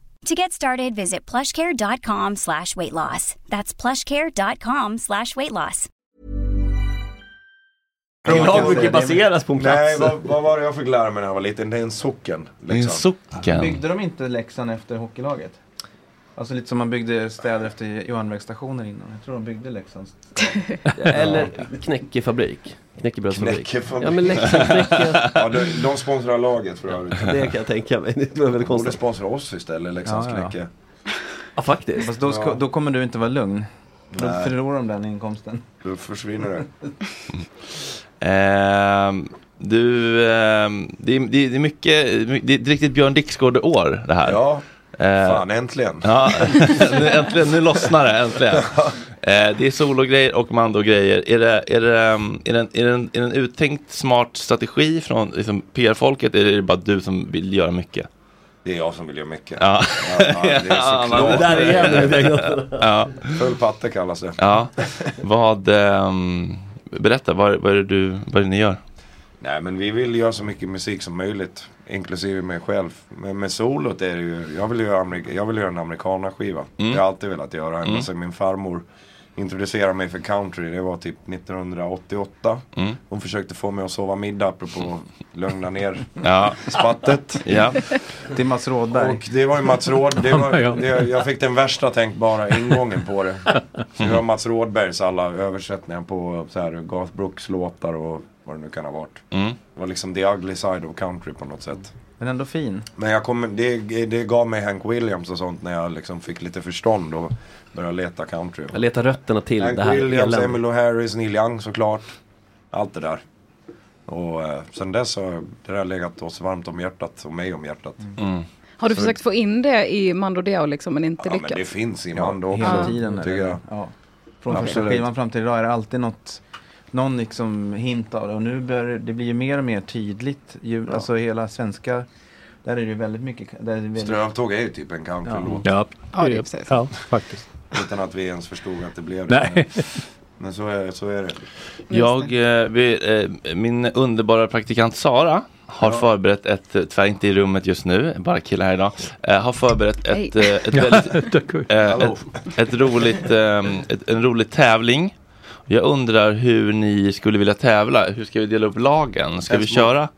Speaker 10: To get started, visit plushcare.com slash weight loss. That's plushcare.com slash weight loss.
Speaker 5: Idag brukar ju baseras på en plats.
Speaker 19: Nej, vad, vad var det jag fick lära mig när jag var liten? Det är en socken. liksom.
Speaker 1: Det är en socken.
Speaker 17: Byggde de inte Leksand efter hockeylaget?
Speaker 20: Alltså lite som man byggde städer efter järnvägsstationer innan. Jag tror de byggde Leksands. Eller
Speaker 5: knäckefabrik. Knäckebrödsfabrik.
Speaker 19: Knäckefabrik.
Speaker 5: Ja, men Leksand knäcker.
Speaker 19: ja, de, de sponsrar laget för övrigt.
Speaker 5: Det kan jag tänka mig. Det var
Speaker 19: De
Speaker 5: väldigt
Speaker 19: borde
Speaker 5: konstigt.
Speaker 19: sponsra oss istället, Leksands
Speaker 20: Ja, ja.
Speaker 19: knäcke.
Speaker 5: Ja, faktiskt.
Speaker 20: Fast då, ska,
Speaker 19: liksom, Ja.
Speaker 20: då kommer du inte vara lugn. Då
Speaker 19: Nej.
Speaker 20: förlorar de den inkomsten.
Speaker 19: Då försvinner det.
Speaker 1: Ehm, du, ehm, det, är, det är det är mycket, det är ett riktigt Björn Dixgård-år det här.
Speaker 19: Ja,
Speaker 1: Ehm,
Speaker 19: fan äntligen.
Speaker 1: Ja, nu, äntligen, nu lossnar det, äntligen. Eh, det är sologrejer och Mando-grejer. Är det, är, det, ehm, är, det en, är, det en, är det en uttänkt smart strategi från liksom, PR-folket eller är det bara du som vill göra mycket?
Speaker 19: Det är jag som vill göra mycket.
Speaker 1: Ja.
Speaker 19: Ja, det är
Speaker 1: Ja,
Speaker 19: såklart.
Speaker 1: men det där är det. Ja.
Speaker 19: Full patte kallas det.
Speaker 1: Ja, vad, ehm, berätta, vad, vad, är det du, vad är det ni gör?
Speaker 19: Nej men vi vill göra så mycket musik som möjligt. Inklusive mig själv. Men med solot är det ju, jag vill göra, amerika, jag vill göra en amerikanaskiva.
Speaker 1: Mm.
Speaker 19: Jag har alltid velat göra en.
Speaker 1: Mm.
Speaker 19: Sen min farmor introducerade mig för country. Det var typ 1988.
Speaker 1: Mm.
Speaker 19: Hon försökte få mig att sova middag apropå lugna ner
Speaker 1: Ja.
Speaker 19: spattet.
Speaker 1: Ja.
Speaker 20: Till Mats Rådberg.
Speaker 19: Och det var ju Mats Råd, det var,
Speaker 20: Ja, ja.
Speaker 19: det, jag fick den värsta tänkbara ingången på det. Så det var Mats Rådbergs alla översättningar på så här, Garth Brooks låtar och vad det nu kan ha varit.
Speaker 1: Mm.
Speaker 19: Det var liksom the ugly side of country på något sätt.
Speaker 20: Men ändå fin.
Speaker 19: Men jag kom, det, det gav mig Hank Williams och sånt när jag liksom fick lite förstånd och började leta country.
Speaker 5: Jag letar rötterna till
Speaker 19: Hank
Speaker 5: det här
Speaker 19: Williams,
Speaker 5: eländet.
Speaker 19: Emmylou Harris, Neil Young såklart. Allt det där. Och eh, sen dess har det där legat oss varmt om hjärtat och mig om hjärtat.
Speaker 7: Mm. Har du
Speaker 19: Så-
Speaker 7: försökt få in det i Mando Diao liksom men inte
Speaker 19: Ja men det
Speaker 7: lyckats?
Speaker 19: finns i Mando också.
Speaker 20: Hela tiden. är det-
Speaker 19: tycker jag.
Speaker 20: Ja. Från första
Speaker 19: Absolut.
Speaker 20: skivan fram till idag är det alltid något, någon liksom hint av det. Och nu börjar det- det blir ju mer och mer tydligt. Ju, Alltså hela svenska, där är det ju väldigt mycket. Där är det väldigt...
Speaker 19: Strövtåg är ju typ en countrylåt.
Speaker 20: Ja. Ja, det är
Speaker 7: precis.
Speaker 9: Ja, faktiskt.
Speaker 19: Utan att vi ens förstod att det blev det.
Speaker 9: Nej.
Speaker 19: Men, men så, är, så är det.
Speaker 1: Jag, eh, vi, eh, min underbara praktikant Sara har
Speaker 19: Ja.
Speaker 1: förberett ett, eh, tyvärr inte i rummet just nu, bara killar här idag, eh, har förberett ett,
Speaker 7: Hej.
Speaker 1: eh, ett, väldigt, eh,
Speaker 7: Hallå.
Speaker 1: ett, ett roligt, eh, ett, en rolig tävling. Jag undrar hur ni skulle vilja tävla, hur ska vi dela upp lagen? Ska vi
Speaker 19: Häst mot-
Speaker 1: köra?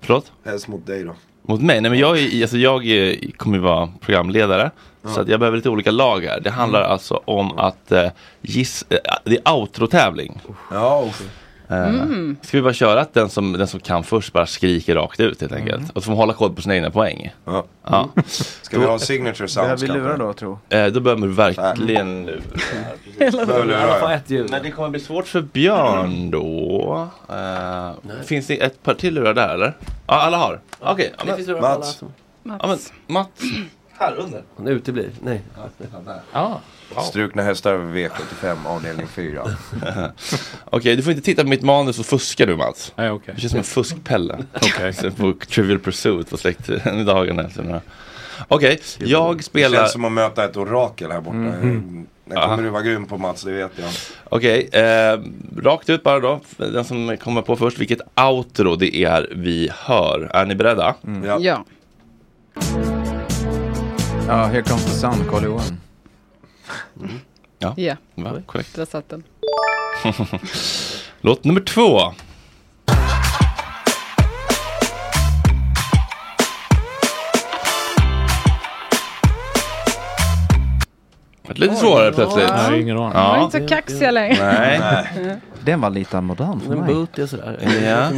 Speaker 1: Förlåt?
Speaker 19: Helst mot dig då.
Speaker 1: Mot mig? Nej men jag, är, alltså jag är, kommer ju vara programledare. Så
Speaker 19: Ja. Mm.
Speaker 1: att jag behöver lite olika lag här. Det handlar alltså om att eh, giss, eh, det är outro-tävling.
Speaker 19: Ja, och-
Speaker 1: Eh,
Speaker 19: Mm.
Speaker 1: Ska vi bara köra att den som, den som kan först bara skriker rakt ut helt enkelt. Och så får man hålla koll på sina egna poäng.
Speaker 19: Mm. Ja. Mm.
Speaker 1: Ja.
Speaker 19: Ska vi ha signature sounds
Speaker 20: Behöver vi lura då, tro?
Speaker 1: Eh, då behöver du verkligen lura.
Speaker 20: Hela
Speaker 1: Behöver
Speaker 20: lura.
Speaker 1: lura.
Speaker 20: I alla fall ett
Speaker 1: Men det kommer bli svårt för Björn då. Eh, finns det ett par till lurar där eller? Ja, alla har. Okej, ja, men-
Speaker 5: Mats.
Speaker 1: Ja, men, Mats. Här under.
Speaker 5: Han uteblir. Nej.
Speaker 1: Ja.
Speaker 19: Strukna hästar över V75 avdelning 4.
Speaker 1: Okej, du får inte titta på mitt manus och fuska du Mats.
Speaker 9: Nej, okej.
Speaker 1: Du känns som en fuskpelle. Okej. på Trivial Pursuit på släkt dagarna efter den här. Okej, jag
Speaker 19: Det
Speaker 1: spelar...
Speaker 19: känns som att möta ett orakel här borta.
Speaker 1: Mhm.
Speaker 19: Den kommer
Speaker 1: Aha.
Speaker 19: du vara grym på Mats, det vet jag.
Speaker 1: Okej, eh, rakt ut bara då. Den som kommer på först vilket outro det är vi hör. Är ni beredda?
Speaker 19: Mm. Ja.
Speaker 7: Ja.
Speaker 20: Ja, Here comes the sun, Carl Johan.
Speaker 19: Mm.
Speaker 1: Ja.
Speaker 7: Ja.
Speaker 1: Va? Korrekt.
Speaker 7: Där satt den.
Speaker 1: Låt nummer två. Ett lite
Speaker 7: Oj.
Speaker 1: svårare plötsligt.
Speaker 7: Ja. Nej, ingen aning. De var inte så kaxiga längre.
Speaker 1: Nej.
Speaker 20: Den var lite modern för
Speaker 5: Den
Speaker 20: mig.
Speaker 5: booty och sådär.
Speaker 1: Ja.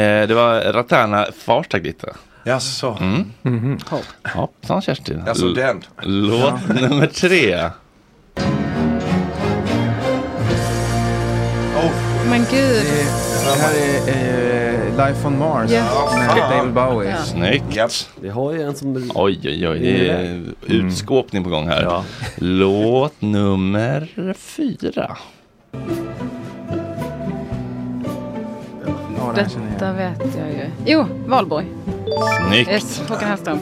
Speaker 1: Eh, det var Ratana Farstag lite.
Speaker 19: Jaså?
Speaker 1: Mm.
Speaker 19: Mhm.
Speaker 1: Hoppsan Kerstin.
Speaker 19: Jaså,
Speaker 5: Alltså
Speaker 1: L-
Speaker 19: den.
Speaker 1: Låt
Speaker 19: Ja.
Speaker 1: nummer tre.
Speaker 7: Men gud.
Speaker 20: Oh. Det här är eh, Life on Mars
Speaker 7: Ja.
Speaker 20: med
Speaker 7: Fan.
Speaker 20: David Bowie.
Speaker 7: Ja.
Speaker 1: Snyggt.
Speaker 5: Vi har ju en som...
Speaker 1: Oj, oj, oj. Det är
Speaker 9: Mm.
Speaker 1: utskåpning på gång här. Låt nummer fyra.
Speaker 20: Ja, den känner
Speaker 7: Detta vet jag ju. Jo, Valborg.
Speaker 1: Snyggt.
Speaker 7: Yes, Håkan Hellström.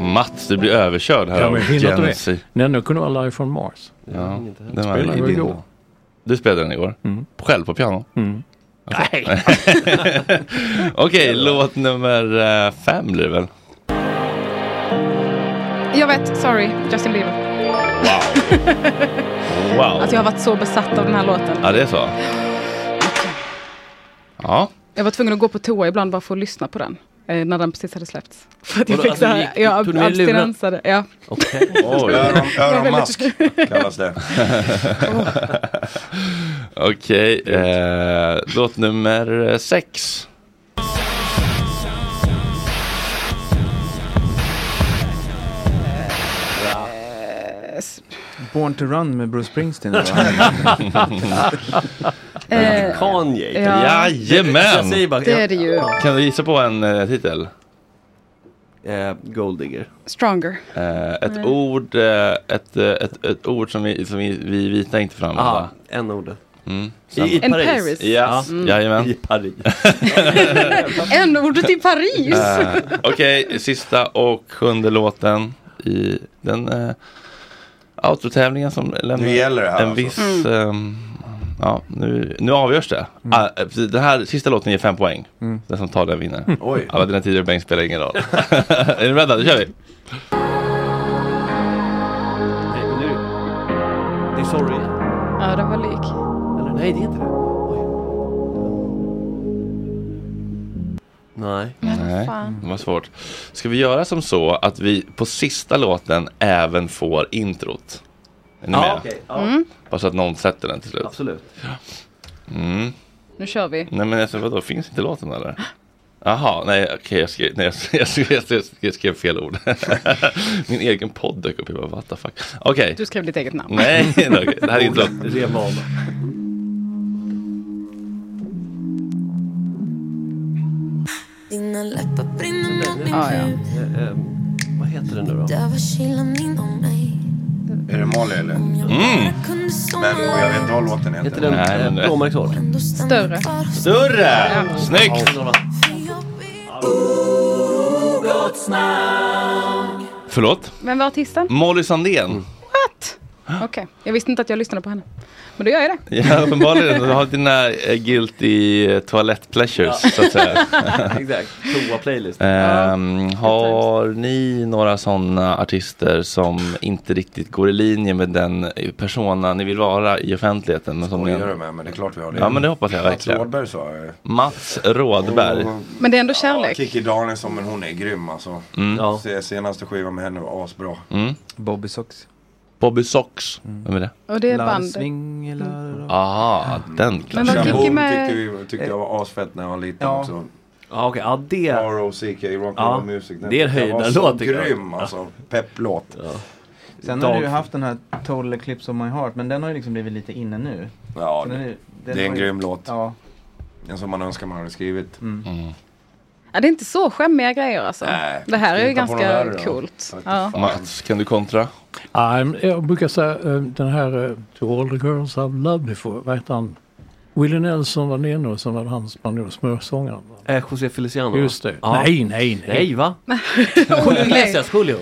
Speaker 1: Mats, du blir överkörd här
Speaker 9: Ja, men hinner inte
Speaker 1: Gen Z.
Speaker 9: med. Nej, nu kunde vara live från Mars.
Speaker 1: Ja, den
Speaker 9: Spelade
Speaker 1: var
Speaker 9: vi
Speaker 1: din.
Speaker 9: igår. Mm.
Speaker 1: Du spelade den igår? Själv på piano? Okej.
Speaker 9: Nej.
Speaker 1: Okej, låt nummer eh, fem blir det väl?
Speaker 7: Jag vet, sorry. Justin Bieber.
Speaker 1: Wow.
Speaker 7: Alltså jag har varit så besatt av den här låten.
Speaker 1: Ja, det är så. Ja,
Speaker 7: Jag var tvungen att gå på toa ibland bara för att lyssna på den. eh, när den precis hade släppts. För att jag
Speaker 5: Vadå,
Speaker 7: fick
Speaker 5: alltså,
Speaker 7: så här,
Speaker 5: gick-
Speaker 7: ja,
Speaker 5: tog ni med luren?
Speaker 7: abstinenser. Ja.
Speaker 5: Okej.
Speaker 1: Oj.
Speaker 19: Öron-
Speaker 7: öronmask
Speaker 19: kallas det.
Speaker 1: Okej, eh, låt nummer eh, sex.
Speaker 20: Born to run med Bruce Springsteen. eller vad?
Speaker 7: Eh,
Speaker 5: Kanye.
Speaker 7: ja.
Speaker 1: Jajamän!
Speaker 5: Jag säger bara-
Speaker 7: Det är det ju.
Speaker 1: Kan du gissa på en eh, titel?
Speaker 5: Eh, Golddigger.
Speaker 7: Stronger.
Speaker 1: Eh, ett,
Speaker 7: Nej.
Speaker 1: ord, eh, ett, eh, ett, ett ord som vi, som vi, vi vita inte får använda.
Speaker 5: Ja, en ordet.
Speaker 1: Mm.
Speaker 5: I- i En Paris. Paris.
Speaker 1: Ja,
Speaker 5: Mm.
Speaker 1: jajamän. I
Speaker 5: Paris.
Speaker 7: En ordet i Paris!
Speaker 1: Eh, Okej, sista och sjunde låten i den uh, autotävlingen som lämnar
Speaker 19: Nu gäller det här
Speaker 1: en
Speaker 19: alltså.
Speaker 1: viss...
Speaker 19: Mm.
Speaker 1: ehm, ja, nu, nu avgörs det. Ah, eh, den här sista låten ger fem poäng.
Speaker 19: Mm.
Speaker 1: Den som tar den vinner.
Speaker 19: Oj.
Speaker 1: Alla dina tidigare poäng spelar ingen roll. är ni beredda? Då kör vi.
Speaker 5: Nu. Det är sorry.
Speaker 7: Ja, den var lik.
Speaker 5: Eller nej, det är inte det. Nej.
Speaker 1: Nej,
Speaker 7: fan.
Speaker 1: det var svårt. Ska vi göra som så att vi på sista låten även får introt? Är ni
Speaker 5: Ja,
Speaker 1: med?
Speaker 5: okej, ja. Mm.
Speaker 1: Bara så att någon sätter den till slut.
Speaker 5: Absolut.
Speaker 1: Mm.
Speaker 7: Nu kör vi.
Speaker 1: Nej men alltså, vadå, finns inte låten eller? Jaha, nej okej jag, skrev, nej, jag, skrev, jag, skrev, jag skrev fel ord. Min egen podd dök upp, jag bara what the fuck. Okej.
Speaker 7: Du skrev ditt eget namn.
Speaker 1: Nej, nej, okej, det här är inte låt.
Speaker 5: Revana.
Speaker 18: Dina läppar brinner men min
Speaker 5: Ah, ja.
Speaker 18: hud
Speaker 5: Eh, ehm, vad heter den nu då?
Speaker 18: dövar kylan inom mig
Speaker 19: Är det Molly eller?
Speaker 1: Mm.
Speaker 18: Kunde
Speaker 19: Men
Speaker 18: somna
Speaker 19: jag vet inte vad låten heter.
Speaker 5: Heter den eh, Blåmärkshår?
Speaker 18: ändå stanna
Speaker 7: Större.
Speaker 18: kvar hos
Speaker 1: Större! Snyggt! Förlåt?
Speaker 7: Vem var artisten?
Speaker 1: Molly Sandén.
Speaker 7: What? Okej, jag visste inte att jag lyssnade på henne. Men då gör jag det.
Speaker 1: Ja, uppenbarligen. Du har dina eh, guilty eh, toalett pleasures, så att säga.
Speaker 5: Exakt. Toa-playlist.
Speaker 1: Ehm, har ni några sådana artister som inte riktigt går i linje med den eh, persona ni vill vara i offentligheten? Men som
Speaker 19: Skojar
Speaker 1: ni-
Speaker 19: du med mig? Det är klart vi har det.
Speaker 1: Ja, men det hoppas jag
Speaker 19: Mats
Speaker 1: verkligen.
Speaker 19: Rådberg sa jag ju.
Speaker 1: Mats Rådberg.
Speaker 19: Och-
Speaker 7: Men det är ändå kärlek.
Speaker 19: Ja, Kikki Danielsson, men hon är grym alltså.
Speaker 1: Mm. Ja.
Speaker 19: Se- Senaste skivan med henne var asbra.
Speaker 1: Mm.
Speaker 20: Bobby Socks.
Speaker 1: Bobby Sox.
Speaker 19: Mm.
Speaker 1: Vem är det?
Speaker 7: Och det är Mm.
Speaker 20: Lars
Speaker 7: band.
Speaker 1: Ah, den
Speaker 7: Men vad
Speaker 1: klassen.
Speaker 7: tycker
Speaker 19: Mm. Shaboom
Speaker 7: med- Eh.
Speaker 19: tyckte, vi, tyckte jag var asfett när jag var liten
Speaker 5: Ja.
Speaker 19: också.
Speaker 5: Ja, okej. Ja, det...
Speaker 19: R.O.C.K. Rock and
Speaker 5: Ja,
Speaker 19: Roll Music. Den
Speaker 5: det är en
Speaker 19: tyckte jag var
Speaker 5: höjdarlåt,
Speaker 19: så
Speaker 5: tycker jag.
Speaker 19: grym alltså. Pepplåt.
Speaker 20: Sen har du ju haft den här Total Eclipse of My Heart, men den har ju liksom blivit lite inne nu.
Speaker 19: Ja,
Speaker 20: Så den är- den
Speaker 19: det är en
Speaker 20: har ju-
Speaker 19: grym låt.
Speaker 20: Ja. Mm.
Speaker 19: En som man önskar man hade skrivit. Mm.
Speaker 7: Ja, det är inte så skämmiga grejer alltså.
Speaker 19: Nej.
Speaker 7: det här är ju
Speaker 19: Titta på den
Speaker 7: ganska
Speaker 19: här då.
Speaker 7: coolt.
Speaker 19: Tack
Speaker 7: Ja.
Speaker 1: Mats, kan du kontra?
Speaker 9: Ja, men jag brukar säga eh, den här eh, To all the girls I've loved before, vad heter han? Willie Nelson var den ene och sen var det han spanjor, smörsångaren.
Speaker 5: Eh, José Feliciano. va?
Speaker 9: Just det.
Speaker 5: Ja.
Speaker 9: Nej, nej, nej.
Speaker 5: Nej, va? Julio Iglesias, Julio.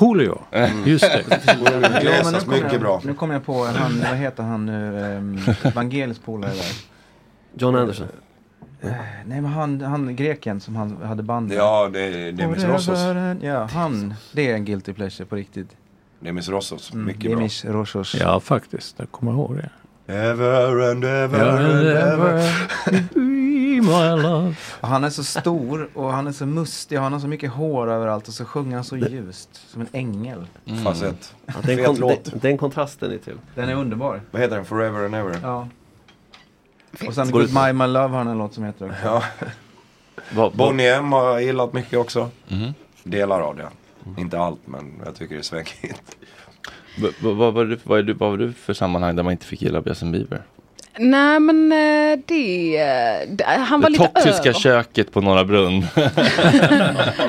Speaker 9: Julio,
Speaker 2: Mm.
Speaker 9: just det.
Speaker 20: Ja, men nu
Speaker 19: Iglesias,
Speaker 20: kommer
Speaker 19: mycket
Speaker 20: jag,
Speaker 19: bra.
Speaker 20: Nu kommer jag på, han, vad heter han nu, ehm, Vangelis polare där.
Speaker 5: John Anderson.
Speaker 20: Nej men han, han greken som han hade band med.
Speaker 19: Ja, det är Demis Rossos.
Speaker 20: Ja, han. Det är en guilty pleasure på riktigt.
Speaker 19: Demis Rossos,
Speaker 20: Mm,
Speaker 19: mycket bra.
Speaker 20: Demis Rossos.
Speaker 9: Ja, faktiskt. Jag kommer ihåg det.
Speaker 19: Ever and ever and
Speaker 9: Ever,
Speaker 19: ever.
Speaker 9: my love.
Speaker 20: Och han är så stor och han är så mustig och han har så mycket hår överallt och så sjunger han så ljust. Som en ängel.
Speaker 19: Mm. Facett.
Speaker 5: Ja, den,
Speaker 19: Fet
Speaker 5: kon-
Speaker 19: låt.
Speaker 5: den, den kontrasten är till.
Speaker 20: Den är underbar.
Speaker 19: Vad heter den? Forever and ever?
Speaker 20: Ja. Och sen
Speaker 5: Går det-
Speaker 20: Goodbye My Love har han en låt som heter också.
Speaker 19: Ja.
Speaker 1: Va- va-
Speaker 19: Bonnie M har jag gillat mycket också.
Speaker 1: Mhm.
Speaker 19: Delar av det. Inte allt, men jag tycker det är svängigt.
Speaker 1: Va- va- Vad var du- vad är du- vad var du för sammanhang där man inte fick gilla Justin Bieber?
Speaker 7: Nej men eh, det, eh, d- han var
Speaker 1: det
Speaker 7: lite
Speaker 1: toxiska
Speaker 7: över.
Speaker 1: köket på Norra Brunn.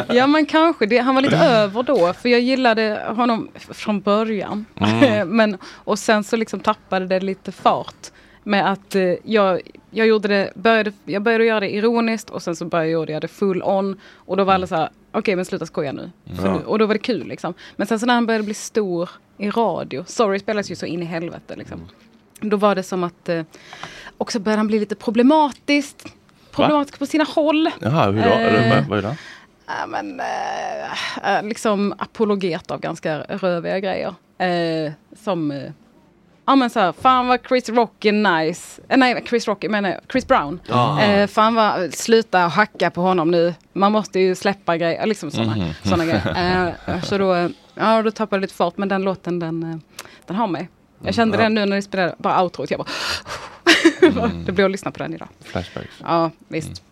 Speaker 7: Ja men kanske, det, han var
Speaker 1: Mm.
Speaker 7: lite över då. För jag gillade honom f- från början.
Speaker 1: Mm.
Speaker 7: men, och sen så liksom tappade det lite fart. Med att eh, jag, jag, gjorde det, började, jag började göra det ironiskt och sen så började jag det full on. Och då var alla så här, okej men sluta skoja nu. För
Speaker 19: Ja.
Speaker 7: nu. Och då var det kul liksom. Men sen så när han började bli stor i radio, Sorry spelas ju så in i helvete liksom.
Speaker 1: Mm.
Speaker 7: Då var det som att eh, också började han bli lite problematisk. Problematisk på sina håll.
Speaker 1: Jaha, hur då?
Speaker 7: Eh,
Speaker 1: Eller vad- Vad är det?
Speaker 7: Ja, men, eh, eh, liksom apologet av ganska röviga grejer. Eh, som eh, ja men så här, fan vad Chris Rock är nice. Eh, nej, Chris Rock menar jag, Chris Brown.
Speaker 2: Ja.
Speaker 7: Eh, fan vad, sluta hacka på honom nu. Man måste ju släppa grejer, liksom sådana
Speaker 2: Mhm.
Speaker 7: såna grejer. Eh, så då, eh, ja då tappade jag lite fart, men den låten den, eh, den har mig. Jag kände
Speaker 2: Mm, Ja.
Speaker 7: den nu när ni spelade, bara outrot, jag bara
Speaker 2: Mm.
Speaker 7: Det blir att lyssna på den idag.
Speaker 1: Flashbacks.
Speaker 7: Ja, visst.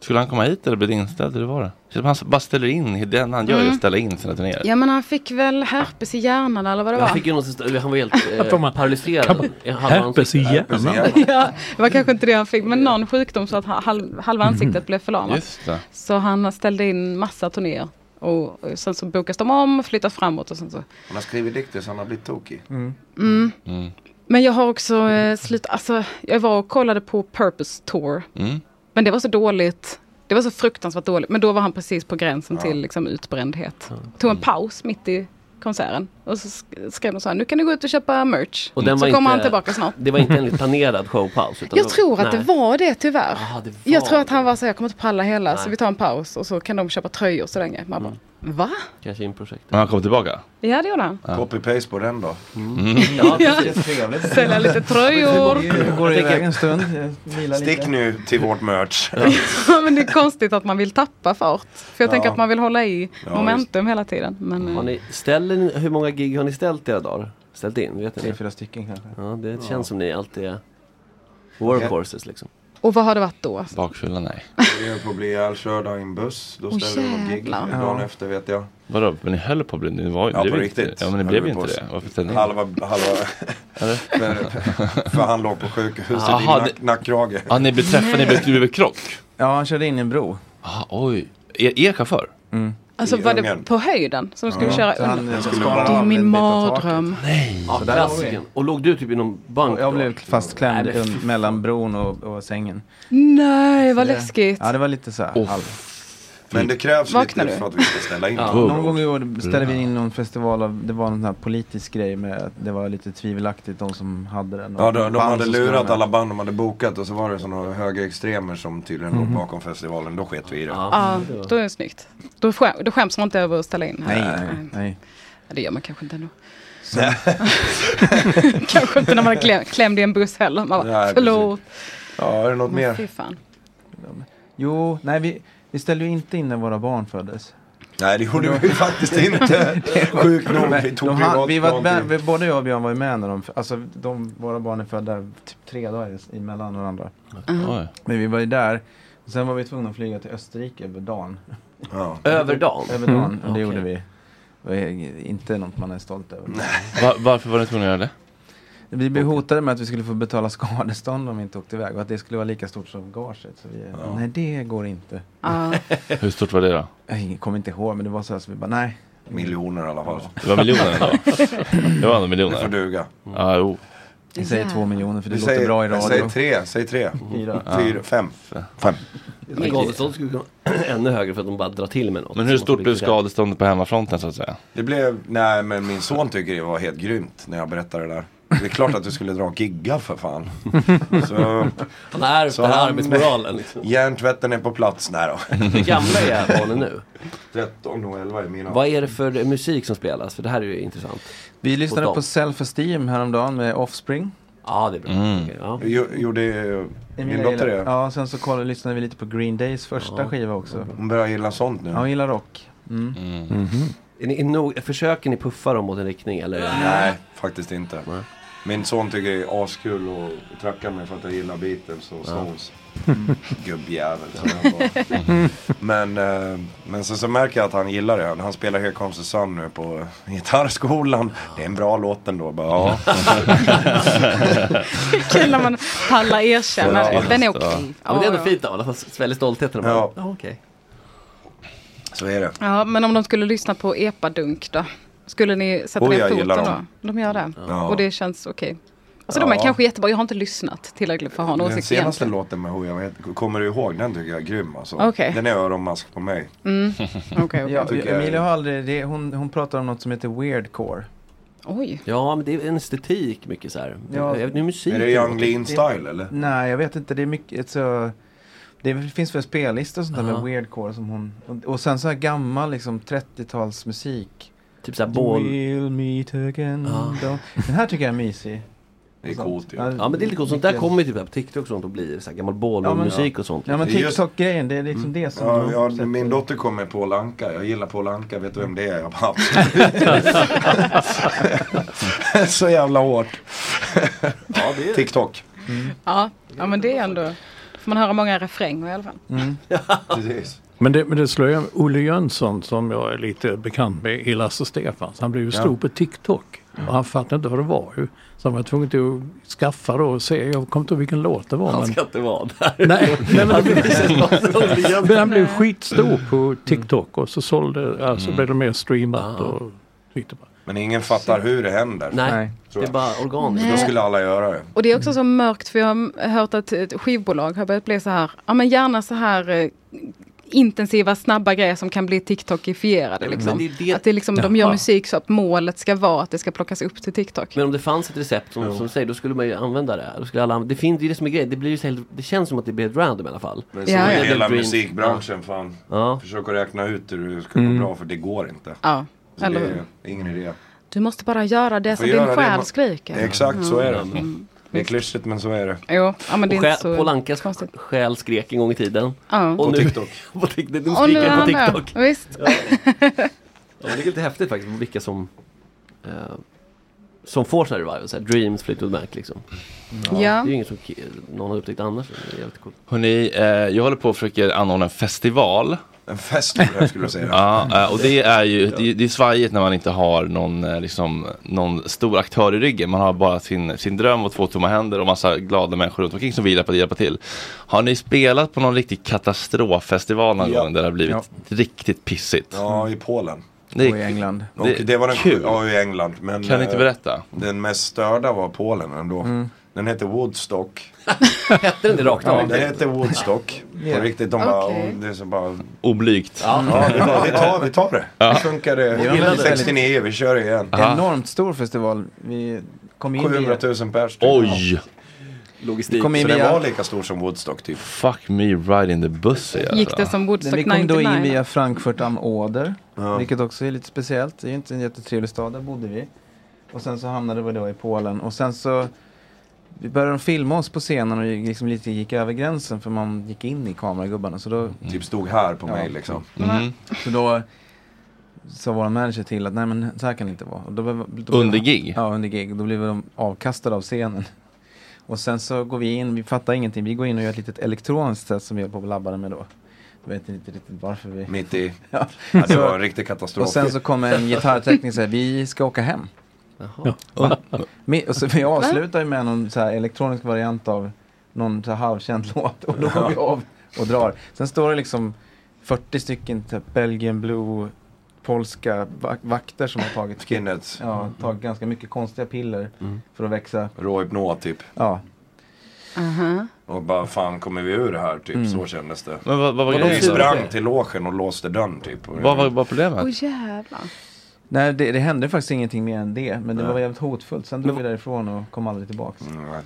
Speaker 1: Skulle han komma hit eller blev det inställt? Hur var det? Så Han bara ställer in, det enda han gör är
Speaker 7: Mm.
Speaker 1: att ställa in sina turnéer.
Speaker 7: Ja men han fick väl herpes i hjärnan eller vad det var?
Speaker 2: Han fick ju någonstans, eller han var helt
Speaker 7: Vad får
Speaker 2: eh,
Speaker 7: man-
Speaker 2: paralyserad. Han hade
Speaker 9: herpes i
Speaker 2: ansikte-
Speaker 9: hjärnan?
Speaker 7: ja, det var kanske inte det han fick, men någon sjukdom så att ha- halv, halva ansiktet
Speaker 2: Mhm.
Speaker 7: blev förlamat.
Speaker 2: Just det.
Speaker 7: Så han ställde in massa turnéer. Och och sen så bokas de om, flyttas framåt och sen så.
Speaker 19: Han har skrivit dikter så han har blivit tokig.
Speaker 7: Mm.
Speaker 1: Mm.
Speaker 7: Men jag har också eh, slutat, alltså jag var och kollade på Purpose Tour.
Speaker 1: Mm.
Speaker 7: Men det var så dåligt, det var så fruktansvärt dåligt. Men då var han precis på gränsen
Speaker 2: Ja.
Speaker 7: till liksom utbrändhet. Tog en paus mitt i konserten och så sk- skrev de så här, nu kan du gå ut och köpa merch.
Speaker 2: Och den
Speaker 7: så
Speaker 2: var
Speaker 7: kommer han
Speaker 2: inte-
Speaker 7: tillbaka snart.
Speaker 2: Det var inte en planerad showpaus. utan
Speaker 7: Jag
Speaker 2: det var-
Speaker 7: tror att
Speaker 2: nej.
Speaker 7: det var det tyvärr.
Speaker 2: Ah, det var
Speaker 7: Jag tror att han var så här, jag kommer inte palla hela
Speaker 2: Nej. Mm.
Speaker 7: så vi tar en paus och så kan de köpa tröjor så länge. Man bara, va?
Speaker 2: Kanske in projekt.
Speaker 1: Men han kom tillbaka? Mm.
Speaker 7: Ja det gjorde han.
Speaker 19: Copy-paste på den då. Mm.
Speaker 2: Ja,
Speaker 7: Sälja lite tröjor.
Speaker 20: Går iväg en stund.
Speaker 19: Stick nu till vårt merch.
Speaker 7: Ja, men det är konstigt att man vill tappa fart. För jag
Speaker 2: Ja.
Speaker 7: tänker att man vill hålla i
Speaker 2: Ja,
Speaker 7: momentum hela tiden. Men, eh,
Speaker 2: Har ni, ställer, ni- hur många gig har ni ställt era dagar? Ställt in? Vet ni? Tre, fyra
Speaker 20: stycken kanske.
Speaker 2: Ja, det känns som ni alltid är workhorses liksom.
Speaker 7: eh, Och vad har det varit då?
Speaker 1: Bakfylla, nej.
Speaker 19: Jag får bli ihjälkörd av en buss. Då
Speaker 7: Åh,
Speaker 19: ställer vi något gig
Speaker 7: jävlar.
Speaker 19: dagen
Speaker 1: Ja.
Speaker 19: efter vet jag.
Speaker 1: Vadå, men ni höll på att bli, ni var ju
Speaker 19: Ja,
Speaker 1: det
Speaker 19: på
Speaker 1: blev inte-
Speaker 19: riktigt.
Speaker 1: Ja men det
Speaker 19: Höll
Speaker 1: blev
Speaker 19: vi
Speaker 1: ju
Speaker 19: på
Speaker 1: inte
Speaker 19: oss.
Speaker 1: det. Varför ställde ni in?
Speaker 19: Halva, halva. för, för han låg på sjukhuset
Speaker 1: Aha,
Speaker 19: i nack,
Speaker 1: det-
Speaker 19: nackkrage.
Speaker 1: Ja, ni blev träffade, ni blev, du blev krock?
Speaker 20: Ja, han körde in i en bro. Mm.
Speaker 1: Ah, oj. Er, er chaufför?
Speaker 7: Alltså var det på höjden som de skulle
Speaker 2: Ja.
Speaker 7: köra
Speaker 2: Så han-
Speaker 7: under?
Speaker 2: han skulle bara
Speaker 7: Det är
Speaker 2: av en
Speaker 7: min
Speaker 2: bit av
Speaker 7: mardröm.
Speaker 2: Nej. Ja,
Speaker 20: Så där
Speaker 2: klassiken.
Speaker 20: var
Speaker 2: Och låg du typ i någon bank
Speaker 20: Jag
Speaker 2: då?
Speaker 20: blev fastklämd
Speaker 2: Nej, men fy
Speaker 20: un- mellan bron och, och sängen.
Speaker 7: Nej, vad
Speaker 20: Så
Speaker 2: Alltså,
Speaker 20: det-
Speaker 7: läskigt.
Speaker 20: Ja, det var lite så här.
Speaker 19: Oh.
Speaker 20: halv.
Speaker 19: Men det krävs
Speaker 7: Vaknar
Speaker 19: lite
Speaker 7: du?
Speaker 19: för att vi ska ställa in.
Speaker 20: Ja, någon gång i år ställde vi in någon festival, av, det var någon sån här politisk grej med att det var lite tvivelaktigt de som hade den.
Speaker 19: Ja, de, de
Speaker 20: Band
Speaker 19: hade
Speaker 20: som skulle
Speaker 19: lurat
Speaker 20: med.
Speaker 19: alla band de hade bokat och så var det sådana högerextremer som tydligen
Speaker 20: Mhm.
Speaker 19: låg bakom festivalen. Då sket vi i det.
Speaker 7: Ja, då är det snyggt. Då, skäm, då skäms man inte över att ställa in.
Speaker 19: Nej, nej,
Speaker 20: nej.
Speaker 7: Ja, det gör man kanske inte ändå. kanske inte när man är klä, klämd i en buss heller. Man bara,
Speaker 20: Nej,
Speaker 7: förlåt.
Speaker 19: Ja, är det något
Speaker 7: Men
Speaker 20: mer?
Speaker 7: Fy fan.
Speaker 20: Jo, nej vi, vi ställde ju inte in när våra barn föddes.
Speaker 19: Nej, det gjorde vi faktiskt inte. Sjukt nog, vi tog
Speaker 20: de
Speaker 19: privat
Speaker 20: hann, vi var
Speaker 19: plan
Speaker 20: med,
Speaker 19: till-
Speaker 20: vi, Både jag och Björn var ju med när de, alltså de, våra barn är födda typ tre dagar is- emellan varandra.
Speaker 2: Mhm. Oj.
Speaker 20: Men vi var ju där. Och sen var vi tvungna att flyga till Österrike över dagen.
Speaker 2: Över dagen?
Speaker 20: Över dagen,
Speaker 2: Mm.
Speaker 20: och det
Speaker 2: Okej.
Speaker 20: gjorde vi. Det var inte något man är stolt över.
Speaker 1: Va- varför var ni tvungna att göra det?
Speaker 20: Vi blev hotade med att vi skulle få betala skadestånd om vi inte åkte iväg och att det skulle vara lika stort som gaget. Så vi, Nej, det går inte.
Speaker 7: Ja.
Speaker 1: Hur stort var det då?
Speaker 20: Jag kommer inte ihåg, men det var så här så vi bara, nej.
Speaker 19: Miljoner i alla fall.
Speaker 1: Det var miljoner ändå. Det var ändå miljoner. Mm.
Speaker 19: Det får duga.
Speaker 1: Ja, jo.
Speaker 20: Vi säger två miljoner för det
Speaker 19: Vi
Speaker 20: låter
Speaker 19: säger-
Speaker 20: bra i radio.
Speaker 19: Säg tre, säg tre.
Speaker 20: Fyra.
Speaker 19: Fyra, fem. Fem.
Speaker 2: Men Gavelstånd skulle kunna ännu högre för att de bara drar till med något.
Speaker 1: Men hur
Speaker 2: Så man
Speaker 1: stort
Speaker 2: får
Speaker 1: blev
Speaker 2: lite-
Speaker 1: skadeståndet på hemmafronten så att säga?
Speaker 19: Det blev, nej men min son tycker det var helt grymt när jag berättade det där. Det är klart att du skulle dra gigga för fan. Så,
Speaker 2: Han har ärvt den här arbetsmoralen, liksom.
Speaker 19: Hjärntvätten är på plats. Nej då.
Speaker 2: Hur gamla är barnen nu?
Speaker 19: 13 och 11 är mina.
Speaker 2: Vad är det för eh, musik som spelas? För det här är ju intressant.
Speaker 20: Vi lyssnade
Speaker 2: Hos
Speaker 20: på
Speaker 2: dem.
Speaker 20: Self-Esteem häromdagen med Offspring.
Speaker 2: Ja, det är bra.
Speaker 1: Mm.
Speaker 2: Okej, ja.
Speaker 19: Gjorde min
Speaker 20: Emilia
Speaker 19: dotter det?
Speaker 20: gillar- Ja, sen så kollade, lyssnade vi lite på Green Days första skiva också.
Speaker 19: Hon börjar gilla sånt nu.
Speaker 20: Ja, hon gillar rock. Mm.
Speaker 2: Är ni, är nog, försöker ni puffa dem mot en riktning eller?
Speaker 19: Nej, faktiskt inte. Min son tycker det är askul och trackar mig för att jag gillar Beatles och Stones. Gubbjävel. som jag var. men, eh, men sen så märker jag att han gillar det. Han spelar Here Comes the Sun nu på gitarrskolan. Det är en bra låt ändå. Bara, ja.
Speaker 7: Kul när man pallar erkänna det. Den är okej.
Speaker 2: Ja, men det är
Speaker 7: Ja,
Speaker 2: ändå fint av honom. Han sväljer stoltheten. Ja. ja okej.
Speaker 19: Så är det.
Speaker 7: Ja, men om de skulle lyssna på epadunk då? Skulle ni sätta
Speaker 19: Oj,
Speaker 7: ner
Speaker 19: jag
Speaker 7: foten
Speaker 19: gillar
Speaker 7: då?
Speaker 19: dem.
Speaker 7: De gör det?
Speaker 19: Ja.
Speaker 7: Och det känns okej? Alltså de
Speaker 19: Ja.
Speaker 7: är kanske jättebra. Jag har inte lyssnat tillräckligt för att ha en
Speaker 19: Den
Speaker 7: åsikt
Speaker 19: senaste
Speaker 7: egentligen.
Speaker 19: låten med Who jag vet, kommer du ihåg? Den tycker jag är grym alltså.
Speaker 7: Okej.
Speaker 19: Den är öronmask på mig.
Speaker 7: Mm. Okej,
Speaker 20: Ja,
Speaker 19: Tycker jag är-
Speaker 20: Emilia har aldrig, det, hon, hon pratar om något som heter weirdcore.
Speaker 7: Oj.
Speaker 2: Ja, men det är en estetik mycket så här.
Speaker 20: Ja.
Speaker 2: Jag vet, nu musik.
Speaker 20: Nej, jag vet inte. Det är mycket så... Det finns väl spellistor och sånt där
Speaker 2: Aha.
Speaker 20: med weirdcore som hon... Och, och sen så här gammal liksom 30-talsmusik.
Speaker 2: Typ så här Ball-
Speaker 20: We'll meet again.
Speaker 2: Ja.
Speaker 20: Don't- Den här tycker jag är mysig.
Speaker 1: Det är coolt ju.
Speaker 5: Ja men det är lite coolt. Sånt där kommer ju typ här på TikTok och sånt och blir så här gammal Bollywood-musik och sånt.
Speaker 19: Ja, men
Speaker 5: liksom.
Speaker 19: TikTok-grejen,
Speaker 20: det är liksom det som...
Speaker 19: Mm. Ja, ja, min dotter kom med Paul Anka. Jag gillar Paul Anka. Vet du vem det är? Jag bara... Så jävla hårt. ja, det Mm. är... TikTok.
Speaker 7: Ja, ja men det är ändå... Får man höra många refränger i alla fall.
Speaker 9: Mm.
Speaker 19: Precis.
Speaker 9: Men det, men det slår jag Olle Jönsson som jag är lite bekant med i Lasse Stefans. Han blev ju
Speaker 19: Ja.
Speaker 9: stor på TikTok. Och han fattade inte vad det var ju. Så han var tvungen till att skaffa då och se. Jag kommer inte ihåg vilken låt det var.
Speaker 5: Han
Speaker 9: men-
Speaker 5: ska inte vara
Speaker 9: Nej,
Speaker 5: där.
Speaker 9: nej men,
Speaker 5: Han
Speaker 9: han
Speaker 5: blir
Speaker 9: blev,
Speaker 5: så rolig.
Speaker 9: men han blev skitstor
Speaker 5: Mm.
Speaker 9: på TikTok och så sålde, alltså blev det mer
Speaker 5: Ah.
Speaker 9: streamat. Och,
Speaker 19: Men ingen fattar hur det händer.
Speaker 9: Nej, Nej.
Speaker 19: Tror
Speaker 9: det är
Speaker 19: jag.
Speaker 9: bara
Speaker 7: organiskt.
Speaker 19: Då
Speaker 7: Nej.
Speaker 19: skulle alla göra det.
Speaker 7: Och det är också så mörkt för jag har hört att ett skivbolag har börjat bli så här, ja men gärna så här eh, intensiva, snabba grejer som kan bli TikTokifierade.
Speaker 5: men
Speaker 7: Liksom.
Speaker 5: det är det-
Speaker 7: Att det är liksom, de
Speaker 5: Ja.
Speaker 7: gör musik så att målet ska vara att det ska plockas upp till TikTok.
Speaker 5: Men om det fanns ett recept som, som du säger, då skulle man ju använda det. Då skulle alla, använda- det, finns, det är det som är grejen. Det, blir ju så helt, det känns som att det blir helt random i alla fall.
Speaker 19: Men så är hela musikbranschen fan. Försök att räkna ut hur det ska gå
Speaker 5: Mm.
Speaker 19: bra för det går inte.
Speaker 7: Ja,
Speaker 19: Så
Speaker 7: eller
Speaker 19: det
Speaker 7: hur?
Speaker 19: är ingen idé.
Speaker 7: Du måste bara göra det
Speaker 19: Får
Speaker 7: som din
Speaker 19: göra det
Speaker 7: själ
Speaker 19: man-
Speaker 7: skriker.
Speaker 19: Exakt, så är det.
Speaker 7: Mm.
Speaker 19: Det är klyschigt men så är det.
Speaker 7: Jo, ja, men det är
Speaker 5: och själ,
Speaker 7: inte så
Speaker 5: Paul Ankas själ skrek en gång i tiden.
Speaker 7: Ja.
Speaker 19: På TikTok.
Speaker 5: på TikTok. De
Speaker 7: Och nu är
Speaker 5: skriker på
Speaker 7: han med.
Speaker 5: TikTok.
Speaker 7: Visst.
Speaker 5: Ja, men det är lite häftigt faktiskt vilka som eh, som får sådana revival, såhär Dreams, Fleetwood Mac liksom.
Speaker 7: Ja.
Speaker 5: Det är ju inget som ki- någon har upptäckt annars. Det är jävligt coolt.
Speaker 1: Hörrni, eh, jag håller på och försöker anordna en festival.
Speaker 19: En festival skulle jag säga.
Speaker 1: ja, eh, och det är ju det, det är svajigt när man inte har någon, eh, liksom, någon stor aktör i ryggen. Man har bara sin, sin dröm och två tomma händer och massa glada människor runt omkring som vill hjälpa, hjälpa till. Har ni spelat på någon riktig katastroffestival någon
Speaker 19: Ja.
Speaker 1: gång där det har blivit
Speaker 19: Ja.
Speaker 1: riktigt pissigt?
Speaker 19: Ja, i Polen.
Speaker 1: Det- Och i England.
Speaker 19: Och
Speaker 1: det-
Speaker 19: det, var den
Speaker 1: kul.
Speaker 19: Ja, i England. Men,
Speaker 1: Kan ni inte
Speaker 19: eh,
Speaker 1: berätta?
Speaker 19: Den mest störda var Polen ändå.
Speaker 1: Mm.
Speaker 19: Den hette Woodstock.
Speaker 5: hette den det rakt
Speaker 19: Ja,
Speaker 5: av?
Speaker 19: den hette Woodstock.
Speaker 5: Ja.
Speaker 19: På riktigt, de bara,
Speaker 5: Okej.
Speaker 19: det är så bara...
Speaker 1: Oblygt.
Speaker 19: Ja, det är bara, vi, tar, vi tar det.
Speaker 20: Ja.
Speaker 19: Det funkade
Speaker 20: Vi gillade det.
Speaker 19: 69, vi kör igen.
Speaker 20: Enormt stor festival. Vi kom in
Speaker 19: 700
Speaker 20: i...
Speaker 19: 000 pers. typ.
Speaker 1: Oj!
Speaker 20: Logistik.
Speaker 19: Så
Speaker 20: Kom in
Speaker 19: den
Speaker 20: via-
Speaker 19: var lika stor som Woodstock typ.
Speaker 1: Fuck me right in the pussy.
Speaker 7: Gick det som Woodstock
Speaker 20: Vi kom då
Speaker 7: 99?
Speaker 20: in via Frankfurt am Oder, vilket också är lite speciellt. Det är ju inte en jättetrevlig stad, där bodde vi. Och sen så hamnade vi då i Polen och sen så vi började de filma oss på scenen och liksom lite gick över gränsen för man gick in i kameragubbarna. Så då,
Speaker 19: Typ stod här på mig, liksom. Mm.
Speaker 20: Så då sa vår manager till att nej men så här kan det inte vara. Och då, blev- då,
Speaker 1: Under gig?
Speaker 20: Ja, under gig. Då blev de avkastade av scenen. Och sen så går vi in, vi fattar ingenting. Vi går in och gör ett litet elektroniskt test som vi höll på och labbade med då. Jag vet inte riktigt varför vi...
Speaker 19: Mitt i. Ja, det var en riktig katastrof.
Speaker 20: Och sen så kom en gitarrtekniker och sa vi ska åka hem. Va? Men- Och så vi avslutar ju med någon så här elektronisk variant av någon så här halvkänd låt och då går vi av och drar. Sen står det liksom 40 stycken typ Belgian Blue polska vak- vakter som har tagit
Speaker 19: Skinheads.
Speaker 20: Ja, tagit ganska mycket konstiga piller
Speaker 5: Mm.
Speaker 20: för att växa.
Speaker 19: Råhypnot typ.
Speaker 20: Ja.
Speaker 19: Och bara fan kommer vi ur det här typ, så kändes det.
Speaker 1: Men vad- vad var
Speaker 19: och de
Speaker 1: grejen?
Speaker 19: sprang till logen och låste dörren typ.
Speaker 1: Vad var var problemet?
Speaker 7: Åh jävlar.
Speaker 20: Nej, det, det hände faktiskt ingenting mer än det. Men det
Speaker 5: Nej.
Speaker 20: var jävligt hotfullt. Sen drog vi därifrån och kom aldrig tillbaka.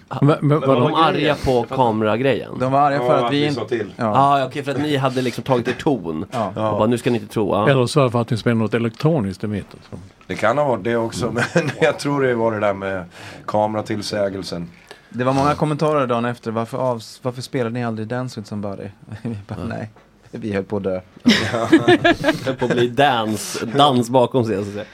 Speaker 5: Ah, Men- men var de arga på
Speaker 20: kameragrejen? De var arga för att vi
Speaker 5: sa
Speaker 20: inte...
Speaker 5: Ja,
Speaker 20: Ja.
Speaker 5: okej för att ni hade liksom tagit er ton.
Speaker 20: Ja.
Speaker 5: Och bara nu ska ni inte tro. Ja.
Speaker 9: Eller så var det för att ni spelade något elektroniskt i mitten.
Speaker 19: Det kan ha varit det också men jag tror det var det där med kameratillsägelsen.
Speaker 20: Det var många kommentarer dagen efter. Varför, avs- varför spelade ni aldrig Dance with somebody? vi bara, nej. Vi höll på att dö.
Speaker 5: Höll på att bli dans, dans bakom sig. Så att säga.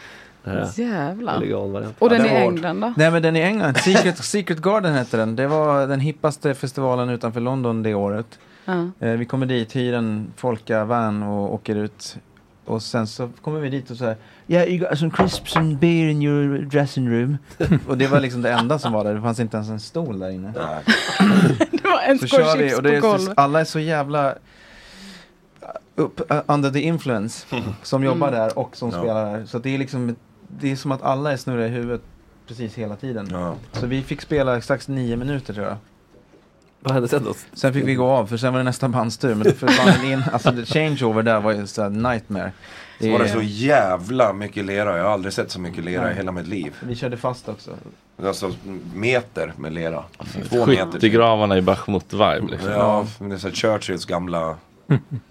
Speaker 5: Det här är
Speaker 7: Jävlar.
Speaker 5: illegal variant.
Speaker 7: Och den i England då?
Speaker 20: Nej men den i England, Secret, Secret Garden hette den. Det var den hippaste festivalen utanför London det året.
Speaker 7: Ja.
Speaker 20: Eh, vi kommer dit, hyr en folkavan och åker ut. Och sen så kommer vi dit och så här, yeah you got some crisps and beer in your dressing room. och det var liksom det enda som var där, det fanns inte ens en stol där inne.
Speaker 7: Det var en
Speaker 20: så
Speaker 7: skål
Speaker 20: kör vi
Speaker 7: chips
Speaker 20: och det
Speaker 7: på
Speaker 20: är så,
Speaker 7: golvet.
Speaker 20: alla är så jävla upp, uh, under the influence som jobbar
Speaker 7: Mm.
Speaker 20: där och som
Speaker 19: Ja.
Speaker 20: spelar där. Så att det är liksom, det är som att alla är snurriga i huvudet precis hela tiden. Så vi fick spela exakt nio minuter tror jag.
Speaker 5: Vad hände sen då?
Speaker 20: Sen fick vi gå av för sen var det nästa bandstur. Men då föll banden in, alltså the changeover där var ju så här nightmare.
Speaker 19: Det var det så jävla mycket lera. Jag har aldrig sett så mycket lera i
Speaker 20: Nej.
Speaker 19: hela mitt liv.
Speaker 20: Vi körde fast också.
Speaker 19: Alltså meter med lera.
Speaker 5: Alltså,
Speaker 19: Två meter.
Speaker 1: Skyttegravarna i Bachmut-vibe liksom.
Speaker 19: Ja, men det är så här Churchills gamla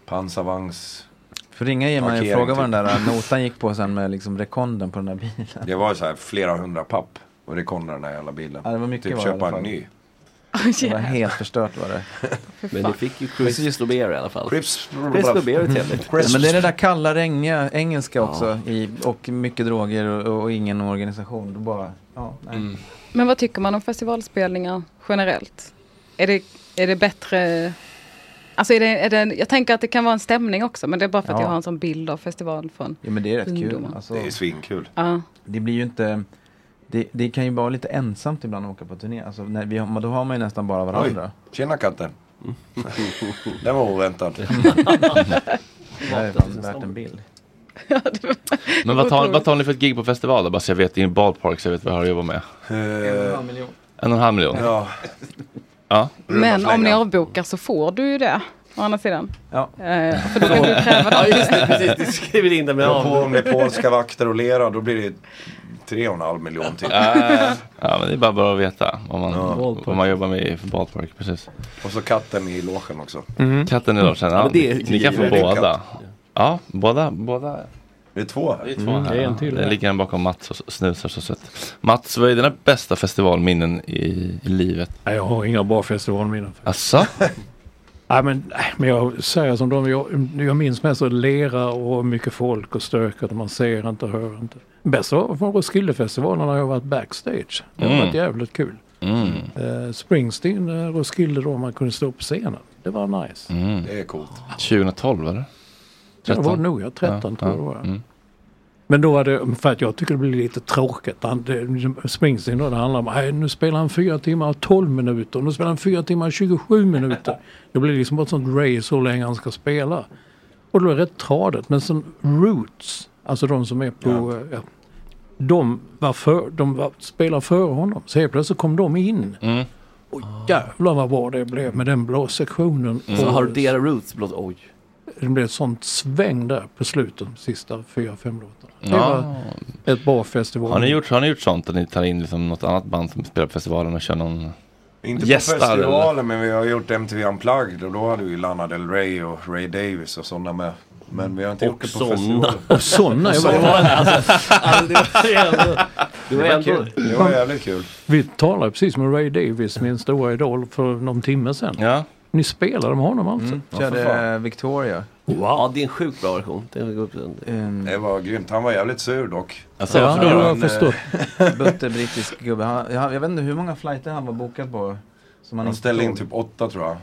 Speaker 19: pansarvagns...
Speaker 20: Får ringa Jim och
Speaker 19: Markering,
Speaker 20: fråga vad den äh,
Speaker 19: typ.
Speaker 20: där notan gick på sen med liksom rekonden på den där bilen.
Speaker 19: Det var så här flera hundra papp. Och det kom den här jävla bilen.
Speaker 20: Ja, det var mycket
Speaker 19: typ
Speaker 20: var det i alla
Speaker 19: köpa en
Speaker 20: fall.
Speaker 19: ny.
Speaker 7: Oh,
Speaker 20: Det var helt förstört var det.
Speaker 5: Men det fick ju Chris Nober i alla fall.
Speaker 19: Chris
Speaker 5: Nober är trevligt.
Speaker 19: Mm.
Speaker 20: Ja, Men det är det där kalla, regniga engelska också. I, och mycket droger och, och ingen organisation. Då bara, ja, nej.
Speaker 19: Mm.
Speaker 7: Men vad tycker man om festivalspelningar generellt? Är det, är det bättre? Alltså är det, är det, jag tänker att det kan vara en stämning också men det är bara för att
Speaker 20: Ja.
Speaker 7: jag har en sån bild av festivalen från
Speaker 20: Ja, men det är rätt kul.
Speaker 7: ungdomar.
Speaker 20: Alltså,
Speaker 19: Det är svinkul.
Speaker 7: Ja.
Speaker 20: Det blir ju inte... Det, det kan ju vara lite ensamt ibland att åka på turné. Alltså, när vi, har- då har man ju nästan bara varandra.
Speaker 19: Oj, tjena katten. Den var oväntad.
Speaker 20: Det här är faktiskt värt en bild.
Speaker 1: Men vad tar, vad tar ni för ett gig på festival då? Bara så jag vet, i en ballpark så jag vet vad jag har att jobba med.
Speaker 19: En och
Speaker 1: Eh,
Speaker 19: en halv miljon.
Speaker 1: En och en halv miljon?
Speaker 19: Ja.
Speaker 1: Ja.
Speaker 7: Men om ni avbokar så får du ju det. Å andra sidan.
Speaker 20: Ja.
Speaker 7: Eh, för då kan du kräva
Speaker 5: Ja, just det,
Speaker 7: det.
Speaker 5: precis. Du skriver in det med
Speaker 19: Dra på om det är
Speaker 5: av.
Speaker 19: polska vakter och lera, då blir det tre och en halv miljon till.
Speaker 1: Äh, ja, men det är bara bra att veta vad man,
Speaker 19: Ja.
Speaker 1: vad man jobbar med i för ballpark. Precis.
Speaker 19: Och så katten i logen också.
Speaker 20: Mhm.
Speaker 9: Mm-hmm.
Speaker 1: Katten i logen, ja, ni, ni kan få
Speaker 19: Det är en
Speaker 1: båda.
Speaker 19: katt.
Speaker 1: Ja, båda, båda.
Speaker 19: Det är två här.
Speaker 1: Det är två
Speaker 9: Mm,
Speaker 1: här. Där ligger en bakom Mats och snusar så sött. Mats, vad är dina bästa festivalminnen i, i livet?
Speaker 9: Nej, jag har inga bra festivalminnen.
Speaker 1: Asså?
Speaker 9: Nej, men, nej, men jag säger som de, jag, jag minns mest att lera och mycket folk och stökat och man ser inte och hör inte. Bäst var från Roskildefestivalen när jag varit backstage. Det har
Speaker 1: Mm.
Speaker 9: varit jävligt kul.
Speaker 1: Mm.
Speaker 9: Eh, Springsteen, eh, Roskilde då, man kunde stå på scenen. Det var nice.
Speaker 1: Mm.
Speaker 19: Det är coolt.
Speaker 1: 2012 eller?
Speaker 9: Ja, det var
Speaker 1: 13?
Speaker 9: nog, ja, 13 tror jag det
Speaker 1: ja.
Speaker 9: var.
Speaker 1: Mm.
Speaker 9: Men då var det, för att jag tycker det blir lite tråkigt. Han, det, Springsteen då, det handlar om, "Nej, nu spelar han 4 timmar och 12 minuter, nu spelar han 4 timmar och 27 minuter. Det blir liksom bara ett sånt race hur länge han ska spela. Och då är det rätt tradigt. Men sen Roots, alltså de som är på, eh, ja. de var för, de var, spelade före honom. Så helt plötsligt kom de in.
Speaker 1: Mm.
Speaker 9: Och jävlar vad bra det blev med den blåssektionen.
Speaker 5: Mm. Så
Speaker 9: Och
Speaker 5: har du deras roots blått. Oj.
Speaker 9: det blev ett sånt sväng där på slutet, de sista fyra, fem låtarna. Det
Speaker 1: Ja.
Speaker 9: var ett bra festival.
Speaker 1: Har ni, gjort, har ni gjort sånt att ni tar in liksom något annat band som spelar på festivalen och kör någon
Speaker 19: Inte
Speaker 1: gästar,
Speaker 19: på festivalen
Speaker 1: eller?
Speaker 19: men vi har gjort MTV Unplugged och då hade vi Lana Del Rey och Ray Davis och sådana med. Men vi har inte
Speaker 5: Och
Speaker 19: gjort det på
Speaker 5: såna.
Speaker 19: festivalen.
Speaker 9: Och såna, jag bara-
Speaker 19: Det var kul. Det var jävligt kul.
Speaker 9: Vi talade precis med Ray Davis, min stora idol, för någon timme sedan. Ni spelade med honom alltså?
Speaker 20: Mm. Körde eh, Victoria.
Speaker 5: Ja, det är en sjukt bra version. Det går upp den.
Speaker 19: Det var grymt. Han var jävligt sur dock.
Speaker 20: Alltså, Ja,
Speaker 9: det har jag
Speaker 19: Men, eh,
Speaker 9: förstått.
Speaker 20: Butter brittisk gubbe. Han, jag, jag vet inte hur många flighter han var bokad på. Som han
Speaker 19: Han
Speaker 20: inte
Speaker 19: ställde in
Speaker 20: tog.
Speaker 19: typ åtta tror jag.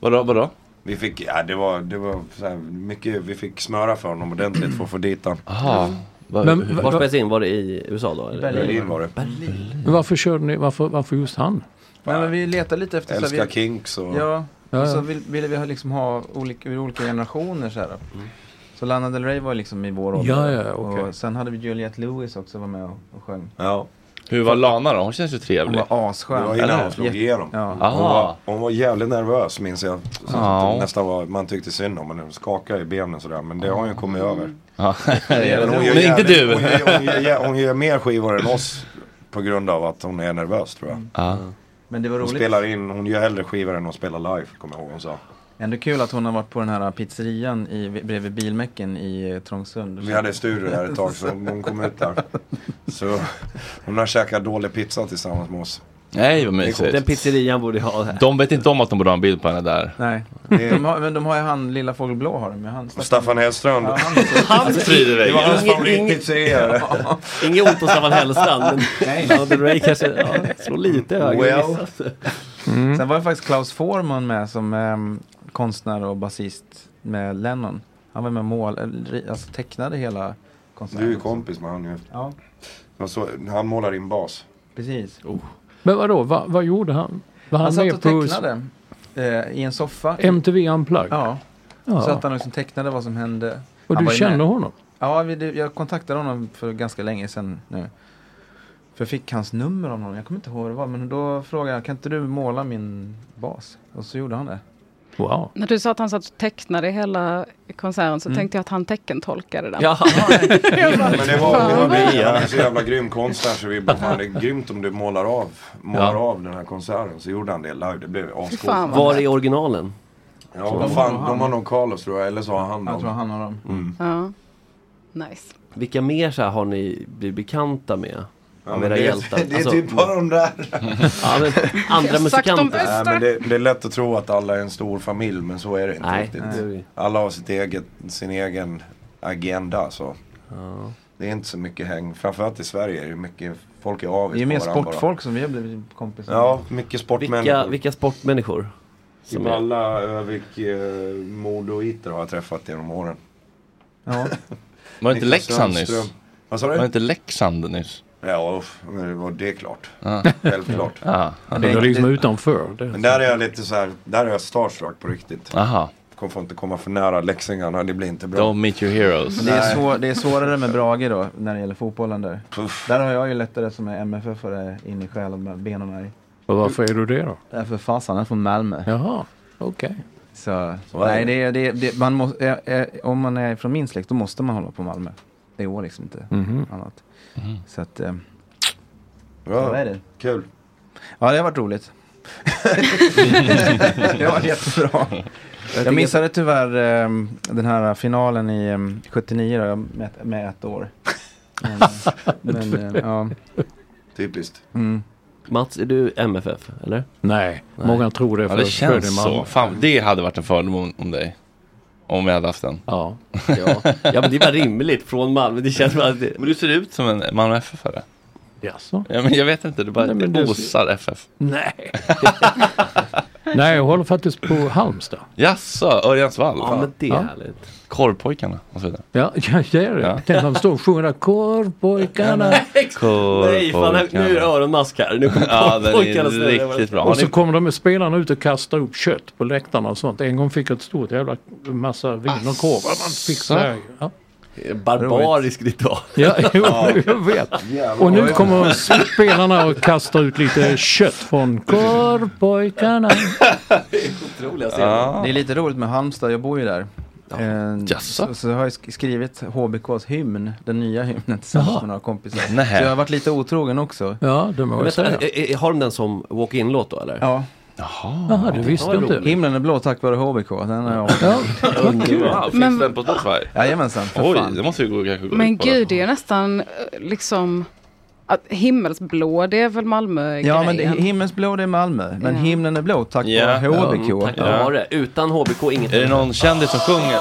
Speaker 1: Vadå, vadå?
Speaker 19: Vi fick, ja det var, det var så här, mycket, vi fick smöra för honom ordentligt för att få dit honom.
Speaker 1: Aha.
Speaker 5: Var,
Speaker 9: Men-
Speaker 5: hur- var
Speaker 9: vad-
Speaker 5: spelades det in? Var det i USA då? Eller?
Speaker 20: Berlin. Berlin
Speaker 19: var det.
Speaker 9: Men Varför körde ni, varför, varför just han?
Speaker 20: Nej, men vi letar lite efter... så här,
Speaker 19: Älskar
Speaker 20: vi,
Speaker 19: Kinks och-
Speaker 20: Ja,
Speaker 9: Ja,
Speaker 20: och
Speaker 9: ja.
Speaker 20: så vill- ville vi ha, liksom ha olika, ur olika generationer så här.
Speaker 19: Mm.
Speaker 20: Så Lana Del Rey var liksom i vår ålder.
Speaker 9: Ja, ja, okej.
Speaker 20: Och sen hade vi Juliette Lewis också var med och, och sjöng.
Speaker 19: Ja.
Speaker 1: Hur var Lana då? Hon känns ju trevlig.
Speaker 20: Hon var asskön.
Speaker 19: Det var innan
Speaker 20: Eller
Speaker 19: hon
Speaker 20: hur?
Speaker 19: slog
Speaker 20: Jätte-
Speaker 19: igenom.
Speaker 20: Ja.
Speaker 19: Hon,
Speaker 1: Aha.
Speaker 19: var, hon var jävligt nervös minns jag. Så att
Speaker 1: Ja.
Speaker 19: det Nästan var, man tyckte synd om henne. Hon skakade i benen sådär. Men det har hon kommit över.
Speaker 1: Ja.
Speaker 19: Men hon
Speaker 1: Men
Speaker 19: gör
Speaker 1: inte
Speaker 19: jävligt-
Speaker 1: du.
Speaker 19: Hon gör, hon, gör, jä- hon gör mer skivor än oss. På grund av att hon är nervös tror
Speaker 1: Mm.
Speaker 19: jag.
Speaker 20: Men det var
Speaker 19: Hon
Speaker 20: roligt.
Speaker 19: spelar in, hon gör hellre skivor än hon spelar live. Kommer jag ihåg hon sa.
Speaker 20: Ändå kul att hon har varit på den här pizzerian i, bredvid bilmäcken i eh, Trångsund.
Speaker 19: Vi hade studio där ett tag så hon kom ut där. Så hon har käkat dålig pizza tillsammans med oss.
Speaker 1: Nej, vad
Speaker 19: Det är
Speaker 1: mysigt.
Speaker 19: coolt. Den
Speaker 5: pizzerian borde ha det här.
Speaker 1: De vet inte om att de borde ha en bild på henne där.
Speaker 20: Nej.
Speaker 1: Det-
Speaker 20: De har, men de har ju han, Lilla Fågel Blå har de ju. Han,
Speaker 19: Och Staffan Hellström.
Speaker 20: Ja, han- Han sprider dig.
Speaker 19: Det var hans
Speaker 20: Ingen-
Speaker 19: favoritpizzeria.
Speaker 20: Ja.
Speaker 5: Inget ont om Staffan Hellstrand. men
Speaker 20: Nej.
Speaker 5: Lana Del Rey kanske ja, slår lite högre.
Speaker 20: Well.
Speaker 5: Missas.
Speaker 20: Sen var ju faktiskt Klaus Forman med som ehm, konstnär och basist med Lennon. Han var med och mål, eller ri- alltså tecknade hela konserten.
Speaker 19: Du är ju kompis med han ju.
Speaker 20: Ja.
Speaker 19: Jag Så, han målar in bas.
Speaker 20: Precis.
Speaker 9: Men vadå, vad, vad gjorde han? Var
Speaker 20: Han,
Speaker 9: han,
Speaker 20: satt
Speaker 9: med
Speaker 20: och
Speaker 9: på
Speaker 20: tecknade eh, i en soffa.
Speaker 9: MTV Unplugged?
Speaker 20: Ja.
Speaker 9: Ja.
Speaker 20: Så att han liksom tecknade vad som hände.
Speaker 9: Och
Speaker 20: han
Speaker 9: du
Speaker 20: var ju
Speaker 9: känner honom?
Speaker 20: Ja, vi, det- jag kontaktade honom för ganska länge sedan nu. För jag fick hans nummer av någon, jag kommer inte ihåg vad det var, men då frågade jag, kan inte du måla min bas? Och så gjorde han det.
Speaker 9: Wow.
Speaker 7: När du sa att han satt och tecknade hela konserten så
Speaker 20: Mm.
Speaker 7: tänkte jag att han teckentolkade den.
Speaker 20: Ja.
Speaker 7: Jag bara,
Speaker 19: Men det var, det var
Speaker 7: fan, vad-
Speaker 19: vi. Han är så jävla grym konstnär så vi bara, fan det är grymt om du målar av, målar
Speaker 5: Ja.
Speaker 19: av den här konserten. Så gjorde han det live, det blev ascoolt.
Speaker 7: fan, vad
Speaker 5: Var är originalen?
Speaker 19: Ja, vad fan, de har nog Carlos tror jag, eller så har han
Speaker 20: Jag
Speaker 19: dem.
Speaker 20: tror han har dem.
Speaker 7: Ja. Nice.
Speaker 5: Vilka mer så här har ni blivit bekanta med? Av
Speaker 19: men
Speaker 5: era
Speaker 19: det,
Speaker 5: hjältar. Alltså-
Speaker 19: Det är typ bara de där. Nej, men det, det är lätt att tro att alla är en stor familj men så är det inte
Speaker 5: Nej,
Speaker 19: riktigt.
Speaker 5: nej. Nej.
Speaker 19: Alla har sitt eget, sin egen agenda. Så. Det är inte så mycket häng. Framförallt i Sverige är det mycket, folk är avis
Speaker 20: Det är mer
Speaker 19: på varandra bara.
Speaker 20: sportfolk som vi har blivit kompisar
Speaker 19: Ja, mycket sportmänniskor.
Speaker 5: Vilka, vilka sportmänniskor?
Speaker 19: Som
Speaker 5: Som är,
Speaker 19: alla Övik, eh, Modo och Iter har jag träffat genom åren.
Speaker 20: Ja.
Speaker 1: Var det inte
Speaker 19: Niklas
Speaker 1: Leksand
Speaker 19: Sandström.
Speaker 1: nyss?
Speaker 19: Vad sa du?
Speaker 1: Var det inte Leksand nyss?
Speaker 19: Ja, uff, men det var det är klart.
Speaker 1: Ja.
Speaker 19: Självklart.
Speaker 1: Ja. Ja,
Speaker 9: det är liksom utanför. Det är
Speaker 19: Men där är jag lite så här, där är jag starstruck på riktigt.
Speaker 1: Aha.
Speaker 19: Kom, får inte komma för nära Leksingarna, det blir inte bra.
Speaker 1: Don't meet your heroes.
Speaker 19: Nej.
Speaker 20: Men Det är, svår, det är svårare med Brage då, när det gäller fotbollen där. Där har jag ju lättare som är MFF-are in i själ och ben och märg.
Speaker 9: Och varför är du det då?
Speaker 20: Därför fasen, han är från Malmö.
Speaker 9: Jaha, okej.
Speaker 20: Så,
Speaker 9: är
Speaker 20: nej,
Speaker 9: det.
Speaker 20: det, är- det, är- det, man måste, eh, eh, om man är från min släkt, då måste man hålla på Malmö. Det går liksom inte
Speaker 9: Mhm.
Speaker 20: annat.
Speaker 9: Mhm.
Speaker 20: Så att, eh,
Speaker 19: Ja,
Speaker 20: så är det.
Speaker 19: Kul.
Speaker 20: Ja, det har varit roligt. det var jättebra. Jag missade tyvärr ehm, den här finalen i ehm, 79 då, jag med, med ett år. Men, men, eh, ja.
Speaker 19: Typiskt.
Speaker 20: Mm.
Speaker 5: Mats, är du MFF? Eller?
Speaker 9: Nej, många tror det.
Speaker 1: Ja, det
Speaker 9: för- för
Speaker 1: känns
Speaker 9: är Malmö.
Speaker 1: så. Fan, det hade varit en fördom om- om dig. Om jag hade haft den.
Speaker 9: Ja.
Speaker 5: ja. ja, men det är väl rimligt från Malmö. Det känns som att det...
Speaker 1: Men du ser ut som en Malmö FF-are.
Speaker 9: Jaså?
Speaker 1: Ja, men jag vet inte, du bara
Speaker 9: Nej,
Speaker 1: Nej,
Speaker 9: men du ser-
Speaker 1: osar FF.
Speaker 9: Nej. Nej, jag håller faktiskt på Halmstad.
Speaker 1: Jaså, Örjansvall?
Speaker 9: Ja, men det är
Speaker 1: Ja.
Speaker 9: härligt.
Speaker 1: Korvpojkarna och så vidare.
Speaker 9: Ja, jag gör det.
Speaker 1: Ja.
Speaker 9: Den De står och sjunger korvpojkarna.
Speaker 5: Nej, fan, nu är det öronmask här. Nu kommer
Speaker 1: Ja, den är
Speaker 5: pojkarna snurra.
Speaker 1: riktigt bra.
Speaker 9: Och
Speaker 1: Har
Speaker 9: så
Speaker 1: ni-
Speaker 9: kommer de med spelarna ut och kastar upp kött på läktarna och sånt. En gång fick jag ett stort jävla massa vin och korv. Man fick så här. Ja.
Speaker 5: Barbarisk ritual.
Speaker 9: Ja, jo, jag vet. Och nu kommer spelarna och kastar ut lite kött från korvpojkarna.
Speaker 5: Otroliga
Speaker 1: Ja.
Speaker 20: Det är lite roligt med Halmstad, jag bor ju där. Eh, så, så jag har jag sk- skrivit HBKs hymn, den nya hymnen tillsammans
Speaker 5: Jaha.
Speaker 20: med några kompisar.
Speaker 5: Nej.
Speaker 20: Så jag har varit lite otrogen också.
Speaker 5: Vänta, eh, eh, Har de den som walk-in låt då eller?
Speaker 20: Ja.
Speaker 5: Jaha.
Speaker 9: Jaha, det visste jag inte.
Speaker 20: Himlen är blå tack vare HBK. Den har jag
Speaker 1: Underbart. Finns den på Spotify?
Speaker 20: Jajamensan, för
Speaker 1: Oj,
Speaker 20: fan.
Speaker 1: det måste ju gå kanske gå
Speaker 7: Men
Speaker 1: ut på det.
Speaker 7: gud, det är ju nästan eh, liksom att himmelsblå, det är väl Malmö-grejen?
Speaker 20: Ja men det, himlens blå det är Malmö, men
Speaker 7: Ja.
Speaker 20: himlen är blå tack
Speaker 1: Ja.
Speaker 20: vare HBK.
Speaker 5: Mm, tack vare. Utan HBK inget.
Speaker 1: Är det någon kändis som sjunger?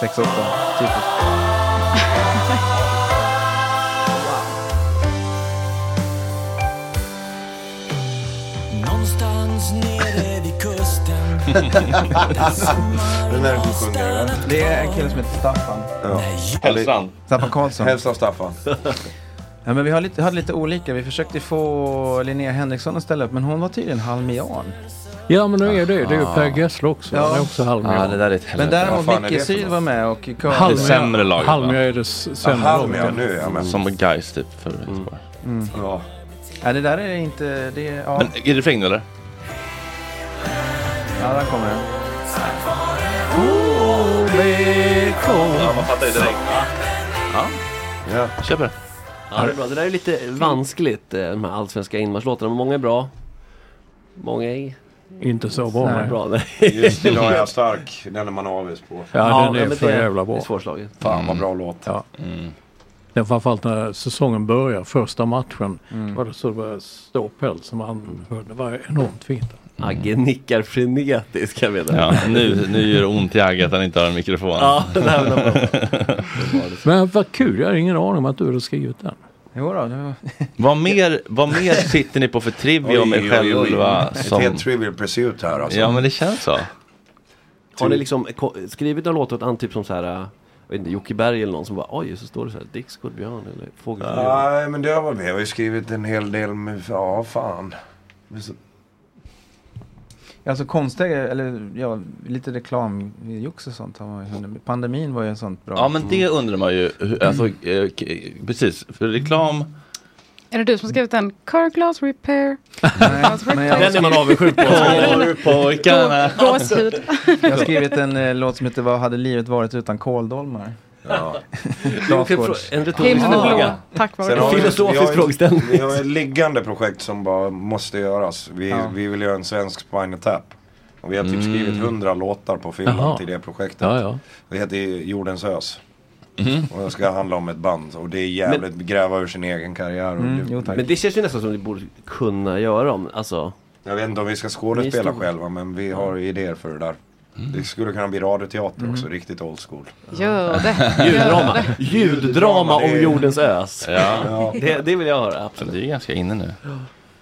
Speaker 20: Sex, åtta, typiskt.
Speaker 22: Någonstans nere vid kusten
Speaker 19: Den är som sjunger den.
Speaker 20: Det är en kille som heter Staffan.
Speaker 19: Ja.
Speaker 1: Hälsan.
Speaker 20: Staffan Karlsson.
Speaker 19: Hälsa Staffan.
Speaker 20: Ja, men vi har lite, hade lite olika, vi försökte få Linnea Henriksson att ställa upp men hon var tydligen halmian.
Speaker 9: Ja, men nu är det. Det är ju Per Gessle också. Han är också halmian.
Speaker 20: Ja, det där är ett helvete. Men däremot
Speaker 9: Vad fan är det
Speaker 20: Micke
Speaker 9: för
Speaker 20: Syd var med och kör.
Speaker 9: Halmia-
Speaker 1: sämre laget, va?
Speaker 9: Halmia är det s- sämre laget.
Speaker 1: Som guys typ för Göteborg.
Speaker 20: Mm.
Speaker 19: Ja.
Speaker 20: Ja, det där är inte, det är, ja.
Speaker 1: Men är det refrängen eller?
Speaker 20: ja, där kommer den.
Speaker 1: Ja, man fattar ju direkt.
Speaker 5: Ja.
Speaker 19: ja.
Speaker 1: Köper det.
Speaker 5: Ja, det är bra. Det där är lite vanskligt, eh, de här allsvenska inmarschlåtarna. Men Många är bra. Många är...
Speaker 9: Inte så bra,
Speaker 5: Nej,
Speaker 9: nej.
Speaker 5: bra nej.
Speaker 19: Just idag är jag stark, den är man avis på.
Speaker 9: Ja, den är
Speaker 5: men
Speaker 9: för
Speaker 5: det-
Speaker 9: jävla bra. Mm.
Speaker 5: Det är svårslaget.
Speaker 19: Fan
Speaker 1: Mm.
Speaker 19: vad bra låt. Mm.
Speaker 9: Ja. Ja, framförallt när säsongen börjar, första matchen,
Speaker 5: Mm.
Speaker 9: var det så det började stå päls som han hörde. Det var enormt fint.
Speaker 5: Agge nickar frenetiskt kan jag veta.
Speaker 1: Ja, nu, nu gör det ont i agget att han inte har en mikrofon.
Speaker 5: Ja, det här var bra.
Speaker 9: Men vad kul, jag har ingen aning om att du hade skrivit den.
Speaker 20: Jo då, det var...
Speaker 1: Vad mer, vad mer sitter ni på för trivia om er själva? Som...
Speaker 19: Ett helt trivial pursuit här alltså.
Speaker 1: Ja, men det känns så.
Speaker 5: Har
Speaker 1: Typ.
Speaker 5: ni liksom ko- skrivit några låtar åt an, typ som så här, eh, jag vet inte, Jocke Berg eller någon som bara oj, så står det så här Dick Skodbjörn eller Fågelfrun.
Speaker 19: Nej, men det har vi. Vi har ju skrivit en hel del med, ja fan. Men så-
Speaker 20: Alltså konstiga, eller ja, lite reklamjox och sånt har man ju hunnit med. Pandemin var ju en sånt bra. Mm.
Speaker 1: Ja, men det undrar man ju. hur- Alltså, eh, k- precis, för reklam.
Speaker 7: Är det du som har skrivit den? Car glass repair.
Speaker 20: men jag- Den är man avundsjuk på.
Speaker 1: Pojkarna.
Speaker 7: Gå- Gåshud.
Speaker 20: Jag har skrivit en eh, låt som heter Vad hade livet varit utan kåldolmar?
Speaker 19: Ja.
Speaker 20: Larsgårds.
Speaker 5: En
Speaker 7: Himlen är blå, tack vare
Speaker 19: Sen har vi- vi har ju-
Speaker 20: frågeställning.
Speaker 19: Vi har ett liggande projekt som bara måste göras. Vi,
Speaker 20: Ja.
Speaker 19: vi vill göra en svensk Spinal Tap. Och vi har typ skrivit
Speaker 1: Mm.
Speaker 19: hundra låtar på Finland
Speaker 1: Jaha.
Speaker 19: till det projektet.
Speaker 1: Ja, ja. Mm.
Speaker 19: Det heter ju Jordens Ös. Och det ska handla om ett band. Och det är jävligt gräva ur sin egen karriär. Och
Speaker 1: Mm.
Speaker 19: det,
Speaker 5: Men det känns ju nästan som du borde kunna göra om, alltså.
Speaker 19: Jag vet inte om vi ska skådespela själva men vi har idéer för det där. Det skulle kunna bli radioteater också, riktigt old school.
Speaker 7: Gör det.
Speaker 5: Ljuddrama.
Speaker 7: Gör det.
Speaker 5: Ljuddrama om
Speaker 19: det är-
Speaker 5: jordens ös.
Speaker 1: Ja.
Speaker 5: Det, det vill jag höra.
Speaker 1: Det är ganska inne nu.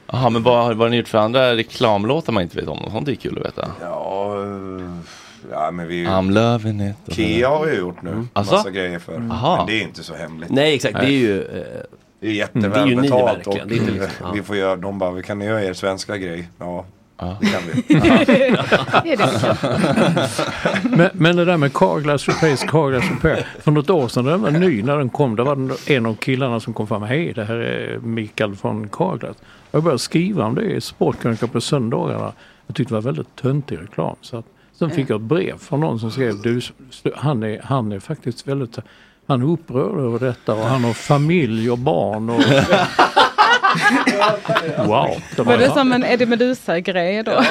Speaker 1: Jaha, men vad, har- vad har ni gjort för andra reklamlåtar man inte vet om? Sånt är kul att veta.
Speaker 19: Ja, eh, ja men vi...
Speaker 1: I'm loving it.
Speaker 19: Kia har ju gjort nu
Speaker 1: Alltså?
Speaker 19: massa grejer för.
Speaker 1: Mm.
Speaker 19: Men det är inte så hemligt.
Speaker 5: Nej, exakt. Det är ju... eh, Mm,
Speaker 19: Det är
Speaker 5: Det är ju ni
Speaker 19: jättevälbetalt och
Speaker 5: verkligen. Det är inte liksom, ja.
Speaker 19: vi får göra, de bara, vi kan ni göra er svenska grej? Ja, det kan vi.
Speaker 7: Det är det.
Speaker 9: Men, men det där med Carglass Repairs, Carglass Repair. För något år sedan, den var ny när den kom, det var en av killarna som kom fram. Hej, det här är Mikael från Carglass. Jag började skriva om det i Sportkrönikan på söndagarna. Jag tyckte det var väldigt töntig reklam. Så att, sen fick jag ett brev från någon som skrev, du, han, är, han är faktiskt väldigt, han är upprörd över detta och han har familj och barn. Och, wow.
Speaker 7: Var det som en Eddie Meduza-grej då?